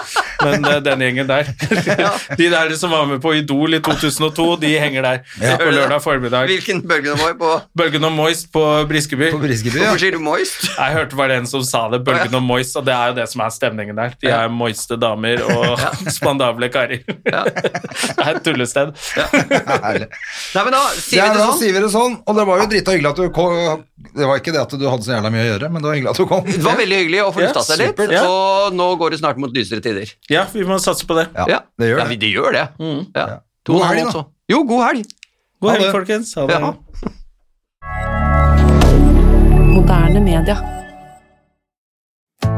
Speaker 2: men eh, den gjengen der. De der som var med på Idol i 2002, de henger der eh, på lørdag formiddag.
Speaker 4: Hvilken bølge det var på?
Speaker 2: Bølgen og Moist på Briskeby.
Speaker 1: På Briskeby, ja.
Speaker 4: Hvorfor sier du moist?
Speaker 2: Jeg hørte bare en som sa det, Bølgen og Moist, og det er jo det som er stemningen der. De er moiste damer og spandable karer. Det er et tullested.
Speaker 1: Herlig.
Speaker 4: Nei, men da sier
Speaker 1: Ja,
Speaker 4: vi det
Speaker 1: da
Speaker 4: sånn.
Speaker 1: sier vi det sånn, og det var jo drita hyggelig at du kom. Det var ikke det at du hadde så jævla mye å gjøre, men det var hyggelig at du kom.
Speaker 4: Det var veldig hyggelig å få lufta seg litt,
Speaker 2: supert. Ja.
Speaker 4: og nå går det snart mot lysere tider.
Speaker 2: Ja, vi må satse på det.
Speaker 1: Ja, det gjør
Speaker 4: Ja,
Speaker 1: det.
Speaker 4: det gjør det. Ja. To
Speaker 1: God
Speaker 4: og en halv
Speaker 1: helg, da.
Speaker 4: også. Jo, god helg.
Speaker 2: God
Speaker 1: Ha
Speaker 2: helg,
Speaker 1: det.
Speaker 2: folkens. Ha det.
Speaker 4: Ja.
Speaker 5: Moderne media.